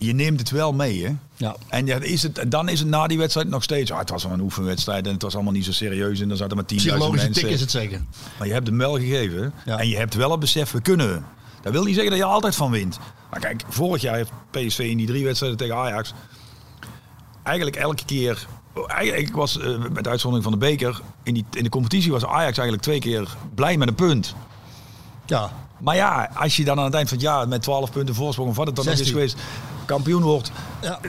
Speaker 9: Je neemt het wel mee, hè?
Speaker 7: Ja.
Speaker 9: En ja, is het, dan is het na die wedstrijd nog steeds, ah, het was wel een oefenwedstrijd en het was allemaal niet zo serieus en dan zaten maar 10.000 mensen.
Speaker 7: Psychologische tik is het zeker.
Speaker 9: Maar je hebt hem wel gegeven. En je hebt wel het besef, we kunnen. Dat wil niet zeggen dat je er altijd van wint. Maar kijk, vorig jaar heeft PSV in die drie wedstrijden tegen Ajax... eigenlijk elke keer... Eigenlijk was, eh, met uitzondering van de beker... In, die, in de competitie was Ajax eigenlijk twee keer blij met een punt.
Speaker 7: Ja.
Speaker 9: Maar ja, als je dan aan het eind van het jaar met 12 punten voorsprong... of wat het dan ook is
Speaker 7: 16.
Speaker 9: geweest, kampioen wordt...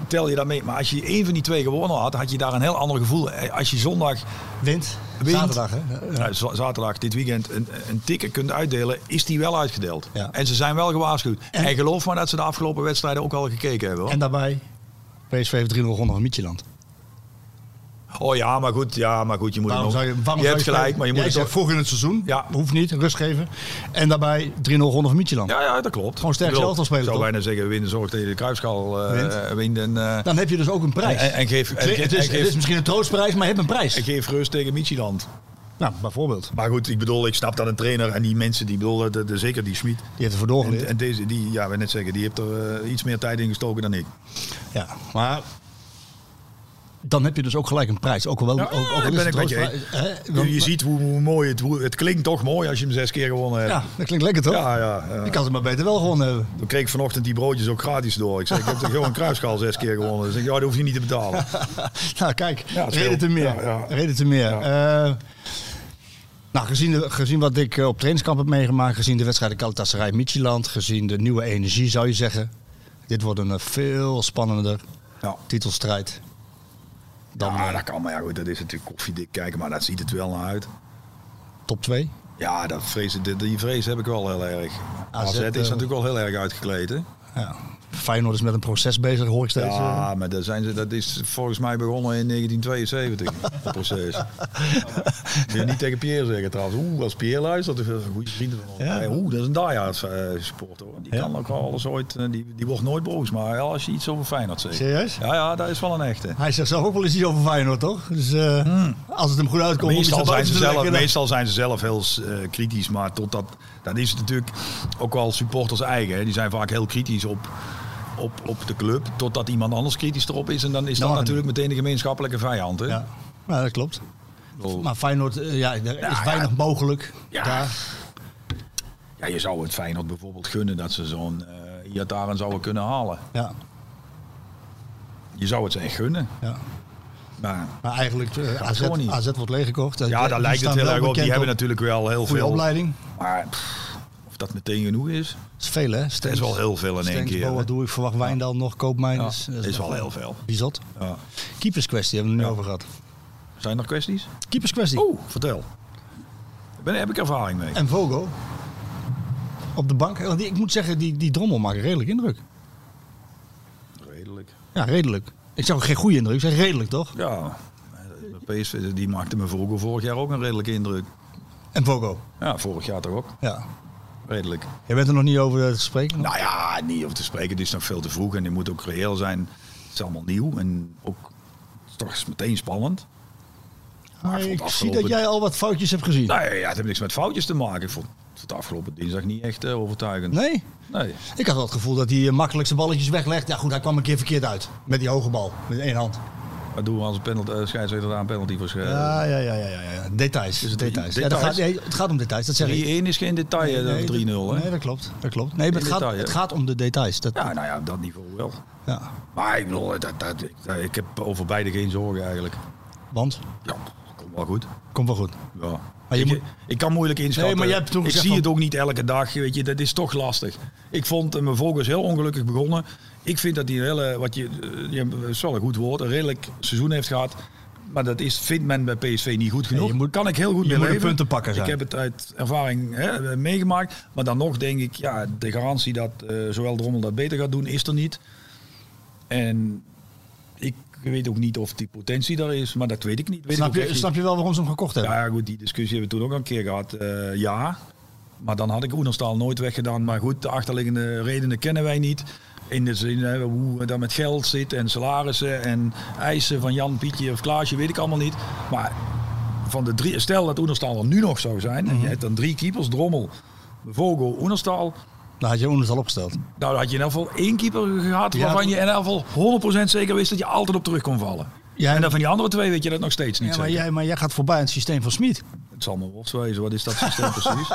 Speaker 9: tel je daarmee. Maar als je één van die twee gewonnen had... had je daar een heel ander gevoel. Eh, Als je zondag
Speaker 7: Wint.
Speaker 9: wint,
Speaker 7: Zaterdag, hè?
Speaker 9: nou, z- zaterdag, dit weekend, een, een ticket kunt uitdelen, is die wel uitgedeeld. En ze zijn wel gewaarschuwd. En, geloof maar dat ze de afgelopen wedstrijden ook al gekeken hebben. Hoor.
Speaker 7: En daarbij, PSV heeft 3-0 gewonnen van Mietjeland.
Speaker 9: Oh ja, maar goed, ja, maar goed, je moet
Speaker 7: Waarom
Speaker 9: het nog-
Speaker 7: zou je, waarom
Speaker 9: je
Speaker 7: zou
Speaker 9: hebt
Speaker 7: spelen?
Speaker 9: gelijk, maar je moet
Speaker 7: Jij
Speaker 9: het
Speaker 7: zegt
Speaker 9: toch-
Speaker 7: vroeg in het seizoen.
Speaker 9: Ja.
Speaker 7: Hoeft niet, rust geven. En daarbij 3-0 gewonnen van Mietjeland.
Speaker 9: Ja, ja, dat klopt.
Speaker 7: Gewoon sterk
Speaker 9: Ik bedoel,
Speaker 7: zelf al spelen,
Speaker 9: Ik zou
Speaker 7: toch?
Speaker 9: bijna zeggen, winnen zorgt dat je de kruisschaal eh,
Speaker 7: Wint.
Speaker 9: eh, wint. en, eh,
Speaker 7: Dan heb je dus ook een prijs.
Speaker 9: En- en geef- en
Speaker 7: het,
Speaker 9: ge-
Speaker 7: is,
Speaker 9: en
Speaker 7: het
Speaker 9: geef-
Speaker 7: is misschien een troostprijs, maar je hebt een prijs.
Speaker 9: en geef rust tegen Michieland.
Speaker 7: Nou, bijvoorbeeld.
Speaker 9: Maar goed, ik bedoel, ik snap dat een trainer en die mensen, die bedoel, dat- dat- zeker die Schmid.
Speaker 7: Die heeft er voor
Speaker 9: En,
Speaker 7: geleerd.
Speaker 9: en deze, die, ja, we net zeggen, die heeft er eh, iets meer tijd in gestoken dan ik.
Speaker 7: Ja, maar dan heb je dus ook gelijk een prijs. Ook al wel ook, ook al
Speaker 9: dat
Speaker 7: is het
Speaker 9: ben
Speaker 7: Eh,
Speaker 9: ik met je
Speaker 7: troostprijs, hè,
Speaker 9: Je,
Speaker 7: dan-
Speaker 9: je ziet hoe, hoe mooi het, hoe, het klinkt toch mooi als je hem zes keer gewonnen hebt.
Speaker 7: Ja, dat klinkt lekker toch?
Speaker 9: Ja, ja, ja.
Speaker 7: Ik kan ze maar beter wel eh, gewonnen hebben.
Speaker 9: Dan kreeg ik vanochtend die broodjes ook gratis door. Ik zei, ik heb de Johan Cruijffschaal zes keer gewonnen. Dus ik ja, dat hoef je niet te betalen.
Speaker 7: nou, kijk,
Speaker 9: Ja,
Speaker 7: reden
Speaker 9: het scheelt.
Speaker 7: te meer.
Speaker 9: Ja, ja.
Speaker 7: Reden te meer. Eh, nou, gezien, de- gezien wat ik eh, op trainingskamp heb meegemaakt, gezien de wedstrijden Galatasaray Michieland, gezien de nieuwe energie, zou je zeggen, dit wordt een eh, veel spannender
Speaker 9: Ja.
Speaker 7: titelstrijd. Dan
Speaker 9: ja,
Speaker 7: eh,
Speaker 9: dat kan. Maar ja, goed, dat is natuurlijk koffiedik kijken. Maar dat ziet het wel naar uit.
Speaker 7: top 2.
Speaker 9: Ja, dat vrees, die, die vrees heb ik wel heel erg.
Speaker 7: AZ,
Speaker 9: AZ, is
Speaker 7: eh,
Speaker 9: natuurlijk wel heel erg uitgekleed. Hè?
Speaker 7: Ja. Feyenoord is met een proces bezig, hoor ik steeds. eh.
Speaker 9: Ja, maar daar zijn ze, dat is volgens mij begonnen in 1972, het proces. Wil je niet tegen Pierre zeggen trouwens. Oeh, als Pierre luistert, dat is een goede vriend van ons.
Speaker 7: Ja.
Speaker 9: Hey, Oeh, dat is een diehards eh supporter. hoor. Die kan ook wel alles ooit, eh, die, die wordt nooit boos. Maar wel als je iets over Feyenoord zegt.
Speaker 7: Serieus?
Speaker 9: Ja, ja, dat is wel een echte.
Speaker 7: Hij zegt zelf ook wel eens iets over Feyenoord, toch? Dus eh,
Speaker 9: Hmm.
Speaker 7: als het hem goed uitkomt... om iets
Speaker 9: Meestal
Speaker 7: naar
Speaker 9: zijn,
Speaker 7: buiten te
Speaker 9: ze zelf,
Speaker 7: leggen, dan-
Speaker 9: meestal zijn ze zelf heel eh, kritisch, maar tot dat, dat is het natuurlijk ook wel supporters eigen. Hè. Die zijn vaak heel kritisch op, op, op de club, totdat iemand anders kritisch erop is. En dan is dat
Speaker 7: mag het
Speaker 9: natuurlijk meteen de gemeenschappelijke vijand. Hè?
Speaker 7: Ja. ja, dat klopt.
Speaker 9: Bedoel,
Speaker 7: Maar Feyenoord, eh, ja, er is weinig mogelijk
Speaker 9: Nou, Ja.
Speaker 7: daar.
Speaker 9: ja, je zou het Feyenoord bijvoorbeeld gunnen dat ze zo'n eh Iataren zouden kunnen halen.
Speaker 7: Ja,
Speaker 9: Je zou het ze echt gunnen.
Speaker 7: ja.
Speaker 9: Maar,
Speaker 7: Maar eigenlijk, eh,
Speaker 9: het
Speaker 7: AZ,
Speaker 9: gewoon niet.
Speaker 7: AZ wordt leeggekocht. Eh,
Speaker 9: ja, daar lijkt het heel erg op. Die hebben natuurlijk wel heel
Speaker 7: goede
Speaker 9: veel.
Speaker 7: opleiding.
Speaker 9: Maar pff, of dat meteen genoeg is,
Speaker 7: Dat is veel, hè?
Speaker 9: dat
Speaker 7: Stengs,
Speaker 9: is wel heel veel in één
Speaker 7: Stengs,
Speaker 9: keer. hè.
Speaker 7: Boadou, ik verwacht Wijndal nog, Koopmijners.
Speaker 9: Ja, is wel heel veel.
Speaker 7: Bizot.
Speaker 9: Ja.
Speaker 7: Keeperskwestie hebben we het nu over gehad.
Speaker 9: Zijn er kwesties?
Speaker 7: Keeperskwestie.
Speaker 9: Oeh, vertel. Ben, heb ik ervaring mee.
Speaker 7: En Vogo op de bank. Want die- Ik moet zeggen, die, die drommel maakt redelijk indruk.
Speaker 9: Redelijk.
Speaker 7: Ja, redelijk. Ik zou geen goede indruk, ik zeg redelijk toch?
Speaker 9: Ja, PSV die maakte me vroeger vorig jaar ook een redelijke indruk.
Speaker 7: En Vogo.
Speaker 9: Ja, vorig jaar toch ook.
Speaker 7: Ja.
Speaker 9: Redelijk.
Speaker 7: Jij bent er nog niet over eh, te spreken?
Speaker 9: Nou ja, niet over te spreken. Het is nog veel te vroeg en je moet ook reëel zijn. Het is allemaal nieuw en ook toch is meteen spannend.
Speaker 7: Maar ik, ik afgelopen... zie dat jij al wat foutjes hebt gezien.
Speaker 9: Nee, ja, het heeft niks met foutjes te maken. Ik vond het afgelopen dinsdag niet echt uh, overtuigend.
Speaker 7: Nee?
Speaker 9: Nee.
Speaker 7: Ik had wel het gevoel dat hij uh, makkelijkste balletjes weglegt. Ja goed, hij kwam een keer verkeerd uit. Met die hoge bal. Met één hand.
Speaker 9: Maar doen we als penalty, uh, scheidsrechter aan penalty voor uh,
Speaker 7: ja, ja, ja, ja, ja. Details.
Speaker 9: Is
Speaker 7: het details. eh, details. Ja, dat gaat, nee, het gaat om details, dat zeg 3-1
Speaker 9: is geen detail, eh, nee, nee, 3-0.
Speaker 7: Nee, dat klopt. Dat klopt. Nee, maar het, detail, gaat, he? het gaat om de details. Dat,
Speaker 9: ja, nou ja, op dat niveau wel. Ja. Maar ik bedoel, dat, dat, ik heb over beide geen zorgen eigenlijk.
Speaker 7: Want?
Speaker 9: Ja, komt wel goed.
Speaker 7: Komt wel goed.
Speaker 9: Ja. Maar je ik, moet... ik kan moeilijk inschatten.
Speaker 7: Nee, maar jij hebt toen
Speaker 9: ik
Speaker 7: zie
Speaker 9: van... het ook niet elke dag. Weet je, dat is toch lastig. Ik vond mijn Vogels heel ongelukkig begonnen. Ik vind dat hij een hele, wat je, eh, je is wel een goed woord, een redelijk seizoen heeft gehad. Maar dat is, vindt men bij PSV niet goed genoeg. Nee,
Speaker 7: moet,
Speaker 9: kan ik heel goed
Speaker 7: je
Speaker 9: mee
Speaker 7: moet punten pakken zijn.
Speaker 9: Ik heb het uit ervaring hè, meegemaakt. Maar dan nog denk ik, ja, de garantie dat uh, zowel Drommel dat beter gaat doen, is er niet. En ik ik weet ook niet of die potentie daar is, maar dat weet ik niet. Weet
Speaker 7: snap,
Speaker 9: ik
Speaker 7: je, snap je wel waarom ze hem gekocht hebben?
Speaker 9: Ja, goed, die discussie hebben we toen ook een keer gehad. Uh, ja, maar dan had ik Oenerstaal nooit weggedaan. Maar goed, de achterliggende redenen kennen wij niet. In de zin hè, hoe dat met geld zit en salarissen en eisen van Jan, Pietje of Klaasje, weet ik allemaal niet. Maar van de drie, stel dat Oenerstaal er nu nog zou zijn, mm -hmm. en je hebt dan drie keepers, Drommel, Vogel, Oenerstaal.
Speaker 7: Dan had je Oenes al opgesteld.
Speaker 9: Nou, dan had je in elk geval één keeper gehad ja, waarvan je in elk geval 100% zeker wist dat je altijd op terug kon vallen. Ja, en dan van die andere twee weet je dat nog steeds niet.
Speaker 7: Ja,
Speaker 9: maar,
Speaker 7: zeker. Jij, maar jij gaat voorbij aan het systeem van Smit.
Speaker 9: Het zal me worst wezen, wat is dat systeem precies?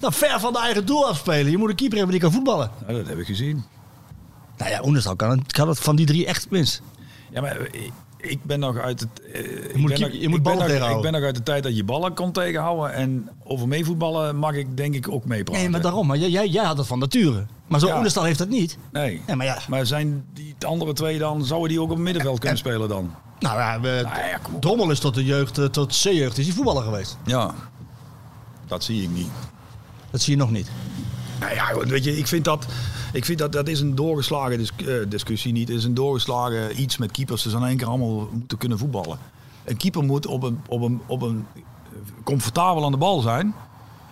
Speaker 7: nou, ver van de eigen doel afspelen. Je moet een keeper hebben die kan voetballen.
Speaker 9: Nou, dat heb ik gezien.
Speaker 7: Nou ja, Oenes kan, het, kan het van die drie echt minst.
Speaker 9: Ja, maar eh, ik ben nog uit het. Uh,
Speaker 7: je moet, keep, nog, je moet ballen
Speaker 9: ben
Speaker 7: nog,
Speaker 9: Ik ben nog uit de tijd dat je ballen kon tegenhouden. En over meevoetballen mag ik denk ik ook meepraten.
Speaker 7: Nee, maar daarom. Maar jij, jij had dat van nature. Maar zo'n ja. Oenestal heeft dat niet.
Speaker 9: Nee.
Speaker 7: nee maar, ja.
Speaker 9: maar zijn die andere twee dan, zouden die ook op het middenveld kunnen en, spelen dan?
Speaker 7: Nou ja, we, nou ja Drommel is tot de jeugd, eh, tot C-jeugd is hij voetballer geweest.
Speaker 9: Ja, dat zie ik niet.
Speaker 7: Dat zie je nog niet.
Speaker 9: Nou ja, weet je, ik vind dat, ik vind dat, dat is een doorgeslagen dis uh, discussie niet. Het is een doorgeslagen iets met keepers. Ze dus zijn één keer allemaal moeten kunnen voetballen. Een keeper moet op een, op een, op een eh, comfortabel aan de bal zijn.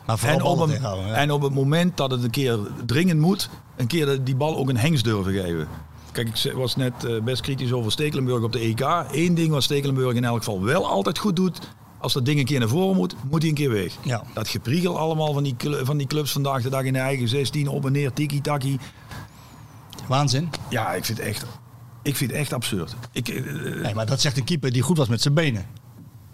Speaker 7: Maar
Speaker 9: en, op
Speaker 7: een,
Speaker 9: ja. en op het moment dat het een keer dringend moet, een keer die bal ook een hengst durven geven. Kijk, ik was net eh, best kritisch over Stekelenburg op de EK. Eén ding wat Stekelenburg in elk geval wel altijd goed doet, als dat ding een keer naar voren moet, moet hij een keer weg.
Speaker 7: Ja.
Speaker 9: Dat gepriegel allemaal van die, van die clubs vandaag de dag in de eigen 16, op en neer, tiki-taki.
Speaker 7: Waanzin.
Speaker 9: Ja, ik vind het echt, ik vind echt absurd. Ik, eh,
Speaker 7: uh... nee, maar dat zegt een keeper die goed was met zijn benen.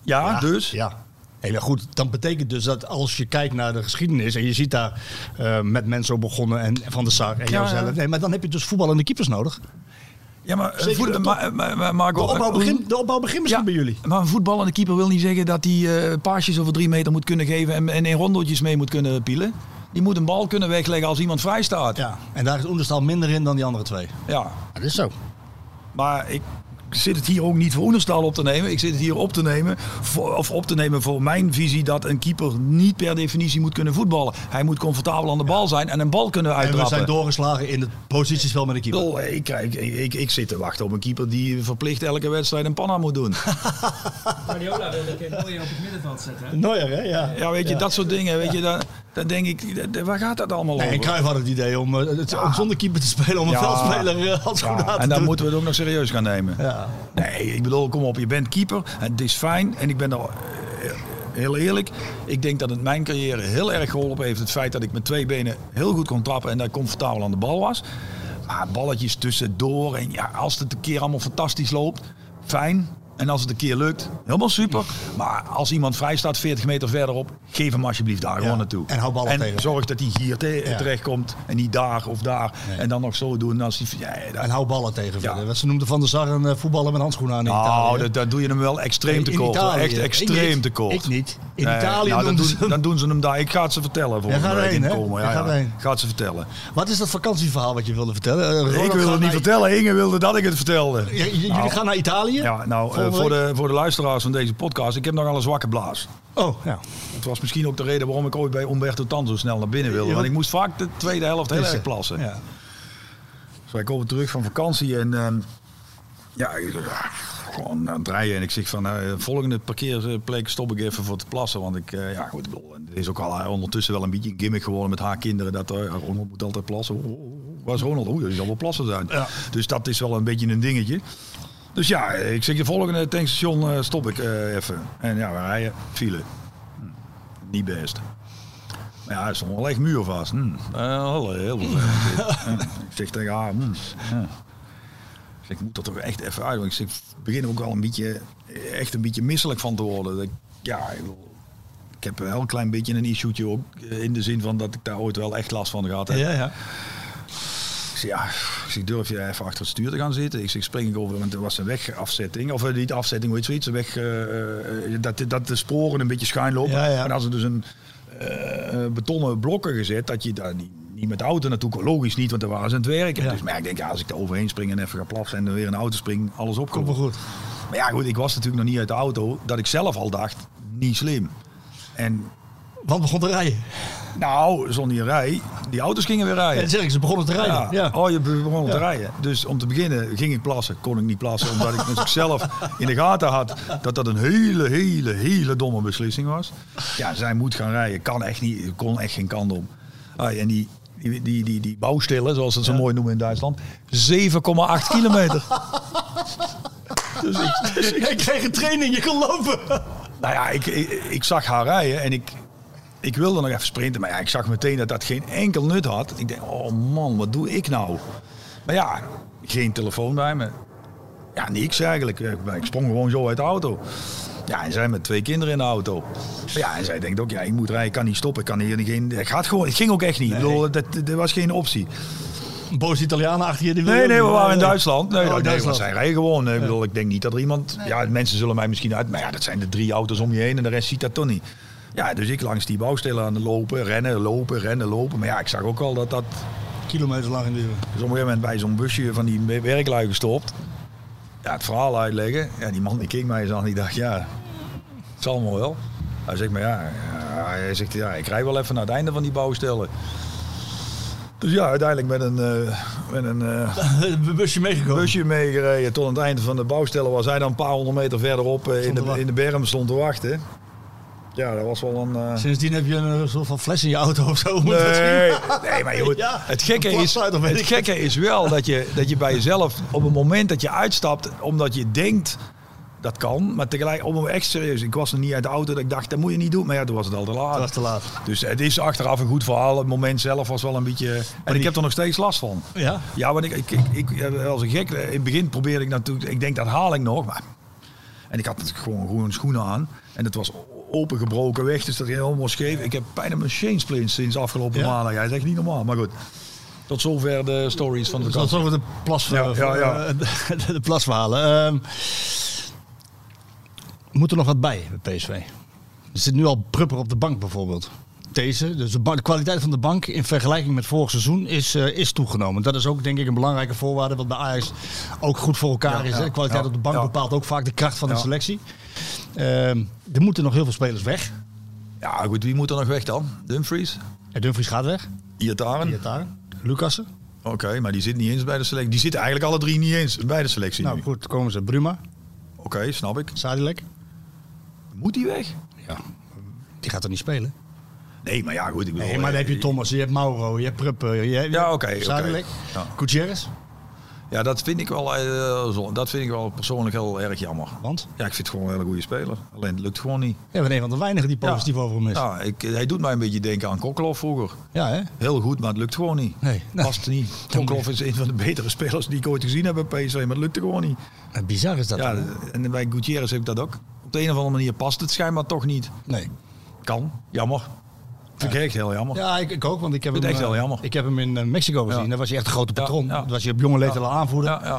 Speaker 9: Ja, ja dus?
Speaker 7: Ja. Hey, maar goed, dan betekent dus dat als je kijkt naar de geschiedenis en je ziet daar uh, met mensen begonnen en Van de Sar en ja, jouzelf. Nee, maar dan heb je dus voetballende keepers nodig.
Speaker 9: Ja, maar, Zeker, voet, maar, eh, maar, maar
Speaker 7: Marco, de, opbouw begin, de opbouw begint misschien
Speaker 9: eh, ja,
Speaker 7: bij jullie.
Speaker 9: Maar een voetballende keeper wil niet zeggen dat hij uh, paasjes over drie meter moet kunnen geven en, en in rondeltjes mee moet kunnen pielen. Die moet een bal kunnen wegleggen als iemand vrij staat.
Speaker 7: Ja, en daar is Oenderstal minder in dan die andere twee.
Speaker 9: Ja.
Speaker 7: Dat is zo.
Speaker 9: Maar ik zit het hier ook niet voor Oenderstal op te nemen. Ik zit het hier op te nemen voor, of op te nemen voor mijn visie dat een keeper niet per definitie moet kunnen voetballen. Hij moet comfortabel aan de bal zijn en een bal kunnen uittrappen.
Speaker 7: En we zijn doorgeslagen in het positiespel met een keeper.
Speaker 9: Oh, ik, ik, ik, ik, zit te wachten op een keeper die verplicht elke wedstrijd een panna moet doen.
Speaker 8: Guardiola wilde een keer Neuer op het middenveld zetten.
Speaker 7: Neuer, hè? Ja.
Speaker 9: Ja, weet je, ja. dat soort dingen. Weet je, dan, dan denk ik, dat, waar gaat dat allemaal nee, over?
Speaker 7: En Cruijff had het idee om, eh, het, ja. om zonder keeper te spelen, om een ja. veldspeler eh, als goed aan te
Speaker 9: En dan
Speaker 7: doen.
Speaker 9: moeten we het ook nog serieus gaan nemen. Nee, ik bedoel, kom op, je bent keeper. Het is fijn. En ik ben er eh, heel eerlijk. Ik denk dat het mijn carrière heel erg geholpen heeft. Het feit dat ik met twee benen heel goed kon trappen en daar comfortabel aan de bal was. Maar balletjes tussendoor. En ja, als het een keer allemaal fantastisch loopt, fijn. En als het een keer lukt, helemaal super. Maar als iemand vrij staat 40 meter verderop, geef hem alsjeblieft daar ja. gewoon naartoe.
Speaker 7: En hou ballen
Speaker 9: en
Speaker 7: tegen.
Speaker 9: zorg dat hij hier te ja. terecht komt en niet daar of daar. Nee. En dan nog zo doen. Als hij, ja,
Speaker 7: dat... En hou ballen tegen. Ja. Ze noemden Van der Sar een eh, voetballer met handschoenen aan in
Speaker 9: Nou, dat, dat, doe je hem wel extreem nee, te kort. Echt extreem
Speaker 7: ik
Speaker 9: te kort.
Speaker 7: Ik niet. In nee, Italië nou,
Speaker 9: dan, doen,
Speaker 7: ze...
Speaker 9: dan doen ze hem daar. Ik ga het ze vertellen. Voor eh,
Speaker 7: gaat
Speaker 9: heen,
Speaker 7: hè? Gaat heen.
Speaker 9: Gaat ze vertellen.
Speaker 7: Wat is dat vakantieverhaal wat je wilde vertellen? Eh,
Speaker 9: Uh, ik wilde het niet vertellen. Inge wilde dat ik het vertelde. Nou,
Speaker 7: Jullie gaan naar Italië?
Speaker 9: Ja, nou, uh, voor, de, voor de luisteraars van deze podcast, ik heb nogal een zwakke blaas.
Speaker 7: Oh, ja.
Speaker 9: Het was misschien ook de reden waarom ik ooit bij Umberto Tan zo snel naar binnen wilde. Want ik moest vaak de tweede helft heel erg plassen. Ja. Dus wij komen terug van vakantie en uh, ja, ik, uh, gewoon aan het rijden. En ik zeg van, eh, volgende parkeerplek stop ik even voor te plassen. Want ik, eh, ja goed, het is ook al eh, ondertussen wel een beetje een gimmick geworden met haar kinderen. Dat eh, Ronald moet altijd plassen. Oh, waar is Ronald? Oeh, die zal wel plassen zijn. Ja. Dus dat is wel een beetje een dingetje. Dus ja, ik zeg, de volgende tankstation eh, stop ik eh, even. En ja, we rijden, file. Hm, Niet best. Maar ja, er stond wel echt muur vast. Hm. Eh, wel, eh, heel vervelend dit. Hm. Ik zeg tegen haar, hm, ja. Ik zeg, ik moet dat toch echt even uit. Want ik zeg, ik begin er ook wel een beetje, eh, echt een beetje misselijk van te worden. Dat ik- ja, ik bedoel, ik heb wel een klein beetje een issue'tje ook. eh, In de zin van dat ik daar ooit wel echt last van gehad heb.
Speaker 7: Ja, ja.
Speaker 9: Ik zeg, ja, ik zeg, durf je even achter het stuur te gaan zitten? Ik zeg, spring ik over, want er was een wegafzetting. Of eh, niet afzetting, hoe heet zoiets? Een weg, eh, eh, dat, dat de sporen een beetje schuin lopen.
Speaker 7: Ja, ja.
Speaker 9: En als er dus een eh, betonnen blokken gezet, dat je daar niet, niet met de auto naartoe kon. Logisch niet, want daar waren ze aan het werken. Dus maar ja, ik denk, ja, als ik er overheen spring en even ga plassen en er weer in de auto spring, alles opkomt.
Speaker 7: Komt wel goed.
Speaker 9: Maar ja, goed, ik was natuurlijk nog niet uit de auto. Dat ik zelf al dacht, niet slim. En...
Speaker 7: Want begon te rijden?
Speaker 9: Nou, zonder die rij. Die auto's gingen weer rijden.
Speaker 7: Ja, dat Eh, zeg ik, ze begonnen te rijden. Ja.
Speaker 9: Oh, je begon te
Speaker 7: Ja.
Speaker 9: rijden. Dus om te beginnen ging ik plassen. Kon ik niet plassen, omdat ik natuurlijk zelf in de gaten had... dat dat een hele, hele, hele domme beslissing was. Ja, zij moet gaan rijden. Kan echt niet. Kon echt geen kant om. Ah, en die, die, die, die, die bouwstille, zoals ze het zo mooi noemen in Duitsland... 7,8 kilometer. Dus ik,
Speaker 7: Jij kreeg een training, je kon lopen.
Speaker 9: Nou ja, ik, ik, ik zag haar rijden en ik, ik wilde nog even sprinten. Maar ja, ik zag meteen dat dat geen enkel nut had. Ik denk, oh man, wat doe ik nou? Maar ja, geen telefoon bij me. Ja, niks eigenlijk. Eh, Ik sprong gewoon zo uit de auto. Ja, en zij met twee kinderen in de auto. Maar ja, en zij denkt ook, ja, ik moet rijden, ik kan niet stoppen. Ik kan hier niet, geen, het gaat gewoon, het ging ook echt niet. Ik bedoel, dat, dat was geen optie.
Speaker 7: Een boos Italianen achter je. Die wil
Speaker 9: Nee,
Speaker 7: je
Speaker 9: nee,
Speaker 7: ook
Speaker 9: we
Speaker 7: niet.
Speaker 9: waren in
Speaker 7: Ja, ja.
Speaker 9: Duitsland. Nee,
Speaker 7: Oh,
Speaker 9: nee,
Speaker 7: Duitsland.
Speaker 9: want zij rijden gewoon. Ik bedoel, ik denk niet dat er iemand... Ja, mensen zullen mij misschien uit... Maar ja, dat zijn de drie auto's om je heen en de rest ziet dat toch niet. Ja, dus ik langs die bouwstelen aan het lopen, rennen, lopen, rennen, lopen. Maar ja, ik zag ook al dat dat...
Speaker 7: Kilometers lang duurde.
Speaker 9: Dus op een gegeven moment bij zo'n busje van die werklui gestopt. Ja, het verhaal uitleggen. Ja, die man die keek mij eens aan die dacht, ja, het zal allemaal wel. Hij zegt, maar ja, ja, hij zegt, ja, ik rij wel even naar het einde van die bouwstellen. Dus ja, uiteindelijk met een, eh, met een eh,
Speaker 7: Een busje meegekomen.
Speaker 9: busje meegereden tot aan het einde van de bouwstellen was hij dan een paar honderd meter verderop eh, in,
Speaker 7: te
Speaker 9: de,
Speaker 7: wachten.
Speaker 9: in de berm stond te wachten. Ja, dat was wel een... eh,
Speaker 7: Sindsdien heb je een soort van fles in je auto of zo. moet dat
Speaker 9: Nee,
Speaker 7: zien.
Speaker 9: nee, maar joh,
Speaker 7: Ja,
Speaker 9: het, gekke
Speaker 7: een
Speaker 9: is,
Speaker 7: plasluiter, weet
Speaker 9: het
Speaker 7: ik.
Speaker 9: gekke is wel dat je, dat je bij jezelf op het moment dat je uitstapt, omdat je denkt dat kan, maar tegelijk, om echt serieus, ik was nog niet uit de auto dat ik dacht, dat moet je niet doen, maar ja, toen was het al te laat.
Speaker 7: was te laat.
Speaker 9: Dus het is achteraf een goed verhaal, het moment zelf was wel een beetje, en ik heb er nog steeds last van.
Speaker 7: Ja.
Speaker 9: Ja, want ik, ik, ik, ik eh, als een gek, eh, in het begin probeerde ik natuurlijk, ik denk dat haal ik nog, maar en ik had natuurlijk gewoon gewoon schoenen aan. En het was opengebroken weg, dus dat ging helemaal scheef. Ik heb bijna mijn shinsplints sinds afgelopen
Speaker 7: Ja?
Speaker 9: maandag. Ja, dat is echt niet normaal, maar goed. Tot zover de stories van de
Speaker 7: Dus dat is
Speaker 9: vakantie.
Speaker 7: over de plas,
Speaker 9: Ja, ja, ja.
Speaker 7: eh, De, de plasverhalen. Ehm, moet er nog wat bij bij PSV? Er zit nu al Prupper op de bank bijvoorbeeld. Deze, dus de, ba- de kwaliteit van de bank in vergelijking met vorig seizoen is, eh, is toegenomen. Dat is ook denk ik een belangrijke voorwaarde wat bij Ajax ook goed voor elkaar
Speaker 9: Ja,
Speaker 7: is.
Speaker 9: ja,
Speaker 7: hè. De kwaliteit
Speaker 9: ja,
Speaker 7: op de bank
Speaker 9: ja.
Speaker 7: bepaalt ook vaak de kracht van de
Speaker 9: Ja.
Speaker 7: selectie. Ehm, er moeten nog heel veel spelers weg.
Speaker 9: Ja, goed, wie moet er nog weg dan? Dumfries?
Speaker 7: En Dumfries gaat weg. Nou,
Speaker 9: Iataren?
Speaker 7: Iataren. Lucassen.
Speaker 9: Oké, maar die zit niet eens bij de selectie. Die zitten eigenlijk alle drie niet eens bij de selectie
Speaker 7: Nou
Speaker 9: nu.
Speaker 7: goed, dan komen ze. Bruma,
Speaker 9: Oké, snap ik.
Speaker 7: Sadilek.
Speaker 9: Moet die weg?
Speaker 7: Ja, die gaat er niet spelen.
Speaker 9: Nee, maar ja, goed. Ik bedoel,
Speaker 7: Nee, maar dan
Speaker 9: eh,
Speaker 7: heb je Thomas, je hebt Mauro, je hebt Prupper, je hebt
Speaker 9: Ja, oké, oké.
Speaker 7: Zadelijk,
Speaker 9: Ja.
Speaker 7: Gutierrez.
Speaker 9: Ja, dat vind, ik wel, eh, zo- dat vind ik wel persoonlijk heel erg jammer.
Speaker 7: Want?
Speaker 9: Ja, ik vind het gewoon een hele goede speler. Alleen het lukt gewoon niet.
Speaker 7: Ja, we een van de weinigen die positief over hem is. Ja,
Speaker 9: Ja, ik, hij doet mij een beetje denken aan Kokkelhoff vroeger.
Speaker 7: hè?
Speaker 9: Heel goed, maar het lukt gewoon niet.
Speaker 7: Nee. Nou,
Speaker 9: Past niet. Kokkelhoff is een van de betere spelers die ik ooit gezien heb bij PSV, maar het lukte gewoon niet.
Speaker 7: eh, bizar is dat.
Speaker 9: Ja,
Speaker 7: hè?
Speaker 9: en bij Gutierrez heb ik dat ook. Op de een of andere manier past het schijnbaar toch niet.
Speaker 7: Nee.
Speaker 9: Kan. Jammer. Vind ik echt heel jammer.
Speaker 7: Ja, ik, ik ook, want ik heb,
Speaker 9: Vind
Speaker 7: hem,
Speaker 9: het echt
Speaker 7: eh,
Speaker 9: wel jammer.
Speaker 7: ik heb hem in eh, Mexico gezien.
Speaker 9: Ja.
Speaker 7: Daar was hij echt een grote
Speaker 9: Ja,
Speaker 7: patroon.
Speaker 9: ja.
Speaker 7: Dat was je op jonge leeftijd
Speaker 9: Ja.
Speaker 7: al aanvoerder.
Speaker 9: Ja, ja.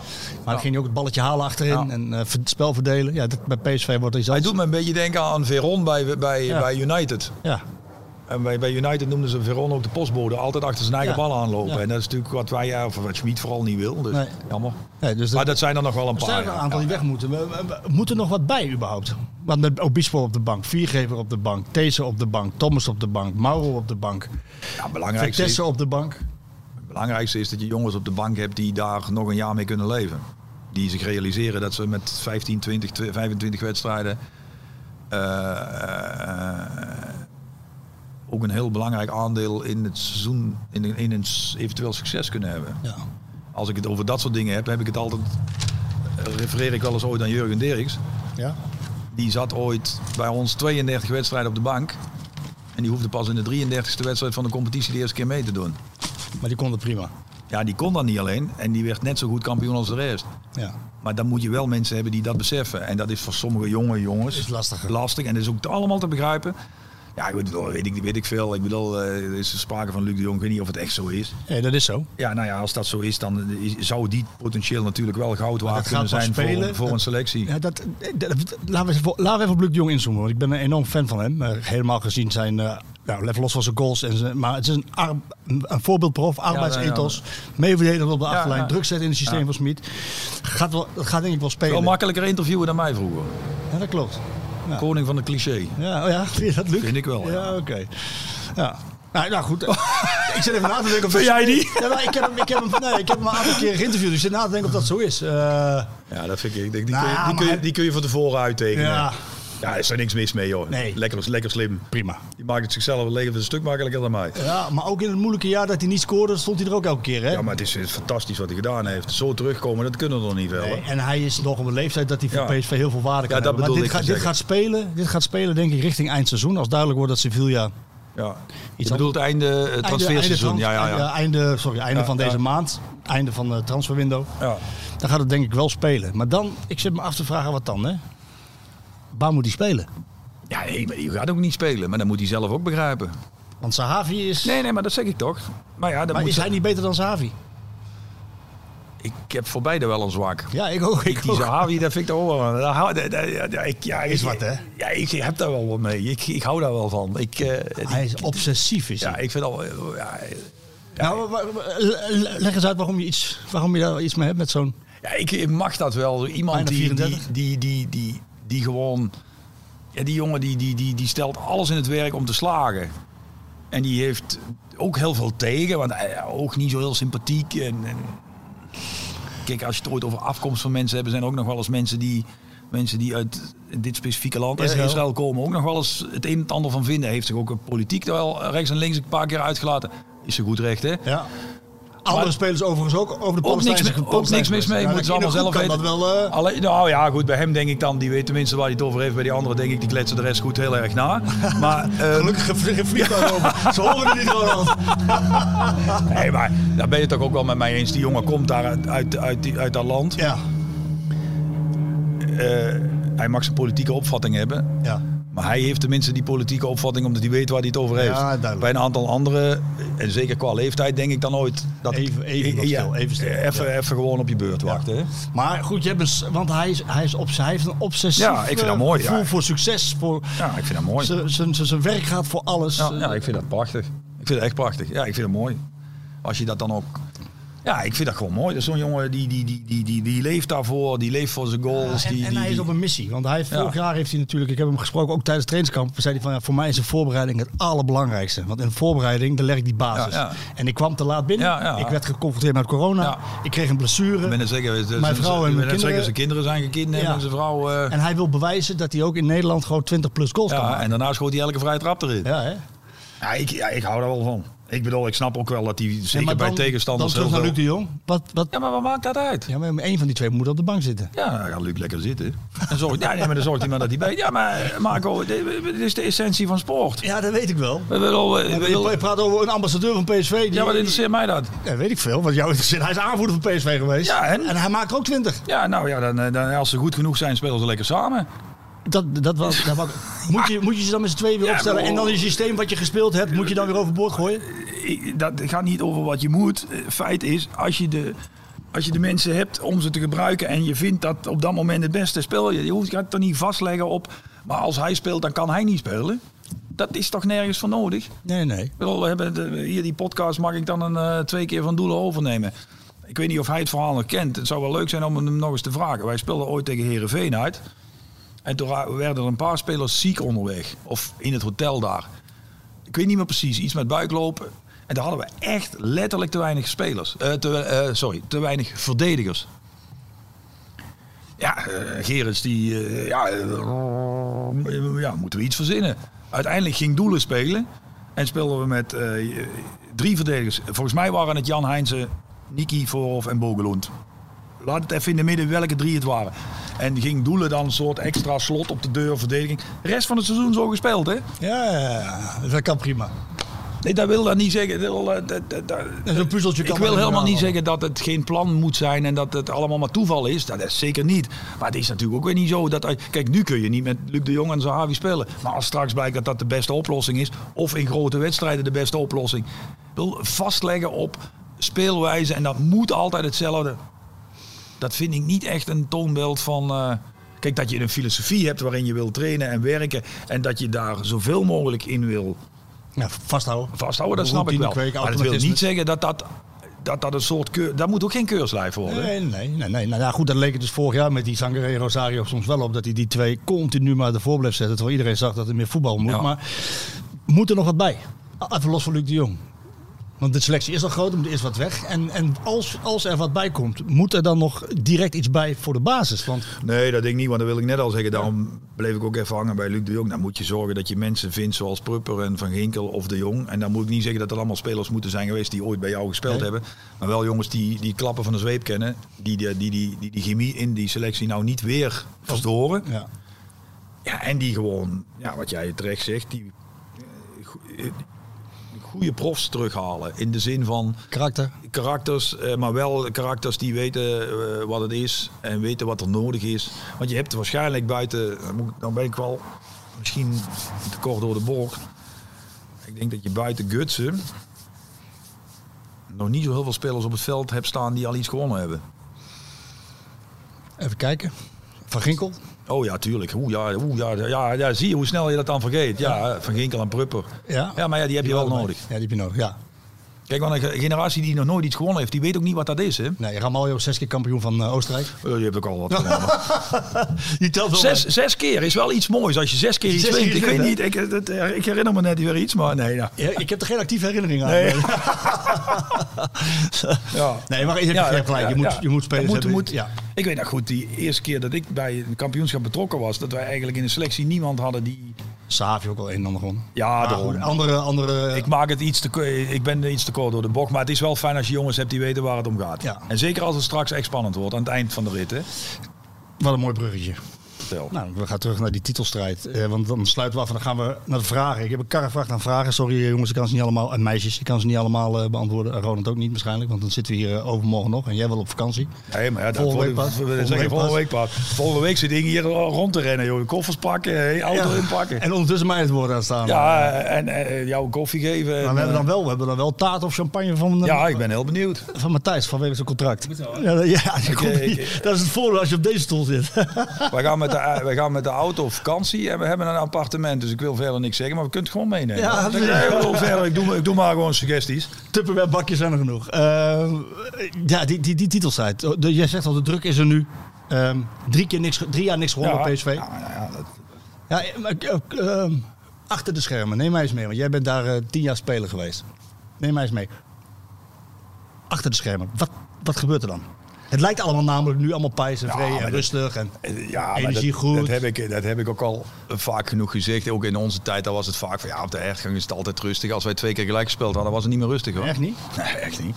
Speaker 7: Maar dan ging hij ook het balletje halen achterin
Speaker 9: Ja.
Speaker 7: en eh, het spel verdelen. Ja, dat, bij PSV wordt iets
Speaker 9: Hij
Speaker 7: anders.
Speaker 9: doet me een beetje denken aan Veron bij, bij,
Speaker 7: Ja.
Speaker 9: bij United.
Speaker 7: Ja.
Speaker 9: En bij, bij United noemden ze Veron ook de postbode. Altijd achter zijn eigen
Speaker 7: Ja.
Speaker 9: bal aanlopen.
Speaker 7: Ja.
Speaker 9: En dat is natuurlijk wat wij, eh, of wat Schmid vooral niet wil. Dus
Speaker 7: Nee.
Speaker 9: jammer.
Speaker 7: Nee, dus dat-
Speaker 9: Maar dat zijn er nog wel een
Speaker 7: Er
Speaker 9: paar.
Speaker 7: zijn er
Speaker 9: ja.
Speaker 7: een aantal die weg moeten. We, we- we- moet er nog wat bij überhaupt? Want met Obispo op de bank, Viergever op de bank, These op de bank, Thomas op de bank, Mauro op de bank,
Speaker 9: Ja, belangrijkste is,
Speaker 7: Vitesse op de bank.
Speaker 9: belangrijkste is dat je jongens op de bank hebt die daar nog een jaar mee kunnen leven. Die zich realiseren dat ze met 15, 20, 25 wedstrijden eh, eh, ook een heel belangrijk aandeel in het seizoen, in, een- in een s- eventueel succes kunnen hebben.
Speaker 7: Ja.
Speaker 9: Als ik het over dat soort dingen heb, heb ik het altijd eh, refereer ik wel eens ooit aan Jurgen Dirks.
Speaker 7: Ja?
Speaker 9: Die zat ooit bij ons 32 wedstrijden op de bank. En die hoefde pas in de 33ste wedstrijd van de competitie de eerste keer mee te doen.
Speaker 7: Maar die kon het prima.
Speaker 9: Ja, die kon dat niet alleen. En die werd net zo goed kampioen als de rest.
Speaker 7: Ja.
Speaker 9: Maar dan moet je wel mensen hebben die dat beseffen. En dat is voor sommige jonge jongens
Speaker 7: Is lastiger.
Speaker 9: lastig. En dat is ook te- allemaal te begrijpen. Ja, ik bedoel, weet ik, weet ik veel. Ik bedoel, eh, er is sprake van Luc de Jong. Ik weet niet of het echt zo is.
Speaker 7: Ja, dat is zo.
Speaker 9: Ja, nou ja, als dat zo is, dan is- zou die potentieel natuurlijk wel goud
Speaker 7: Maar
Speaker 9: waard
Speaker 7: dat gaat
Speaker 9: kunnen
Speaker 7: pas
Speaker 9: zijn
Speaker 7: spelen.
Speaker 9: voor, voor een selectie.
Speaker 7: Ja, dat, dat- dat- laten, we even, laten we even op Luc de Jong inzoomen. Want ik ben een enorm fan van hem. Eh, helemaal gezien zijn... eh nou, level los van zijn goals. En zijn, maar het is een, ar- een voorbeeldprof. Arbeidsethos. Meeverdedigend op de achterlijn.
Speaker 9: ja.
Speaker 7: Druk zetten in het systeem
Speaker 9: Ja.
Speaker 7: van Smit. Gaat, wel, gaat denk ik wel spelen.
Speaker 9: Wel makkelijker interviewen dan mij vroeger.
Speaker 7: Ja, dat klopt. Ja.
Speaker 9: Koning van de cliché.
Speaker 7: Ja, oh ja, vind je dat lukt?
Speaker 9: Vind ik wel, ja.
Speaker 7: oké. Ja. Nou, nou goed. ik zit even na te denken. Of
Speaker 9: Vind jij die?
Speaker 7: Ja, nou, ik, heb hem, ik, heb hem, nee, ik heb hem een aantal keer geïnterviewd. Dus ik zit na te denken of dat zo is. Eh,
Speaker 9: Ja, dat vind ik. ik denk, die,
Speaker 7: Nou,
Speaker 9: kun je, die,
Speaker 7: maar
Speaker 9: kun je,
Speaker 7: hij-
Speaker 9: die kun je van tevoren uittekenen.
Speaker 7: Ja.
Speaker 9: Ja. ja, is er niks mis mee, joh.
Speaker 7: Nee.
Speaker 9: Lekker, lekker slim.
Speaker 7: prima.
Speaker 9: Die maakt het zichzelf het leven een stuk makkelijker dan mij.
Speaker 7: Ja, maar ook in het moeilijke jaar dat hij niet scoorde, stond hij er ook elke keer. Hè?
Speaker 9: Ja, maar het is, het is fantastisch wat hij gedaan heeft. Zo terugkomen, dat kunnen we nog niet wel. hè?
Speaker 7: Nee, en hij is nog op een leeftijd dat hij voor
Speaker 9: Ja.
Speaker 7: PSV heel veel waarde kan
Speaker 9: Ja, dat
Speaker 7: hebben. Maar
Speaker 9: bedoelde
Speaker 7: dit,
Speaker 9: ik
Speaker 7: gaat,
Speaker 9: te
Speaker 7: dit,
Speaker 9: zeggen.
Speaker 7: gaat spelen, dit gaat spelen, denk ik, richting eindseizoen. Als duidelijk wordt dat Sevilla
Speaker 9: Ja.
Speaker 7: Iets
Speaker 9: Je bedoelt einde eh, transferseizoen.
Speaker 7: einde,
Speaker 9: ja, ja, ja.
Speaker 7: einde- Einde, sorry, einde
Speaker 9: Ja,
Speaker 7: van
Speaker 9: ja.
Speaker 7: deze maand. Einde van de transferwindow.
Speaker 9: Ja.
Speaker 7: Dan gaat het denk ik wel spelen. Maar dan, ik zit me af te vragen wat dan, hè? Waar moet hij spelen?
Speaker 9: ja, nee, maar die gaat ook niet spelen. Maar dat moet hij zelf ook begrijpen.
Speaker 7: Want Sahavi is...
Speaker 9: Nee, nee, maar dat zeg ik toch. Maar ja, dat
Speaker 7: maar
Speaker 9: moet
Speaker 7: is hij niet beter dan Sahavi?
Speaker 9: Ik heb voor beide wel een zwak.
Speaker 7: Ja, ik ook. Ik
Speaker 9: Die
Speaker 7: ook.
Speaker 9: Zahavi, dat vind ik toch wel. dat hou- dat- dat- ja, ik- ja,
Speaker 7: Is
Speaker 9: ik-
Speaker 7: wat, hè?
Speaker 9: Ja, ik heb daar wel wat mee. Ik, ik hou daar wel van. Ik, eh,
Speaker 7: Hij is obsessief, is
Speaker 9: ja,
Speaker 7: hij.
Speaker 9: ik vind al. Ja,
Speaker 7: Nou, wa- wa- le- leg eens uit waarom je, iets, waarom je daar iets mee hebt met zo'n...
Speaker 9: ja, ik mag dat wel. Iemand
Speaker 7: Bijna
Speaker 9: die, die,
Speaker 7: 34.
Speaker 9: die, die, die, die gewoon. Ja, die jongen die, die, die, die stelt alles in het werk om te slagen. En die heeft ook heel veel tegen, want hij is ook niet zo heel sympathiek. En, en- kijk, als je het ooit over afkomst van mensen hebt, zijn er ook nog wel eens mensen die, mensen die uit dit specifieke land, eh,
Speaker 7: Israël.
Speaker 9: Israël. komen, ook nog wel eens het een en het ander van vinden. Heeft zich ook een politiek er wel rechts en links een paar keer uitgelaten. Is ze goed recht, hè?
Speaker 7: Ja. Andere
Speaker 9: Maar-
Speaker 7: spelers overigens ook over de
Speaker 9: Ook niks,
Speaker 7: Palestijnse
Speaker 9: mee- ook niks mis mee,
Speaker 7: Ja,
Speaker 9: moeten ze allemaal
Speaker 7: in de
Speaker 9: zelf
Speaker 7: groep
Speaker 9: weten.
Speaker 7: kan dat wel... eh,
Speaker 9: Alleen, nou ja, goed, bij hem denk ik dan, die weet tenminste waar hij het over heeft. Bij die anderen denk ik, die kletsen de rest goed heel erg na. Maar, eh,
Speaker 7: Gelukkig gevliegd over. Ze horen er niet gewoon al.
Speaker 9: nee, maar daar ben je toch ook wel met mij eens. Die jongen komt daar uit, uit, uit, die- uit dat land.
Speaker 7: Ja,
Speaker 9: Eh, hij mag zijn politieke opvatting hebben.
Speaker 7: ja.
Speaker 9: Maar hij heeft tenminste die politieke opvatting, omdat hij weet waar hij het over heeft.
Speaker 7: duidelijk.
Speaker 9: Bij een aantal anderen, en zeker qua leeftijd, denk ik dan ooit... Dat, eh,
Speaker 7: Even- even nog stil, even stil.
Speaker 9: Even, even gewoon op je beurt wachten. hè.
Speaker 7: Maar goed, je hebt een, s- want hij, is, hij, is obs- hij heeft een obsessief
Speaker 9: Ja, ik vind dat
Speaker 7: eh,
Speaker 9: mooi,
Speaker 7: gevoel
Speaker 9: ja.
Speaker 7: voor succes. Voor
Speaker 9: Ja, ik vind dat mooi.
Speaker 7: zijn- zijn- zijn- zijn werk gaat voor alles.
Speaker 9: Ja, ja, ik vind dat prachtig. Ik vind dat echt prachtig. Ja, ik vind het mooi. Als je dat dan ook... Ja, ik vind dat gewoon mooi. Dat is zo'n jongen die, die, die, die, die, die leeft daarvoor. Die leeft voor zijn goals.
Speaker 7: en,
Speaker 9: die,
Speaker 7: en
Speaker 9: die-
Speaker 7: hij is
Speaker 9: die-
Speaker 7: op een missie. Want hij, heeft-
Speaker 9: Ja.
Speaker 7: vorig jaar heeft hij natuurlijk, ik heb hem gesproken ook tijdens het trainingskamp, zei hij van ja, voor mij is de voorbereiding het allerbelangrijkste. Want in de voorbereiding, dan leg ik die basis.
Speaker 9: Ja, ja.
Speaker 7: En ik kwam te laat binnen.
Speaker 9: Ja, ja.
Speaker 7: Ik werd geconfronteerd met corona.
Speaker 9: Ja.
Speaker 7: Ik kreeg een blessure.
Speaker 9: Ik ben net zeker, het is-
Speaker 7: Mijn vrouw en
Speaker 9: ik ben
Speaker 7: mijn
Speaker 9: net zeker
Speaker 7: kinderen.
Speaker 9: zijn kinderen zijn gekidnapt
Speaker 7: Ja.
Speaker 9: en zijn vrouw... eh,
Speaker 7: En hij wil bewijzen dat hij ook in Nederland gewoon 20 plus goals kan
Speaker 9: ja,
Speaker 7: maken.
Speaker 9: en daarna schoot hij elke vrije trap erin. Ja.
Speaker 7: Ja, hè?
Speaker 9: ik, ja, ik hou daar wel van. Ik bedoel, ik snap ook wel dat hij zeker
Speaker 7: Ja, maar
Speaker 9: bij
Speaker 7: dan-
Speaker 9: tegenstanders
Speaker 7: Dan terug naar
Speaker 9: heel
Speaker 7: Luc
Speaker 9: veel...
Speaker 7: de Jong. Wat, wat,
Speaker 9: Ja, maar wat maakt dat uit?
Speaker 7: ja, maar één van die twee moet op de bank zitten.
Speaker 9: Ja, dan gaat Luc lekker zitten. Dan zorgt, ja, nee, maar dan zorgt hij maar dat hij bij... Ja, maar eh, Marco, dit, dit is de essentie van sport. eh,
Speaker 7: Ja, dat weet ik wel.
Speaker 9: We willen, we willen-
Speaker 7: Je praat over een ambassadeur van PSV. Die,
Speaker 9: ja, wat interesseert mij dat?
Speaker 7: Ja, weet ik veel, want jou interesseert. Hij is aanvoerder van PSV geweest.
Speaker 9: Ja, en?
Speaker 7: hij maakt er ook 20.
Speaker 9: Ja, nou ja, dan, eh, dan, als ze goed genoeg zijn, spelen ze lekker samen.
Speaker 7: Dat, dat was, dat was- moet, je, moet je ze dan met z'n tweeën weer
Speaker 9: Ja,
Speaker 7: opstellen?
Speaker 9: maar-
Speaker 7: En dan je systeem wat je gespeeld hebt, moet je dan weer overboord gooien?
Speaker 9: Ik- Dat gaat niet over wat je moet. Eh, Feit is, als je de, als je de mensen hebt om ze te gebruiken en je vindt dat op dat moment het beste, speel je. Je hoeft je gaat het er niet vastleggen op, maar als hij speelt, dan kan hij niet spelen. Dat is toch nergens voor nodig?
Speaker 7: Nee, nee.
Speaker 9: Ik bedoel, we hebben de- hier die podcast mag ik dan een, eh, twee keer van Doelen overnemen. Ik weet niet of hij het verhaal nog kent. Het zou wel leuk zijn om hem nog eens te vragen. Wij speelden ooit tegen Herenveen uit. En toen ra- werden er een paar spelers ziek onderweg. Of in het hotel daar. Ik weet niet meer precies. Iets met buiklopen. En daar hadden we echt letterlijk te weinig spelers. Eh, te, eh, sorry, te weinig verdedigers. Ja, eh, Gerens die... eh, ja, eh, ja, moeten we iets verzinnen. Uiteindelijk ging Doelen spelen. En speelden we met eh, drie verdedigers. Volgens mij waren het Jan Heinze, Niki Voorhof en Bogelund. laat het even in de midden welke drie het waren. En ging Doelen dan een soort extra slot op de deur verdediging. De rest van het seizoen zo gespeeld, hè?
Speaker 7: Ja, dat kan prima.
Speaker 9: Nee, dat wil dat niet zeggen. Dat, wil, eh, dat, dat, dat-
Speaker 7: Zo'n puzzeltje kan
Speaker 9: ik wil
Speaker 7: wel
Speaker 9: helemaal niet
Speaker 7: gaan.
Speaker 9: zeggen dat het geen plan moet zijn en dat het allemaal maar toeval is. Dat is zeker niet. Maar het is natuurlijk ook weer niet zo dat... als- Kijk, nu kun je niet met Luc de Jong en Zahavi spelen. Maar als straks blijkt dat dat de beste oplossing is... of in grote wedstrijden de beste oplossing... wil vastleggen op speelwijze en dat moet altijd hetzelfde. Dat vind ik niet echt een toonbeeld van... eh, kijk, dat je een filosofie hebt waarin je wil trainen en werken... en dat je daar zoveel mogelijk in wil
Speaker 7: Ja, vasthouden.
Speaker 9: vasthouden, dat snap ik wel.
Speaker 7: Routine kweken,
Speaker 9: maar dat wil
Speaker 7: automatisme.
Speaker 9: niet zeggen dat dat, dat, dat een soort keur... Dat moet ook geen keurslijf worden.
Speaker 7: Nee, nee, nee. nee. Nou ja, goed, dat leek het dus vorig jaar met die Sangare en Rosario soms wel op. Dat hij die twee continu maar ervoor bleef zetten. Terwijl iedereen zag dat er meer voetbal moet. Maar moet er nog wat bij? Even los van Luc de Jong. Want de selectie is al groot, er moet eerst wat weg. En, en als, als er wat bij komt, moet er dan nog direct iets bij voor de basis? Want
Speaker 9: Nee, dat denk ik niet, want dat wil ik net al zeggen. Daarom bleef ik ook even hangen bij Luc de Jong. Dan moet je zorgen dat je mensen vindt zoals Prupper en Van Ginkel of de Jong. En dan moet ik niet zeggen dat dat allemaal spelers moeten zijn geweest die ooit bij jou gespeeld
Speaker 7: Nee.
Speaker 9: hebben. Maar wel jongens die die klappen van de zweep kennen. Die die, die, die, die, die chemie in die selectie nou niet weer verstoren.
Speaker 7: Ja.
Speaker 9: Ja, en die gewoon, ja, wat jij terecht zegt, die eh, go- eh, goede profs terughalen. In de zin van
Speaker 7: karakter.
Speaker 9: karakters, eh, maar wel karakters die weten eh, wat het is en weten wat er nodig is. Want je hebt waarschijnlijk buiten, dan moet ik- dan ben ik wel misschien te kort door de bocht. Ik denk dat je buiten Gutsen nog niet zo heel veel spelers op het veld hebt staan die al iets gewonnen hebben.
Speaker 7: Even kijken. Van Ginkel?
Speaker 9: Oh ja, tuurlijk. Oeh, ja, oeh, ja, ja, ja, zie je hoe snel je dat dan vergeet. Ja, Van Ginkel en Prupper.
Speaker 7: Ja.
Speaker 9: Ja, maar ja, die heb je wel nodig.
Speaker 7: Ja, die heb je nodig, ja.
Speaker 9: Kijk, want een ge- generatie die nog nooit iets gewonnen heeft, die weet ook niet wat dat is. Hè?
Speaker 7: Nee, Ramaljo, zes keer kampioen van eh, Oostenrijk.
Speaker 9: je hebt ook al wat gewonnen.
Speaker 7: Die telt wel
Speaker 9: Zes,
Speaker 7: mee.
Speaker 9: zes keer is wel iets moois als je zes keer iets
Speaker 7: Zes
Speaker 9: wint.
Speaker 7: keer
Speaker 9: Ik weet
Speaker 7: winnen.
Speaker 9: niet, ik, het- ik herinner me net weer iets, maar nee. Ja.
Speaker 7: Ja, ik heb er geen actieve herinnering aan.
Speaker 9: Nee.
Speaker 7: Nee,
Speaker 9: Ja.
Speaker 7: nee maar je hebt
Speaker 9: Ja,
Speaker 7: gelijk.
Speaker 9: ja,
Speaker 7: je, moet,
Speaker 9: ja.
Speaker 7: je moet spelers
Speaker 9: Dat moet-
Speaker 7: hebben.
Speaker 9: moet-
Speaker 7: ja.
Speaker 9: Ik weet nog goed, die eerste keer dat ik bij een kampioenschap betrokken was, dat wij eigenlijk in de selectie niemand hadden die...
Speaker 7: Savi ook al een en ander gewonnen.
Speaker 9: Ja,
Speaker 7: Maar
Speaker 9: daarom.
Speaker 7: goed, Andere, andere...
Speaker 9: Ik, maak het iets te, ko- ik ben iets te kort door de bocht, maar het is wel fijn als je jongens hebt die weten waar het om gaat.
Speaker 7: Ja.
Speaker 9: En zeker als het straks echt spannend wordt aan het eind van de rit. Hè.
Speaker 7: Wat een mooi bruggetje.
Speaker 9: Vertel.
Speaker 7: Nou, we gaan terug naar die titelstrijd. Eh, want dan sluiten we af en dan gaan we naar de vragen. Ik heb een karrevracht aan vragen. Sorry eh, jongens, ik kan ze niet allemaal... En meisjes, ik kan ze niet allemaal eh, beantwoorden. En Ronald ook niet waarschijnlijk. Want dan zitten we hier eh, overmorgen nog. En jij wel op vakantie.
Speaker 9: Nee, maar ja, dat-
Speaker 7: Volgende week
Speaker 9: voor-
Speaker 7: pas.
Speaker 9: we- we
Speaker 7: Volgende
Speaker 9: zeggen
Speaker 7: week
Speaker 9: Volgende
Speaker 7: pas.
Speaker 9: week pas. Volgende week zit ik hier rond te rennen, joh. Koffers pakken, hey, auto
Speaker 7: Ja.
Speaker 9: inpakken.
Speaker 7: En ondertussen mij het woord aan staan.
Speaker 9: Ja, en eh, jou een koffie geven.
Speaker 7: Maar we, hebben dan wel, we hebben dan wel taart of champagne van, eh,
Speaker 9: Ja, ik ben heel benieuwd.
Speaker 7: van Matthijs vanwege zijn contract.
Speaker 13: wel,
Speaker 7: Ja, ja, die
Speaker 9: Ik,
Speaker 7: komt
Speaker 9: eh, ik-
Speaker 7: niet. dat is het voordeel als je op deze stoel zit.
Speaker 9: Wij gaan, met de, eh, wij gaan met de auto op vakantie en we hebben een appartement. Dus ik wil verder niks zeggen, maar we kunnen het gewoon meenemen.
Speaker 7: Ja,
Speaker 9: Ik
Speaker 7: dat
Speaker 9: zeg,
Speaker 7: is-
Speaker 9: nee, ik, wil verder, ik, doe, ik doe maar gewoon suggesties.
Speaker 7: Tupperware bakjes zijn er genoeg. Ehm, ja, die, die, die titelstrijd. Oh, De- Jij zegt al, de druk is er nu. Ehm, drie, keer niks, ge- drie jaar niks gewonnen op PSV.
Speaker 9: Ja, nou ja, ja, dat-
Speaker 7: Ja, maar ik- ook, ehm, achter de schermen, neem mij eens mee. Want jij bent daar eh, tien jaar speler geweest. Neem mij eens mee. Achter de schermen, wat, wat gebeurt er dan? Het lijkt allemaal namelijk nu allemaal pijs en vree
Speaker 9: maar
Speaker 7: en
Speaker 9: dat- Eh,
Speaker 7: rustig. En,
Speaker 9: Ja, maar
Speaker 7: Energie
Speaker 9: dat,
Speaker 7: goed.
Speaker 9: Dat heb, ik, dat heb ik ook al vaak genoeg gezegd. Ook in onze tijd daar was het vaak van ja, op de hergang is het altijd rustig. Als wij twee keer gelijk gespeeld hadden, was het niet meer rustig hoor.
Speaker 7: Echt niet?
Speaker 9: Nee, echt niet.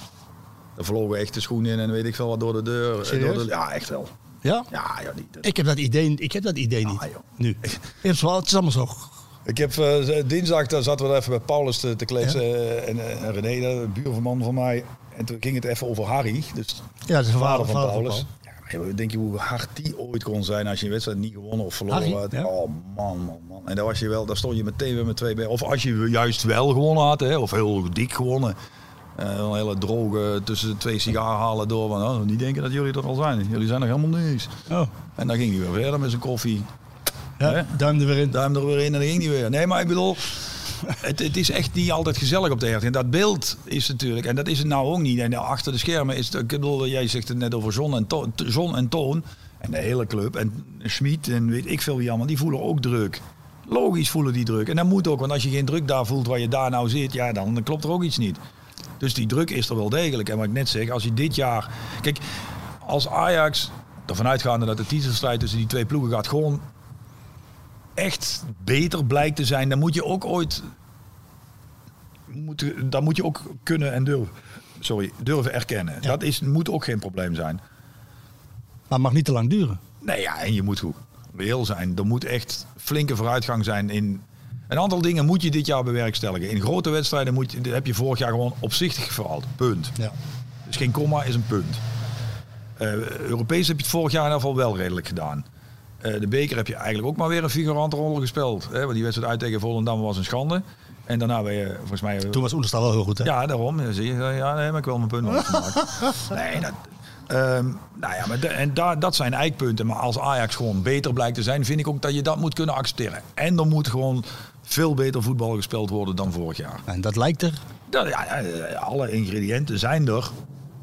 Speaker 9: Er vlogen echt de schoenen in en weet ik veel wat door de deur. eh,
Speaker 7: Serieus?
Speaker 9: Door de, ja, echt wel.
Speaker 7: Ja?
Speaker 9: Ja, ja, die, dat-
Speaker 7: Ik heb dat idee, ik heb dat idee niet.
Speaker 9: Ah, joh.
Speaker 7: nu. Ik heb het wel- het is allemaal zo.
Speaker 9: Ik heb eh, dinsdag, daar zaten we even bij Paulus te, te kletsen eh, en, eh, en René, de buurman van mij. En toen ging het even over Harry, dus
Speaker 7: Ja, dat is een
Speaker 9: vader van
Speaker 7: vader van
Speaker 9: Paulus. Ja, maar denk je hoe hard die ooit kon zijn als je een wedstrijd niet gewonnen of verloren
Speaker 7: Harry,
Speaker 9: had?
Speaker 7: ja.
Speaker 9: Oh man, man, man. En daar, was je wel, daar stond je meteen weer met twee bij. Of als je juist wel gewonnen had, hè, of heel dik gewonnen. Eh, een hele droge tussen de twee sigaarhalen door. Van, oh, niet denken dat jullie er al zijn. Jullie zijn nog helemaal niks.
Speaker 7: Oh.
Speaker 9: En dan ging hij weer verder met zijn koffie.
Speaker 7: Ja,
Speaker 9: Hè?
Speaker 7: duim er weer in.
Speaker 9: duim er weer in en dan ging die weer. Nee, maar ik bedoel, het, het is echt niet altijd gezellig op de hert. En dat beeld is natuurlijk, en dat is het nou ook niet. En achter de schermen is het, ik bedoel, jij zegt het net over zon en, to, zon en toon. En de hele club en Schmid en weet ik veel wie allemaal, die voelen ook druk. Logisch voelen die druk. En dat moet ook, want als je geen druk daar voelt waar je daar nou zit, ja, dan, dan klopt er ook iets niet. Dus die druk is er wel degelijk. En wat ik net zeg, als je dit jaar... Kijk, als Ajax, ervan uitgaande dat de titelstrijd tussen die twee ploegen gaat, gewoon echt beter blijkt te zijn, dan moet je ook ooit. Moet, dan moet je ook kunnen en durven. Sorry, durven erkennen. Dat is, moet ook geen probleem zijn.
Speaker 7: het mag niet te lang duren.
Speaker 9: Nee, ja, en je moet goed heel zijn. Er moet echt flinke vooruitgang zijn in... Een aantal dingen moet je dit jaar bewerkstelligen. In grote wedstrijden moet je, heb je vorig jaar gewoon opzichtig verhaald. Punt. Ja. Dus geen komma is een punt. Uh, Europees heb je het vorig jaar in ieder geval wel redelijk gedaan. Uh, de beker heb je eigenlijk ook maar weer een figurante rol gespeeld. Hè? Want die wedstrijd uit tegen Volendam was een schande. En daarna ben je volgens mij...
Speaker 7: Toen was Oenestal wel heel goed, hè?
Speaker 9: Ja, daarom. Ja, zie je. eh, Ja, nee, maar ik wel mijn punt wel gemaakt. nee, dat... Um, nou ja, maar de, en da, dat zijn eikpunten. Maar als Ajax gewoon beter blijkt te zijn, vind ik ook dat je dat moet kunnen accepteren. En er moet gewoon veel beter voetbal gespeeld worden dan vorig jaar.
Speaker 7: En dat lijkt er?
Speaker 9: Dat, ja, alle ingrediënten zijn er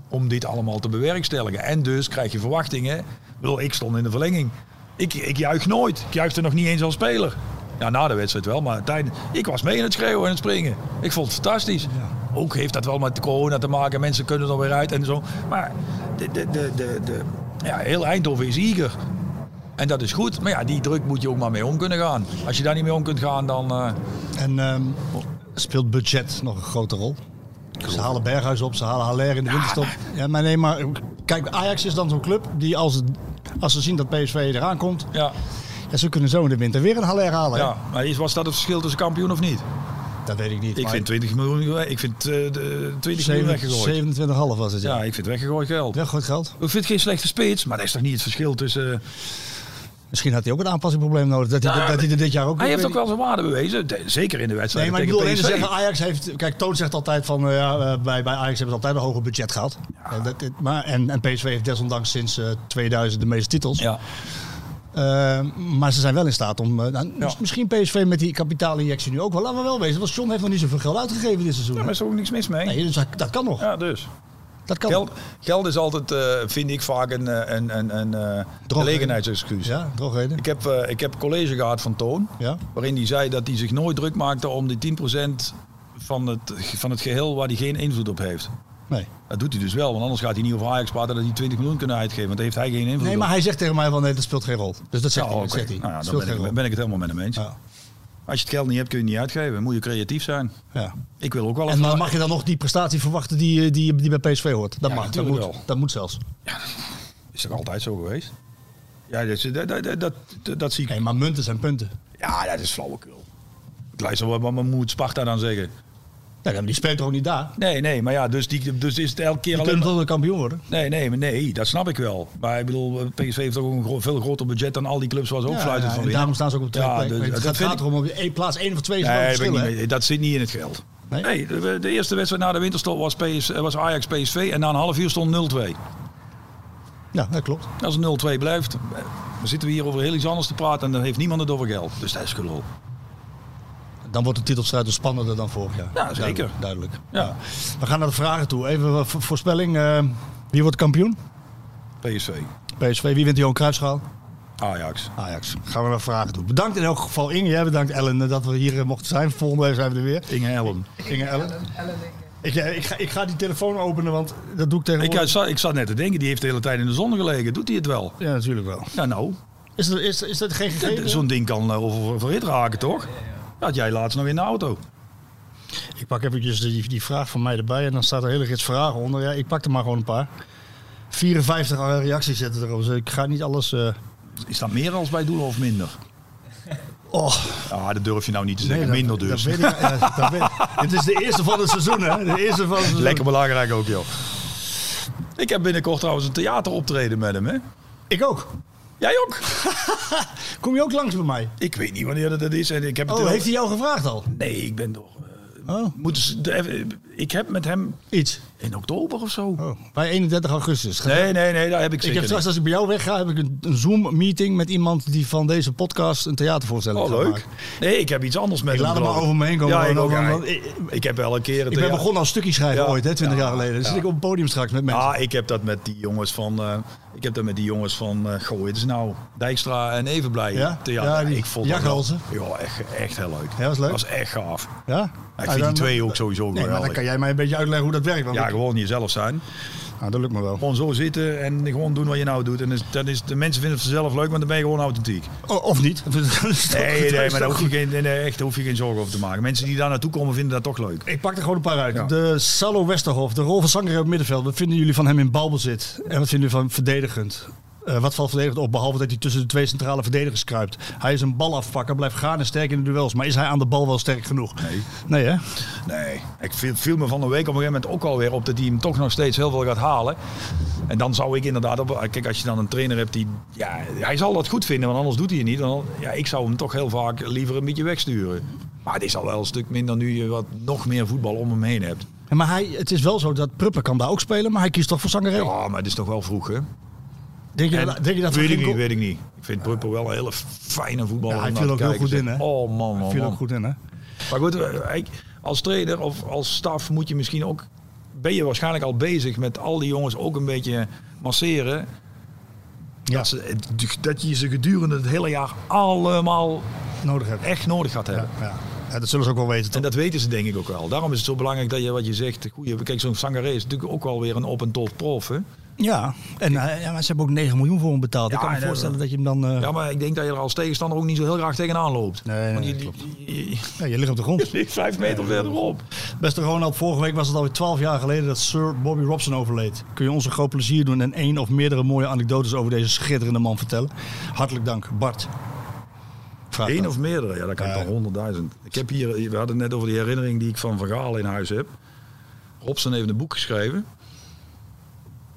Speaker 9: om dit allemaal te bewerkstelligen. En dus krijg je verwachtingen. Ik, bedoel, ik stond in de verlenging. Ik, ik juich nooit. Ik juichte nog niet eens als speler. Ja, na de wedstrijd wel, maar tijdens, ik was mee in het schreeuwen en het springen. Ik vond het fantastisch. Ja. Ook heeft dat wel met corona te maken. Mensen kunnen er weer uit en zo. Maar de, de, de, de, de ja, heel Eindhoven is eager. En dat is goed. Maar ja, die druk moet je ook maar mee om kunnen gaan. Als je daar niet mee om kunt gaan, dan... Uh...
Speaker 7: En um, speelt budget nog een grote rol? Ze halen Berghuis op, ze halen Haller in de ja, winterstop. Ja, maar nee, maar kijk, Ajax is dan zo'n club die als, het, als ze zien dat PSV eraan komt... Ja. Ja, ze kunnen zo in de winter weer een Haller halen.
Speaker 9: Ja, maar was dat het verschil tussen kampioen of niet?
Speaker 7: Dat weet ik niet.
Speaker 9: Ik maar... vind 20 miljoen, ik vind, uh, 20 miljoen
Speaker 7: 27,5
Speaker 9: weggegooid.
Speaker 7: was het,
Speaker 9: ja. ja. ik vind weggegooid geld.
Speaker 7: Weggegooid geld.
Speaker 9: Ik vind het geen slechte spits, maar dat is toch niet het verschil tussen... Uh...
Speaker 7: Misschien had hij ook een aanpassingprobleem nodig. Dat hij, ja, dat hij er dit jaar ook.
Speaker 9: Nou, Hij heeft ook wel zijn waarde bewezen. Zeker in de wedstrijd.
Speaker 7: Nee, maar ik bedoel alleen te zeggen: Ajax heeft. Kijk, Toon zegt altijd van. eh, ja, bij, bij Ajax hebben ze altijd een hoger budget gehad. Ja. Dat, dit, maar, en, en PSV heeft desondanks sinds uh, 2000 de meeste titels. Ja. Uh, maar ze zijn wel in staat om. Uh, nou, ja. Misschien PSV met die kapitaalinjectie nu ook wel. Laten we wel wezen. Want John heeft nog niet zoveel geld uitgegeven dit seizoen.
Speaker 9: Ja, maar is er ook niks mis mee.
Speaker 7: Nee, dus dat, dat, kan nog.
Speaker 9: Ja, dus.
Speaker 7: Dat kan
Speaker 9: geld, geld is altijd, uh, vind ik vaak, een, eh, een, een, een gelegenheidsexcuus.
Speaker 7: Ja, drogreden.
Speaker 9: Ik heb, eh, ik heb college gehad van Toon. Ja? Waarin hij zei dat hij zich nooit druk maakte om die 10% van het, van het geheel waar hij geen invloed op heeft.
Speaker 7: Nee.
Speaker 9: Dat doet hij dus wel, want anders gaat hij niet over Ajax praten dat hij 20 miljoen kunnen uitgeven. Want daar heeft hij geen invloed.
Speaker 7: Nee,
Speaker 9: op.
Speaker 7: maar hij zegt tegen mij van nee, dat speelt geen rol. Dus dat zegt, ja, hij, okay. zegt
Speaker 9: nou ja,
Speaker 7: dat
Speaker 9: dan ben ik, ben, ik, het helemaal met hem eens. Ja. Als je het geld niet hebt, kun je het niet uitgeven. Moet je creatief zijn.
Speaker 7: Ja.
Speaker 9: Ik wil ook wel.
Speaker 7: En dan mag je dan nog die prestatie verwachten die, eh, die, die bij PSV hoort. Dat mag. Dat moet, wel. dat moet zelfs.
Speaker 9: Ja, is toch altijd zo geweest? Ja, dat, dat, dat, dat zie ik.
Speaker 7: Nee, maar munten zijn punten.
Speaker 9: Ja, dat is flauwekul. Ik luister wat mijn moed Sparta dan zeggen.
Speaker 7: Ja, die speelt toch ook niet daar?
Speaker 9: Nee, nee, maar ja, dus, die, dus is het elke keer
Speaker 7: je
Speaker 9: alleen... Je
Speaker 7: kunt maar... kampioen worden.
Speaker 9: Nee, nee, maar nee, dat snap ik wel. Maar ik bedoel, eh, PSV heeft ook een gro veel groter budget dan al die clubs waar ze ook ja, fluiten ja, van.
Speaker 7: daarom staan ze ook op twee ja, dus, het gaat, gaat erom op plaats één of twee nee,
Speaker 9: dat, niet, dat zit niet in het geld. Nee? nee de, de, eerste wedstrijd na de winterstop was, PS, was Ajax-PSV en na een half uur stond 0-2.
Speaker 7: Ja, dat klopt.
Speaker 9: Als het 0-2 blijft, dan zitten we hier over heel iets anders te praten en dan heeft niemand het over geld. Dus dat is gelul
Speaker 7: dan wordt de titelstrijd dus spannender dan vorig jaar.
Speaker 9: Ja, zeker.
Speaker 7: Duidelijk. duidelijk.
Speaker 9: Ja. ja.
Speaker 7: We gaan naar de vragen toe. Even voorspelling. Uh, wie wordt kampioen?
Speaker 9: PSV.
Speaker 7: PSV. Wie wint de Johan Cruijffschaal?
Speaker 9: Ajax.
Speaker 7: Ajax. Gaan we naar vragen toe. Bedankt in elk geval Inge. Jij bedankt Ellen eh, dat we hier mochten zijn. Volgende week zijn we er weer.
Speaker 9: Inge Ellen.
Speaker 7: Inge Ellen. Ik, ja, ik, ga, ik ga die telefoon openen, want dat doe ik tegenwoordig.
Speaker 9: Ik, zat, ik zat net te denken, die heeft de hele tijd in de zon gelegen. Doet hij het wel?
Speaker 7: Ja, natuurlijk wel.
Speaker 9: Ja, nou.
Speaker 7: Is, er, is, is dat geen gegeven?
Speaker 9: Zo'n ding kan uh, over, verhit raken, toch? had jij laatst nog in de auto.
Speaker 7: Ik pak eventjes die, die vraag van mij erbij en dan staat er hele rits vragen onder. Ja, ik pak er maar gewoon een paar. 54 reacties zetten erop, dus ik ga niet alles... Uh...
Speaker 9: Is dat meer als bij doelen of minder?
Speaker 7: Oh.
Speaker 9: Ja, dat durf je nou niet te zeggen.
Speaker 7: Nee,
Speaker 9: minder dus.
Speaker 7: Dat weet ik, ja, dat weet ik. Het is de eerste van het seizoen, hè? De eerste van het seizoen.
Speaker 9: Lekker belangrijk ook, joh. Mm. Ik heb binnenkort trouwens een theateroptreden met hem, hè?
Speaker 7: Ik ook.
Speaker 9: Jij ook?
Speaker 7: Kom je ook langs bij mij?
Speaker 9: Ik weet niet wanneer dat is. En ik heb
Speaker 7: oh, het heeft hij jou gevraagd al?
Speaker 9: Nee, ik ben door. Uh, oh. Moet de, ik heb met hem...
Speaker 7: Iets?
Speaker 9: In oktober of zo. Oh.
Speaker 7: Bij 31 augustus.
Speaker 9: Nee, nee, nee, daar heb ik zeker
Speaker 7: Ik heb straks, als ik bij jou wegga, heb ik een, een Zoom-meeting met iemand die van deze podcast een theatervoorstelling
Speaker 9: oh, leuk. Maken. Nee, ik heb iets anders met
Speaker 7: ik
Speaker 9: hem.
Speaker 7: Laat hem maar over me heen komen.
Speaker 9: Ja, ik, ook, ja, ik, ik, heb wel een keer... Een
Speaker 7: ik ben begonnen als stukjeschrijver ja. ooit, hè, 20 jaar geleden. Dus zit ik op het podium straks met mensen.
Speaker 9: Ah, ik heb dat met die jongens van... Uh, ik heb dat met die jongens van... Uh, goh, het is nou Dijkstra en Evenblij. Ja?
Speaker 7: Theater.
Speaker 9: Ja, die, ik vond
Speaker 7: ja, dat
Speaker 9: Ja, echt, echt heel leuk.
Speaker 7: Ja, was leuk.
Speaker 9: Dat was echt gaaf.
Speaker 7: Ja?
Speaker 9: Ik vind die
Speaker 7: Ah,
Speaker 9: twee ook sowieso geweldig.
Speaker 7: dan kan jij mij een beetje uitleggen hoe dat werkt.
Speaker 9: Ja, gewoon jezelf zijn.
Speaker 7: Nou, dat lukt me wel.
Speaker 9: Gewoon zo zitten en gewoon doen wat je nou doet. En dus, dat is, de mensen vinden het vanzelf leuk, maar dan ben je gewoon authentiek.
Speaker 7: O, of niet.
Speaker 9: nee, nee, maar daar hoef, je geen, nee, echt, daar hoef je geen zorgen over te maken. Mensen die daar naartoe komen vinden dat toch leuk.
Speaker 7: Ik pak er gewoon een paar uit. Ja. De Salo Westerhof, de rol van Zanger op middenveld. Wat vinden jullie van hem in balbezit? En wat vinden jullie van verdedigend? Uh, wat valt verdedigend op, behalve dat hij tussen de twee centrale verdedigers kruipt. Hij is een balafpakker, blijft gaan en sterk in de duels. Maar is hij aan de bal wel sterk genoeg?
Speaker 9: Nee.
Speaker 7: Nee, hè?
Speaker 9: Nee. Ik viel, viel me van de week op een gegeven moment ook alweer op dat hij hem toch nog steeds heel veel gaat halen. En dan zou ik inderdaad, op, kijk als je dan een trainer hebt die, ja, hij zal dat goed vinden, want anders doet hij het niet. Dan, ja, ik zou hem toch heel vaak liever een beetje wegsturen. Maar het is al wel een stuk minder nu je wat nog meer voetbal om hem heen hebt.
Speaker 7: Ja, maar hij, het is wel zo dat Pruppen kan daar ook spelen, maar hij kiest toch voor Sangaré?
Speaker 9: Ja, maar het is toch wel vroeg, hè?
Speaker 7: Denk je, dat, denk je dat
Speaker 9: weet ik niet, weet ik niet. Ik vind Pruppen wel een hele fijne voetballer.
Speaker 7: Ja, hij viel ook heel goed in, hè?
Speaker 9: Oh man, man,
Speaker 7: hij viel
Speaker 9: man.
Speaker 7: ook goed in, hè?
Speaker 9: Maar goed, eh, als trainer of als staf moet je misschien ook... Ben je waarschijnlijk al bezig met al die jongens ook een beetje masseren. Ja. Dat, ze, dat je ze gedurende het hele jaar allemaal
Speaker 7: nodig hebt.
Speaker 9: echt nodig gaat hebben.
Speaker 7: Ja, ja. ja dat zullen ze ook wel weten. Toch?
Speaker 9: En dat weten ze denk ik ook wel. Daarom is het zo belangrijk dat je wat je zegt. Goeie, kijk, zo'n Sangaré is natuurlijk ook wel weer een op- en top prof. Hè?
Speaker 7: Ja, en uh, ja, maar ze hebben ook 9 miljoen voor hem betaald. ik kan me voorstellen dat je hem dan... Uh...
Speaker 9: Ja, maar ik denk dat je er als tegenstander ook niet zo heel graag tegenaan loopt.
Speaker 7: Nee, nee,
Speaker 9: Want je,
Speaker 7: klopt. Je, ja, je ligt op de grond.
Speaker 9: Je ligt vijf meter ja, verderop.
Speaker 7: Beste Ronald, vorige week was het alweer 12 jaar geleden dat Sir Bobby Robson overleed. Kun je ons een groot plezier doen en één of meerdere mooie anekdotes over deze schitterende man vertellen? Hartelijk dank, Bart.
Speaker 9: Eén dan. of meerdere, ja, dat kan ja. dan honderdduizend. Ik heb hier, we hadden het net over die herinnering die ik van Vergaal in huis heb. Robson heeft een boek geschreven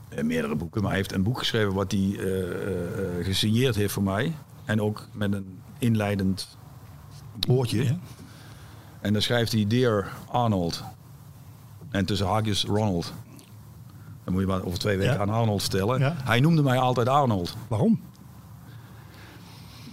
Speaker 9: Eh, meerdere boeken, maar hij heeft een boek geschreven wat hij uh, uh, gesigneerd heeft voor mij. En ook met een inleidend woordje. Ja. En dan schrijft hij Dear Arnold. En tussen haakjes Ronald. Dan moet je maar over twee weken ja. aan Arnold vertellen. Ja. Hij noemde mij altijd Arnold.
Speaker 7: Waarom?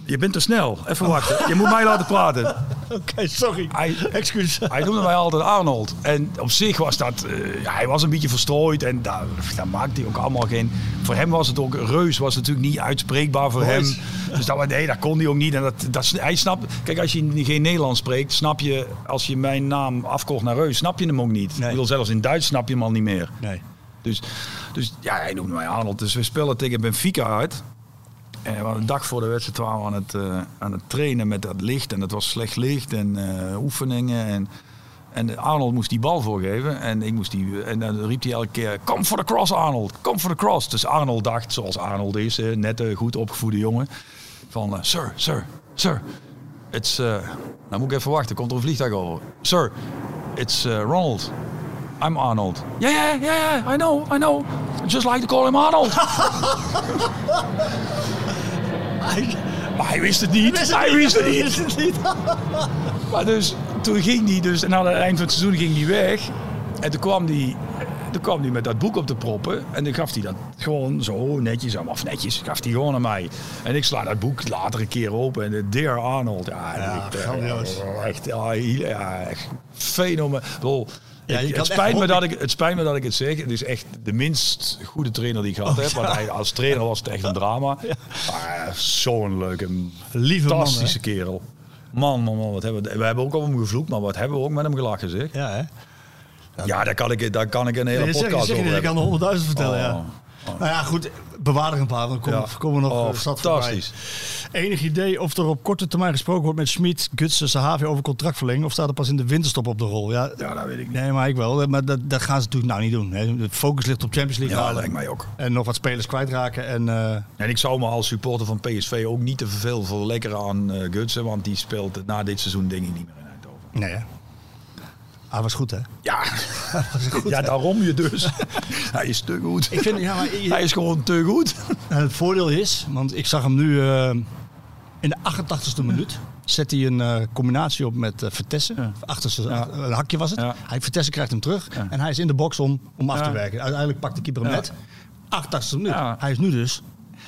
Speaker 9: Je bent te snel. Even wachten. Oh. Je moet mij laten praten.
Speaker 7: Oké, okay, sorry.
Speaker 9: Hij,
Speaker 7: Excuus.
Speaker 9: Hij noemde mij altijd Arnold. En op zich was dat... Uh, ja, hij was een beetje verstrooid. En daar, daar maakte hij ook allemaal geen... Voor hem was het ook... Reus was natuurlijk niet uitspreekbaar voor Reus. hem. Dus dat, nee, dat kon hij ook niet. En dat, dat, hij snapt... Kijk, als je geen Nederlands spreekt... Snap je... Als je mijn naam afkocht naar Reus... Snap je hem ook niet. Nee. Ik bedoel, zelfs in Duits snap je hem al niet meer.
Speaker 7: Nee.
Speaker 9: Dus, dus ja, hij noemde mij Arnold. Dus we spelen tegen Benfica uit. En we een dag voor de wedstrijd waren we aan het, uh, aan het trainen met dat licht. En dat was slecht licht en uh, oefeningen. En, en Arnold moest die bal voorgeven. En, ik moest die, en dan riep hij elke keer, kom voor de cross Arnold, kom voor de cross. Dus Arnold dacht, zoals Arnold is, uh, net een goed opgevoede jongen. Van, eh, sir, sir, sir, it's... nou moet ik even wachten, komt er een vliegtuig over. Sir, it's eh, Ronald. I'm Arnold. Ja, ja, ja, ja, I know, I know. I just like to call him Arnold. Maar hij wist het niet. Hij wist het niet. Wist het niet. maar dus, toen ging hij dus, en aan het eind van het seizoen ging hij weg. En toen kwam hij, toen kwam hij met dat boek op de proppen. En dan gaf hij dat gewoon zo netjes, of netjes, gaf hij gewoon aan mij. En ik sla dat boek later een keer open. En de Dear Arnold. Ja,
Speaker 7: ja
Speaker 9: ik, eh,
Speaker 7: grandioos.
Speaker 9: Oh, Echt, ja, ja, echt fenomenaal. Ja, ik, het, spijt me dat ik, het spijt me dat ik het zeg. Het is echt de minst goede trainer die ik gehad oh, heb. Want hij, als trainer was het echt een drama. Ah, Ja. Maar zo'n leuke, Lieve fantastische man, kerel. Man, man, man. Wat hebben we, we hebben ook op hem gevloekt, maar wat hebben we ook met hem gelachen, zeg.
Speaker 7: Ja, hè?
Speaker 9: Ja, ja daar kan ik, daar kan ik een hele podcast
Speaker 7: zeg, zeg,
Speaker 9: over
Speaker 7: Ik kan honderdduizend vertellen, oh, ja. Oh. Nou ja, goed, bewaar er een paar, dan komen, ja. komen we nog oh,
Speaker 9: Fantastisch.
Speaker 7: Voorbij. Enig idee of er op korte termijn gesproken wordt met Schmid, Gutsen, Sahavi over contractverlenging? Of staat er pas in de winterstop op de rol? Ja,
Speaker 9: ja dat weet ik niet.
Speaker 7: Nee, maar ik wel. Maar dat, dat gaan ze natuurlijk nou niet doen. Hè. De focus ligt op Champions League
Speaker 9: ja,
Speaker 7: halen.
Speaker 9: lijkt mij ook.
Speaker 7: En nog wat spelers kwijtraken. En, uh...
Speaker 9: en ik zou me als supporter van PSV ook niet te veel verlekkeren aan uh, Gutsen, want die speelt na dit seizoen denk ik niet meer in Eindhoven.
Speaker 7: Nee, hè? Hij was goed, hè?
Speaker 9: Ja, goed, ja hè? daarom je dus. hij is te goed.
Speaker 7: Ik vind, ja, maar,
Speaker 9: je... hij is gewoon te goed.
Speaker 7: En het voordeel is, want ik zag hem nu uh, in de 88ste minuut. Zet hij een uh, combinatie op met uh, Vertessen. Ja. Achterste, ja. een hakje was het. Hij, Vertessen krijgt hem terug. En hij is in de box om, om af te werken. Uiteindelijk pakt de keeper hem net. 88ste minuut. Hij is nu dus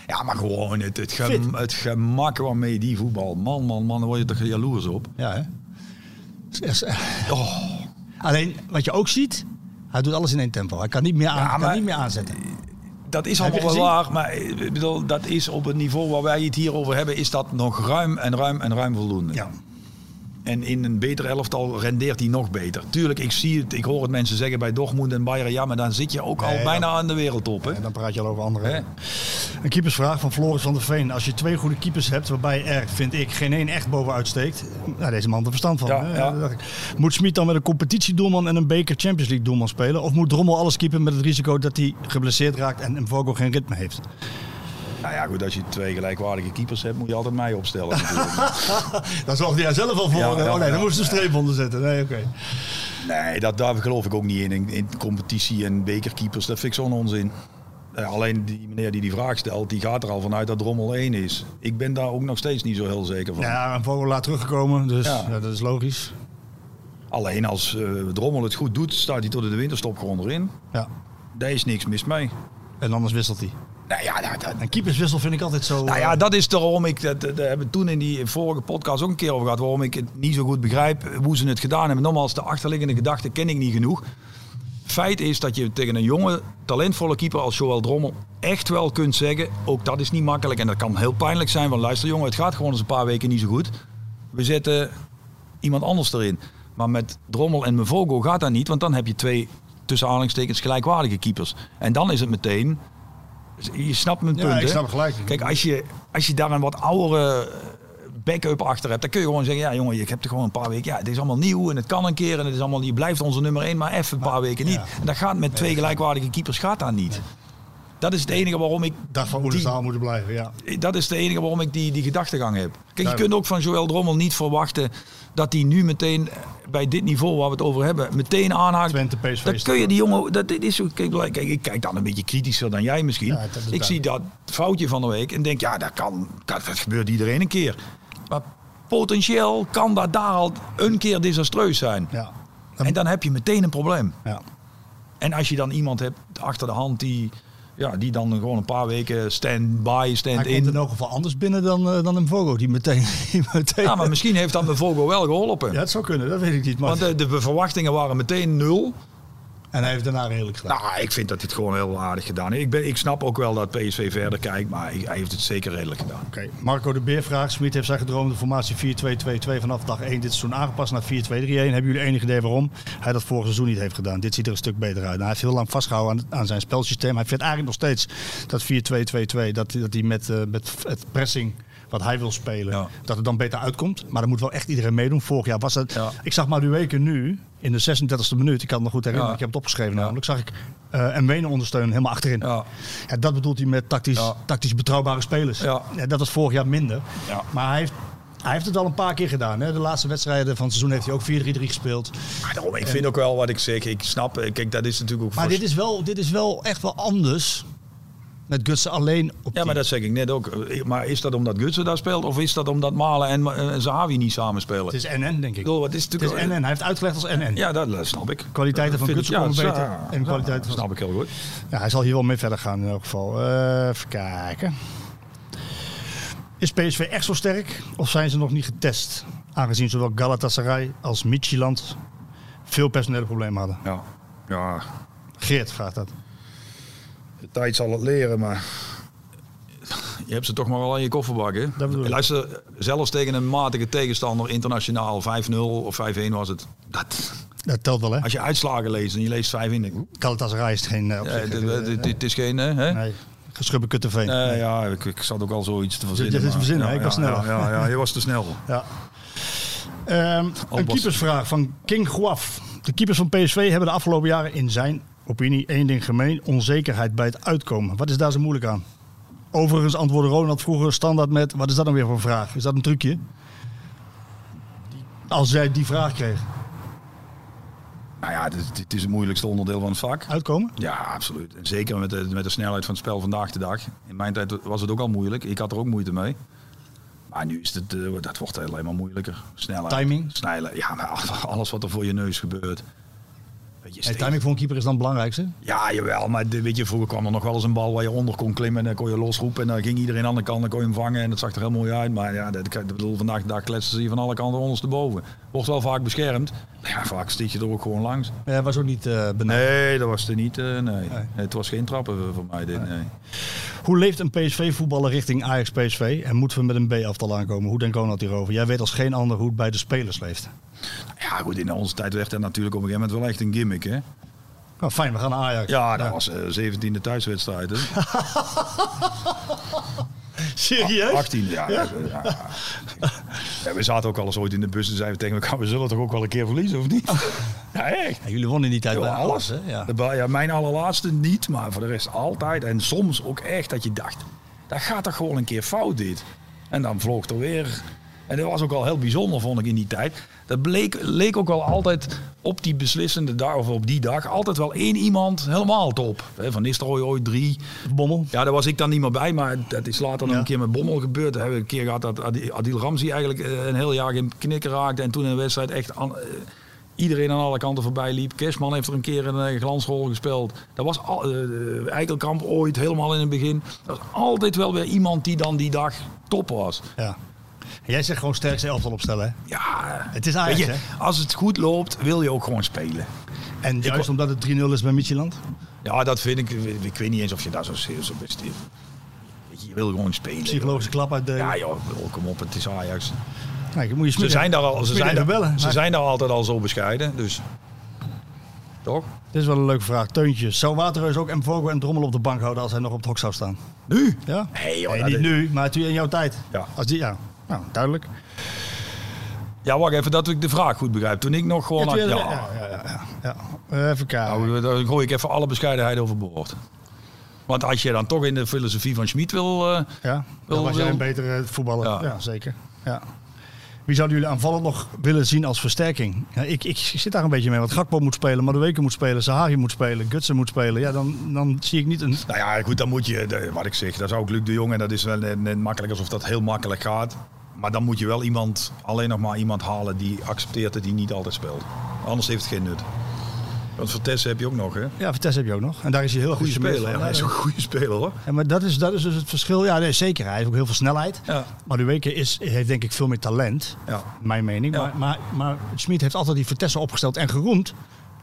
Speaker 9: ja, maar gewoon het, het, gem, het gemak waarmee die voetbal. Man, man, man, daar word je toch jaloers op.
Speaker 7: Ja, hè? Oh. Alleen wat je ook ziet, hij doet alles in één tempo. Hij kan niet meer, aan, ja, kan niet meer aanzetten.
Speaker 9: Dat is allemaal wel waar, maar ik bedoel, dat is op het niveau waar wij het hier over hebben, is dat nog ruim en ruim en ruim voldoende.
Speaker 7: Ja.
Speaker 9: En in een beter elftal rendeert hij nog beter. Tuurlijk, ik zie het, ik hoor het mensen zeggen bij Dortmund en Bayern, ja, maar dan zit je ook al nee, bijna dan, aan de wereldtop. Hè?
Speaker 7: Ja, dan praat je al over andere. Hè? Een keepersvraag van Floris van der Veen. Als je twee goede keepers hebt, waarbij er, vind ik, geen één echt bovenuit steekt. Nou, deze man er verstand van.
Speaker 9: Ja, ja.
Speaker 7: Moet Smit dan met een competitiedoelman en een beker Champions League doelman spelen? Of moet Drommel alles keeper met het risico dat hij geblesseerd raakt en Vogel geen ritme heeft?
Speaker 9: Nou ja, goed, als je twee gelijkwaardige keepers hebt, moet je altijd mij opstellen.
Speaker 7: Daar zorgde jij zelf al voor. Ja, oh nee, dan moest je een streep onder zetten. Nee, oké. Okay.
Speaker 9: Nee, dat, daar geloof ik ook niet in. In, in competitie en bekerkeepers, dat vind ik zo'n onzin. Uh, alleen die meneer die die vraag stelt, die gaat er al vanuit dat Drommel 1 is. Ik ben daar ook nog steeds niet zo heel zeker van.
Speaker 7: Ja, een vogel laat teruggekomen, dus ja. ja. dat is logisch.
Speaker 9: Alleen als uh, Drommel het goed doet, staat hij tot in de winterstop gewoon erin.
Speaker 7: Ja.
Speaker 9: Daar is niks mis mee.
Speaker 7: En anders wisselt hij.
Speaker 9: Nou ja, nou, dat...
Speaker 7: Een keeperswissel vind ik altijd zo... eh,
Speaker 9: Nou ja, dat is waarom ik... Dat, dat, hebben we toen in die vorige podcast ook een keer over gehad. Waarom ik het niet zo goed begrijp hoe ze het gedaan hebben. Nogmaals, de achterliggende gedachte ken ik niet genoeg. Feit is dat je tegen een jonge, talentvolle keeper als Joël Drommel echt wel kunt zeggen... ook dat is niet makkelijk en dat kan heel pijnlijk zijn. Want luister jongen, het gaat gewoon eens een paar weken niet zo goed. We zetten iemand anders erin. Maar met Drommel en Mevogo gaat dat niet. Want dan heb je twee, tussen aanhalingstekens, gelijkwaardige keepers. En dan is het meteen... Je snapt mijn
Speaker 7: ja,
Speaker 9: punt.
Speaker 7: Ik snap gelijk.
Speaker 9: Kijk, als je, als je daar een wat oudere backup achter hebt, dan kun je gewoon zeggen: ja, jongen, je hebt er gewoon een paar weken. Ja, het is allemaal nieuw en het kan een keer en het is allemaal. Je blijft onze nummer één, maar even een paar weken niet. En dat gaat met twee gelijkwaardige keepers gaat dat niet. Dat is het enige waarom ik.
Speaker 7: Dat van Oenezaal die, moeten blijven, ja.
Speaker 9: Dat is het enige waarom ik die, die gedachtegang heb. Kijk, Duidelijk. je kunt ook van Joël Drommel niet verwachten dat hij nu meteen eh, bij dit niveau waar we het over hebben, meteen aanhaakt. Dat kun je die jongen. Dat, dit is zo, kijk, kijk, ik kijk dan een beetje kritischer dan jij misschien. Ja, ik zie dat foutje van de week en denk, ja, dat kan. Dat, dat gebeurt iedereen een keer. Maar potentieel kan dat daar al een keer desastreus zijn.
Speaker 7: Ja.
Speaker 9: Dan, en dan heb je meteen een probleem.
Speaker 7: Ja.
Speaker 9: En als je dan iemand hebt achter de hand die ja, die dan gewoon een paar weken stand-by, stand-in.
Speaker 7: in in elk geval anders binnen dan, uh, dan een Vogo die meteen, die meteen...
Speaker 9: Ja, maar misschien heeft dat de Vogo wel geholpen.
Speaker 7: Ja, het zou kunnen, dat weet ik niet.
Speaker 9: Maar... Want eh, de, de verwachtingen waren meteen nul.
Speaker 7: En hij heeft daarna redelijk gedaan.
Speaker 9: Nou, ik vind dat dit gewoon heel aardig gedaan heeft. Ik, ben, ik snap ook wel dat PSV verder kijkt, maar hij heeft het zeker redelijk gedaan.
Speaker 7: Oké, okay. Marco de Beer vraagt, Smit heeft zijn gedroomde formatie 4-2-2-2 vanaf dag 1 dit seizoen aangepast naar 4-2-3-1. Hebben jullie enig idee waarom hij dat vorig seizoen niet heeft gedaan? Dit ziet er een stuk beter uit. Nou, hij heeft heel lang vastgehouden aan, aan, zijn spelsysteem. Hij vindt eigenlijk nog steeds dat 4-2-2-2, dat, dat hij met, uh, met het pressing wat hij wil spelen, ja. dat het dan beter uitkomt. Maar dan moet wel echt iedereen meedoen. Vorig jaar was het. Ja. Ik zag Madueke nu in de 36e minuut. Ik kan het nog goed herinneren. Ja. Ik heb het opgeschreven namelijk. Zag ik uh, en Wenen ondersteunen helemaal achterin. dat bedoelt hij met tactisch, tactisch betrouwbare spelers. dat was vorig jaar minder. Maar hij heeft hij heeft het al een paar keer gedaan. Hè? De laatste wedstrijden van het seizoen heeft hij ook 4-3-3 gespeeld.
Speaker 9: Maar daarom, ik vind en... ook wel wat ik zeg. Ik snap, eh, kijk, dat is natuurlijk ook...
Speaker 7: Maar vast... dit, is wel, dit is wel echt wel anders met Gutsen alleen op
Speaker 9: Ja, maar dat zeg ik net ook. Maar is dat omdat Gutsen daar speelt? Of is dat omdat Malen en uh, Zahavi niet samen spelen? Het
Speaker 7: is NN, denk ik.
Speaker 9: Doel, wat is
Speaker 7: het, het is NN. Hij heeft uitgelegd als NN.
Speaker 9: Ja, dat snap ik.
Speaker 7: Kwaliteiten van Gutsen komen beter. Ja, en kwaliteiten
Speaker 9: ja,
Speaker 7: van...
Speaker 9: snap ik heel goed.
Speaker 7: Ja, hij zal hier wel mee verder gaan in elk geval. Uh, even kijken. Is PSV echt zo sterk? Of zijn ze nog niet getest? Aangezien zowel Galatasaray als Midtjylland veel personele problemen hadden.
Speaker 9: Ja. ja.
Speaker 7: Geert vraagt dat.
Speaker 9: De tijd zal het leren, maar je hebt ze toch maar wel in je kofferbak. Hè? Luister, zelfs tegen een matige tegenstander, internationaal 5-0 of 5-1 was het. Dat,
Speaker 7: dat telt wel, hè?
Speaker 9: Als je uitslagen leest en je leest 5-1, denk ik...
Speaker 7: Galatasaray is het geen...
Speaker 9: Eh,
Speaker 7: Uh,
Speaker 9: het is geen... Hè?
Speaker 7: eh, Nee. Geschubben kutteveen.
Speaker 9: Nee, ja, ik, ik zat ook al zoiets te verzinnen.
Speaker 7: Dit is verzinnen, ik was sneller.
Speaker 9: Ja, ja, je was te snel.
Speaker 7: Ja. Ehm, een keepersvraag van King Guaf. De keepers van PSV hebben de afgelopen jaren in zijn opinie één ding gemeen: onzekerheid bij het uitkomen. Wat is daar zo moeilijk aan? Overigens antwoordde Ronald vroeger standaard met: wat is dat dan weer voor een vraag? Is dat een trucje? Als jij die vraag kreeg.
Speaker 9: Nou ja, het is, het is het moeilijkste onderdeel van het vak.
Speaker 7: Uitkomen?
Speaker 9: Ja, absoluut. En zeker met de, met de snelheid van het spel vandaag de dag. In mijn tijd was het ook al moeilijk. Ik had er ook moeite mee. Maar nu is het, uh, dat wordt alleen maar moeilijker. Sneller.
Speaker 7: Timing?
Speaker 9: Snijlen. Ja, maar alles wat er voor je neus gebeurt.
Speaker 7: Hey, timing voor een keeper is dan het belangrijkste?
Speaker 9: Ja, jawel. Maar de, weet je, vroeger kwam er nog wel eens een bal waar je onder kon klimmen. En dan kon je losroepen. En dan ging iedereen aan de kant. Dan kon je hem vangen. En dat zag er heel mooi uit. Maar ja, dat, ik bedoel, vandaag de dag kletsen ze je van alle kanten ondersteboven. Wordt wel vaak beschermd. Ja, vaak stiet je er ook gewoon langs.
Speaker 7: Ja, dat was ook niet uh,
Speaker 9: beneden. Nee, dat was er niet. Uh, nee. nee. Het was geen trappen voor mij. Dit, nee. Nee.
Speaker 7: Hoe leeft een PSV-voetballer richting Ajax-PSV? En moeten we met een B-aftal aankomen? Hoe denkt Ronald hierover? Jij weet als geen ander hoe het bij de spelers leeft.
Speaker 9: Ja, goed, in onze tijd werd dat natuurlijk op een gegeven moment wel echt een gimmick, hè?
Speaker 7: Nou, fijn, we gaan naar Ajax. Nou,
Speaker 9: Ja, dat ja. was uh, 17e thuiswedstrijd, hè?
Speaker 7: Serieus?
Speaker 9: 18, ja. Ja. ja. We zaten ook al eens ooit in de bus en zeiden we tegen elkaar, we zullen toch ook wel een keer verliezen, of niet?
Speaker 7: ja, echt. jullie wonnen die tijd Yo, bij alles,
Speaker 9: hè? Ja. mijn allerlaatste niet, maar voor de rest altijd. En soms ook echt dat je dacht, Dat gaat toch gewoon een keer fout dit. En dan vloog er weer. En dat was ook al heel bijzonder, vond ik in die tijd. Dat bleek, leek ook wel altijd op die beslissende dag, of op die dag, altijd wel één iemand helemaal top. Hè, Van Nistelrooy ooit drie.
Speaker 7: Bommel.
Speaker 9: Ja, daar was ik dan niet meer bij, maar dat is later nog een keer met Bommel gebeurd. We hebben een keer gehad dat Adi- Adil Ramzi eigenlijk eh, een heel jaar geen knikker raakte. En toen in de wedstrijd echt aan- eh, iedereen aan alle kanten voorbij liep. Kerstman heeft er een keer een eh, glansrol gespeeld. Dat was al, eh, Eikelkamp ooit, helemaal in het begin. Dat was altijd wel weer iemand die dan die dag top was.
Speaker 7: Ja. Jij zegt gewoon sterkste elftal opstellen, hè?
Speaker 9: Ja.
Speaker 7: Het is Ajax,
Speaker 9: Weet je,
Speaker 7: hè?
Speaker 9: Als het goed loopt, wil je ook gewoon spelen.
Speaker 7: En
Speaker 9: Ik
Speaker 7: juist
Speaker 9: wa-
Speaker 7: omdat het 3-0 is bij Midtjylland?
Speaker 9: Ja, dat vind ik. Ik weet niet eens of je daar zo serieus op is. Weet je, Je wil gewoon spelen.
Speaker 7: Psychologische klap uit de...
Speaker 9: Ja joh, oh, kom op, het is Ajax.
Speaker 7: Nou, moet je
Speaker 9: Ze
Speaker 7: smidden-
Speaker 9: zijn daar, al, ze
Speaker 7: smidden
Speaker 9: zijn daar,
Speaker 7: even bellen.
Speaker 9: ze
Speaker 7: Nou,
Speaker 9: zijn daar altijd al zo bescheiden, dus... Toch?
Speaker 7: Dit is wel een leuke vraag. Teuntje, zou Waterreus ook Mvogo en Drommel op de bank houden als hij nog op het hok zou staan?
Speaker 9: Nu?
Speaker 7: Ja?
Speaker 9: Nee, joh,
Speaker 7: Nee,
Speaker 9: dat
Speaker 7: niet
Speaker 9: is-
Speaker 7: nu, maar toen in jouw tijd.
Speaker 9: Ja.
Speaker 7: Als die, ja. Nou, duidelijk.
Speaker 9: Ja, wacht even, dat ik de vraag goed begrijp. Toen ik nog gewoon...
Speaker 7: Ja,
Speaker 9: Ja,
Speaker 7: toen-
Speaker 9: ja,
Speaker 7: ja, Ja. Eh, Even kijken.
Speaker 9: Nou, dan gooi ik even alle bescheidenheid overboord. Want als je dan toch in de filosofie van Schmid wil... eh,
Speaker 7: Ja, dan
Speaker 9: wil-
Speaker 7: was jij
Speaker 9: wil-
Speaker 7: een betere voetballer. Ja,
Speaker 9: Ja.
Speaker 7: zeker. Ja. Wie zouden jullie aanvallend nog willen zien als versterking? Ja, ik, ik zit daar een beetje mee. Want Gakpo moet spelen, Madueke moet spelen, Sahari moet spelen, Gutsen moet spelen. Ja, dan, dan zie ik niet een...
Speaker 9: Nou ja, goed, dan moet je, de- wat ik zeg, dat is ook Luc de Jong. En dat is wel net, net makkelijk alsof dat heel makkelijk gaat. Maar dan moet je wel iemand, alleen nog maar iemand halen die accepteert dat hij niet altijd speelt. Anders heeft het geen nut. Want Vitesse heb je ook nog, hè?
Speaker 7: Ja, Vitesse heb je ook nog. En daar is hij heel
Speaker 9: Goede
Speaker 7: goed
Speaker 9: speler. hè? Hij is ook een goede speler, hoor.
Speaker 7: Ja, maar dat is, dat is dus het verschil. Ja, nee, zeker. Hij heeft ook heel veel snelheid.
Speaker 9: Ja.
Speaker 7: Madueke is, heeft denk ik veel meer talent.
Speaker 9: Ja.
Speaker 7: Mijn mening.
Speaker 9: Ja.
Speaker 7: Maar, maar, maar Smit heeft altijd die Vitesse opgesteld en geroemd.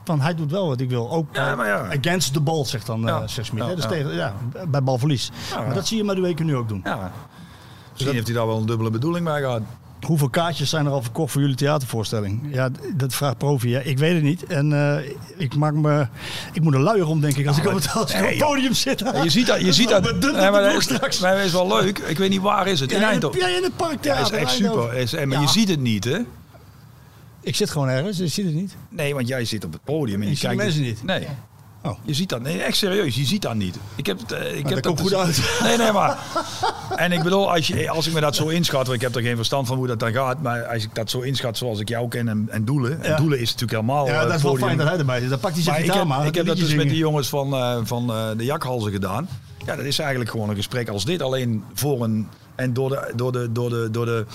Speaker 7: Van hij doet wel wat ik wil. Ook
Speaker 9: Ja,
Speaker 7: eh,
Speaker 9: maar ja.
Speaker 7: against the ball, zegt dan eh
Speaker 9: Ja.
Speaker 7: zegt Smit.
Speaker 9: Ja,
Speaker 7: hè. Dus
Speaker 9: ja.
Speaker 7: tegen, ja, bij balverlies.
Speaker 9: Ja.
Speaker 7: Maar dat zie je Madueke nu ook doen.
Speaker 9: Ja. Misschien heeft hij daar wel een dubbele bedoeling bij gehad.
Speaker 7: Hoeveel kaartjes zijn er al verkocht voor jullie theatervoorstelling? Ja, d- dat vraagt Profi. Ja. Ik weet het niet. En eh, ik, maak me, ik moet een luier om, denk ik, als ik op het, als ik op het
Speaker 9: Nee,
Speaker 7: podium zit.
Speaker 9: Ja, Je ziet dat. Je ziet dat.
Speaker 7: Dat is wel
Speaker 9: Nee, maar
Speaker 7: bedrukt
Speaker 9: dat
Speaker 7: op de
Speaker 9: is,
Speaker 7: broek straks.
Speaker 9: maar dat is wel leuk. Ik weet niet waar is het. In
Speaker 7: Ja, in,
Speaker 9: Eindhoven.
Speaker 7: ja, in het park
Speaker 9: Ja, is echt super. Is, eh, maar je ziet het niet, hè?
Speaker 7: Ik zit gewoon ergens, dus ik zie het niet.
Speaker 9: Nee, want jij zit op het podium en je,
Speaker 7: Ik zie de
Speaker 9: kijkt.
Speaker 7: mensen niet.
Speaker 9: Nee.
Speaker 7: Oh. Ah,
Speaker 9: Je ziet dat. Nee, echt serieus. Je ziet dat niet. Ik heb, het, eh, ik heb
Speaker 7: dat komt goed
Speaker 9: uit. Nee, nee, maar. En ik bedoel, als, je, als ik me dat zo inschat, want ik heb er geen verstand van hoe dat dan gaat, maar als ik dat zo inschat zoals ik jou ken en, en doelen. En
Speaker 7: Ja.
Speaker 9: doelen is natuurlijk helemaal.
Speaker 7: Ja,
Speaker 9: eh,
Speaker 7: dat is wel
Speaker 9: podium.
Speaker 7: fijn dat hij erbij zit. Dan pakt hij zijn
Speaker 9: Maar ik
Speaker 7: gitaar
Speaker 9: heb,
Speaker 7: maar.
Speaker 9: ik heb dat
Speaker 7: liedje
Speaker 9: dus met die
Speaker 7: zingen.
Speaker 9: jongens van, eh, van eh, de jakhalzen gedaan. Ja, dat is eigenlijk gewoon een gesprek als dit. Alleen voor een... En door de, door de, door de, door de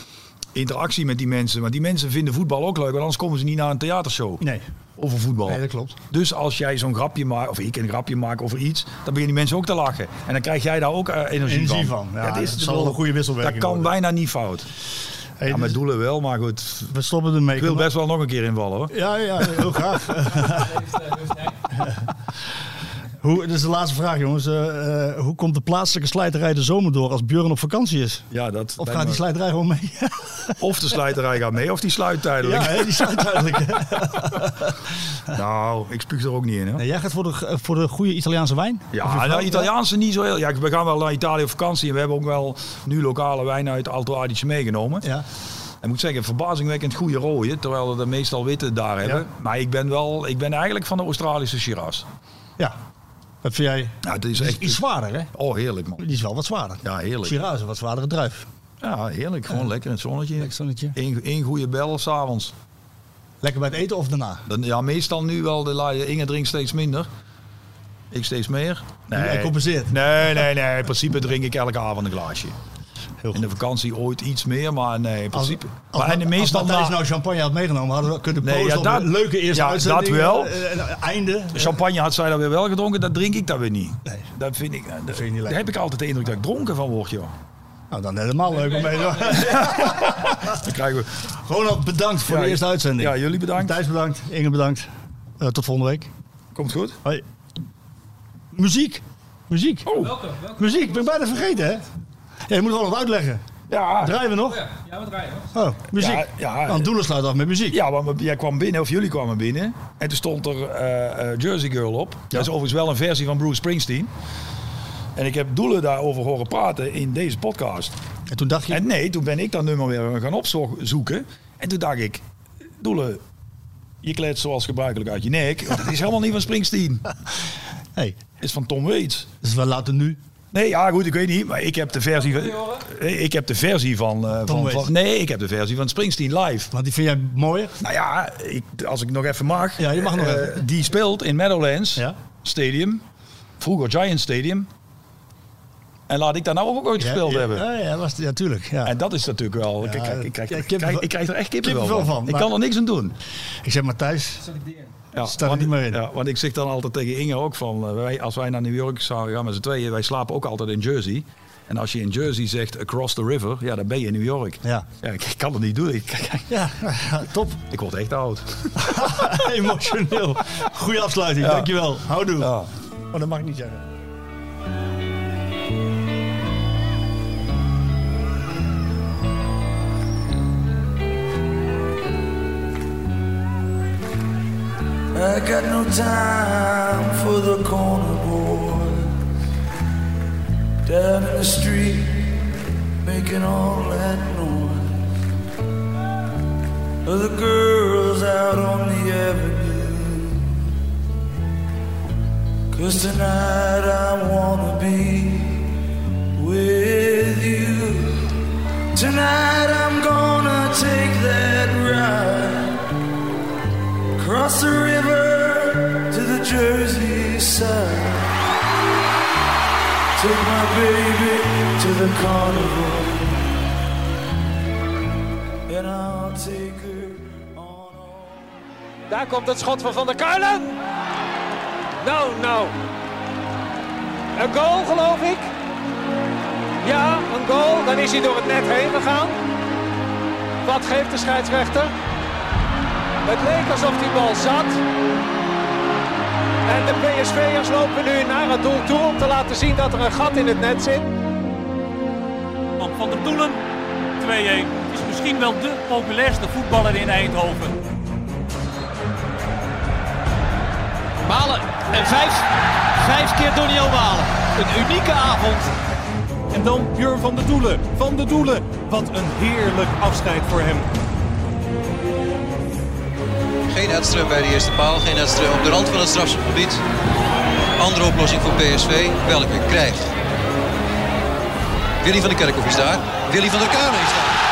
Speaker 9: interactie met die mensen. Want die mensen vinden voetbal ook leuk. Want anders komen ze niet naar een theatershow.
Speaker 7: Nee.
Speaker 9: Over voetbal.
Speaker 7: nee, dat klopt.
Speaker 9: Dus als jij zo'n grapje maakt, of ik een grapje maak over iets, dan beginnen die mensen ook te lachen. En dan krijg jij daar ook eh, energie,
Speaker 7: Energie
Speaker 9: van.
Speaker 7: van. Ja,
Speaker 9: dat
Speaker 7: dat
Speaker 9: ik
Speaker 7: zal
Speaker 9: bedoel,
Speaker 7: een goede wisselwerking
Speaker 9: Dat kan
Speaker 7: worden.
Speaker 9: bijna niet fout.
Speaker 7: Hey, dus-
Speaker 9: ja,
Speaker 7: dit
Speaker 9: met
Speaker 7: is-
Speaker 9: doelen wel, maar goed.
Speaker 7: We stoppen ermee.
Speaker 9: Ik wil best wel nog een keer invallen hoor.
Speaker 7: Ja, ja, heel graag. hoe, dit is de laatste vraag, jongens. Eh, eh, hoe komt de plaatselijke slijterij de zomer door als Björn op vakantie is?
Speaker 9: Ja, dat
Speaker 7: Of
Speaker 9: lijkt
Speaker 7: gaat die
Speaker 9: me-
Speaker 7: slijterij gewoon mee?
Speaker 9: Of de slijterij gaat mee, of die sluit tijdelijk.
Speaker 7: ja, hè, die sluit eigenlijk. hè.
Speaker 9: Nou, ik spuug er ook niet in. Hè?
Speaker 7: Nee, jij gaat voor de, voor de goede Italiaanse wijn? Of je
Speaker 9: Ja,
Speaker 7: vrouw?
Speaker 9: nou, Italiaanse niet zo heel. Ja, we gaan wel naar Italië op vakantie. En we hebben ook wel nu lokale wijn uit Alto Adige meegenomen.
Speaker 7: Ja.
Speaker 9: En ik moet zeggen, verbazingwekkend goede rode. Terwijl we de meestal witte daar hebben. Maar ik ben, wel, ik ben eigenlijk van de Australische Shiraz.
Speaker 7: ja. Dat vind jij
Speaker 9: Nou, het is
Speaker 7: die is
Speaker 9: echt...
Speaker 7: iets zwaarder, hè?
Speaker 9: Oh, heerlijk man.
Speaker 7: Die is wel wat zwaarder.
Speaker 9: Ja, heerlijk.
Speaker 7: Shiraz is een wat zwaardere druif.
Speaker 9: Ja, heerlijk. Gewoon lekker in het zonnetje.
Speaker 7: Lekker zonnetje.
Speaker 9: Eén één goede bel s'avonds.
Speaker 7: Lekker bij het eten of daarna?
Speaker 9: Dan- Ja, meestal nu wel. De la- Inge drinkt steeds minder. Ik steeds meer.
Speaker 7: Hij compenseert.
Speaker 9: Nee, nee, nee. In principe drink ik elke avond een glaasje.
Speaker 7: goed.
Speaker 9: In de vakantie ooit iets meer, maar nee, in principe.
Speaker 7: Als,
Speaker 9: maar en meestal
Speaker 7: als Matthijs
Speaker 9: na-
Speaker 7: nou champagne had meegenomen, hadden we kunnen
Speaker 9: Nee,
Speaker 7: posten
Speaker 9: ja,
Speaker 7: op
Speaker 9: dat-
Speaker 7: een leuke eerste
Speaker 9: ja,
Speaker 7: uitzending.
Speaker 9: dat wel.
Speaker 7: eh, en, eh, einde.
Speaker 9: champagne had zij dan weer wel gedronken, dat drink ik dan weer niet.
Speaker 7: Nee.
Speaker 9: Dat vind ik, eh,
Speaker 7: vind
Speaker 9: dat,
Speaker 7: je niet lekker.
Speaker 9: daar heb ik altijd de indruk dat ik dronken van word, joh.
Speaker 7: Nou, dan helemaal leuk om mee
Speaker 9: Dan krijgen we...
Speaker 7: Ronald, bedankt voor
Speaker 9: Ja,
Speaker 7: de eerste uitzending.
Speaker 9: ja, jullie bedankt.
Speaker 7: Thijs bedankt. Inge bedankt. Eh, tot volgende week.
Speaker 9: Komt goed?
Speaker 7: Hoi. Muziek. Muziek.
Speaker 9: Oh.
Speaker 8: Welke? Welke?
Speaker 7: Muziek. Ik ben bijna vergeten, hè? Ja, je moet wel wat uitleggen.
Speaker 9: Ja.
Speaker 7: Draaien we nog?
Speaker 8: Ja, ja, wat draaien we?
Speaker 7: Oh, muziek.
Speaker 9: Ja, ja.
Speaker 7: Dan Doelen sluit af met muziek.
Speaker 9: Ja, want we- jij kwam binnen, of jullie kwamen binnen. En toen stond er eh, eh, Jersey Girl op. Dat is overigens wel een versie van Bruce Springsteen. En ik heb Doelen daarover horen praten in deze podcast.
Speaker 7: En toen dacht je...
Speaker 9: En nee, toen ben ik dat nummer weer gaan opzoeken. En toen dacht ik, Doelen, je kleedt zoals gebruikelijk uit je nek. Want dat is helemaal niet van Springsteen.
Speaker 7: hey,
Speaker 9: is van Tom Waits.
Speaker 7: dus we laten nu
Speaker 9: Nee, ja, goed, ik weet niet. Maar ik heb de versie van. Ik heb de versie van. eh, van, van- nee, ik heb de versie van Springsteen live.
Speaker 7: Want die vind jij mooier?
Speaker 9: Nou ja, ik, als ik nog even mag.
Speaker 7: Ja, je mag nog
Speaker 9: eh,
Speaker 7: even.
Speaker 9: Die speelt in Meadowlands Stadium. Vroeger Giant Stadium. En laat ik daar nou ook ooit gespeeld hebben.
Speaker 7: Ja, ja, was, ja tuurlijk. Ja.
Speaker 9: En dat is natuurlijk wel. kijk, kijk, ik, krijg,
Speaker 7: ja,
Speaker 9: ik
Speaker 7: kippenvel-
Speaker 9: krijg- ik krijg er echt kippenvel,
Speaker 7: kippenvel
Speaker 9: van.
Speaker 7: van,
Speaker 9: Ik
Speaker 7: maar-
Speaker 9: kan er niks aan doen.
Speaker 7: Ik zeg, Matthijs,
Speaker 9: Ja,
Speaker 7: Staat er
Speaker 9: want,
Speaker 7: niet meer in.
Speaker 9: ja, want ik zeg dan altijd tegen Inge ook van, eh, wij, als wij naar New York zouden gaan met z'n tweeën, wij slapen ook altijd in Jersey. En als je in Jersey zegt across the river, ja, dan ben je in New York.
Speaker 7: Ja.
Speaker 9: ik, ik kan het niet doen. Ik,
Speaker 7: ja, top.
Speaker 9: ik word echt oud.
Speaker 7: Emotioneel. Goeie afsluiting,
Speaker 9: Ja.
Speaker 7: dankjewel. Houdoe.
Speaker 9: Ja.
Speaker 7: Oh, dat mag ik niet zeggen.
Speaker 14: I got no time for the corner boy down in the street making all that noise. Or the girls out on the avenue. Cause tonight I wanna be with you. Tonight I'm gonna take that ride. Cross the river to the Jersey side. Take my baby to the carnival. And I'll take her.
Speaker 2: Daar komt het schot van Van der Kuilen. Nou, nou. Een goal, geloof ik. Ja, een goal. Dan is hij door het net heen gegaan. Wat geeft de scheidsrechter? Het leek alsof die bal zat. En de PSV'ers lopen nu naar het doel toe om te laten zien dat er een gat in het net zit.
Speaker 3: Van, van der Doelen, 2-1. Is misschien wel de populairste voetballer in Eindhoven.
Speaker 4: Malen en vijf, vijf keer Donio Malen. Een unieke avond.
Speaker 5: En dan Jur van de Doelen. Van de Doelen. Wat een heerlijk afscheid voor hem.
Speaker 6: Geen Edström bij de eerste paal, geen Edström op de rand van het strafschopgebied. Andere oplossing voor PSV, welke krijgt? Willy van der Kerkhoff is daar. Willy van der Kamer is daar.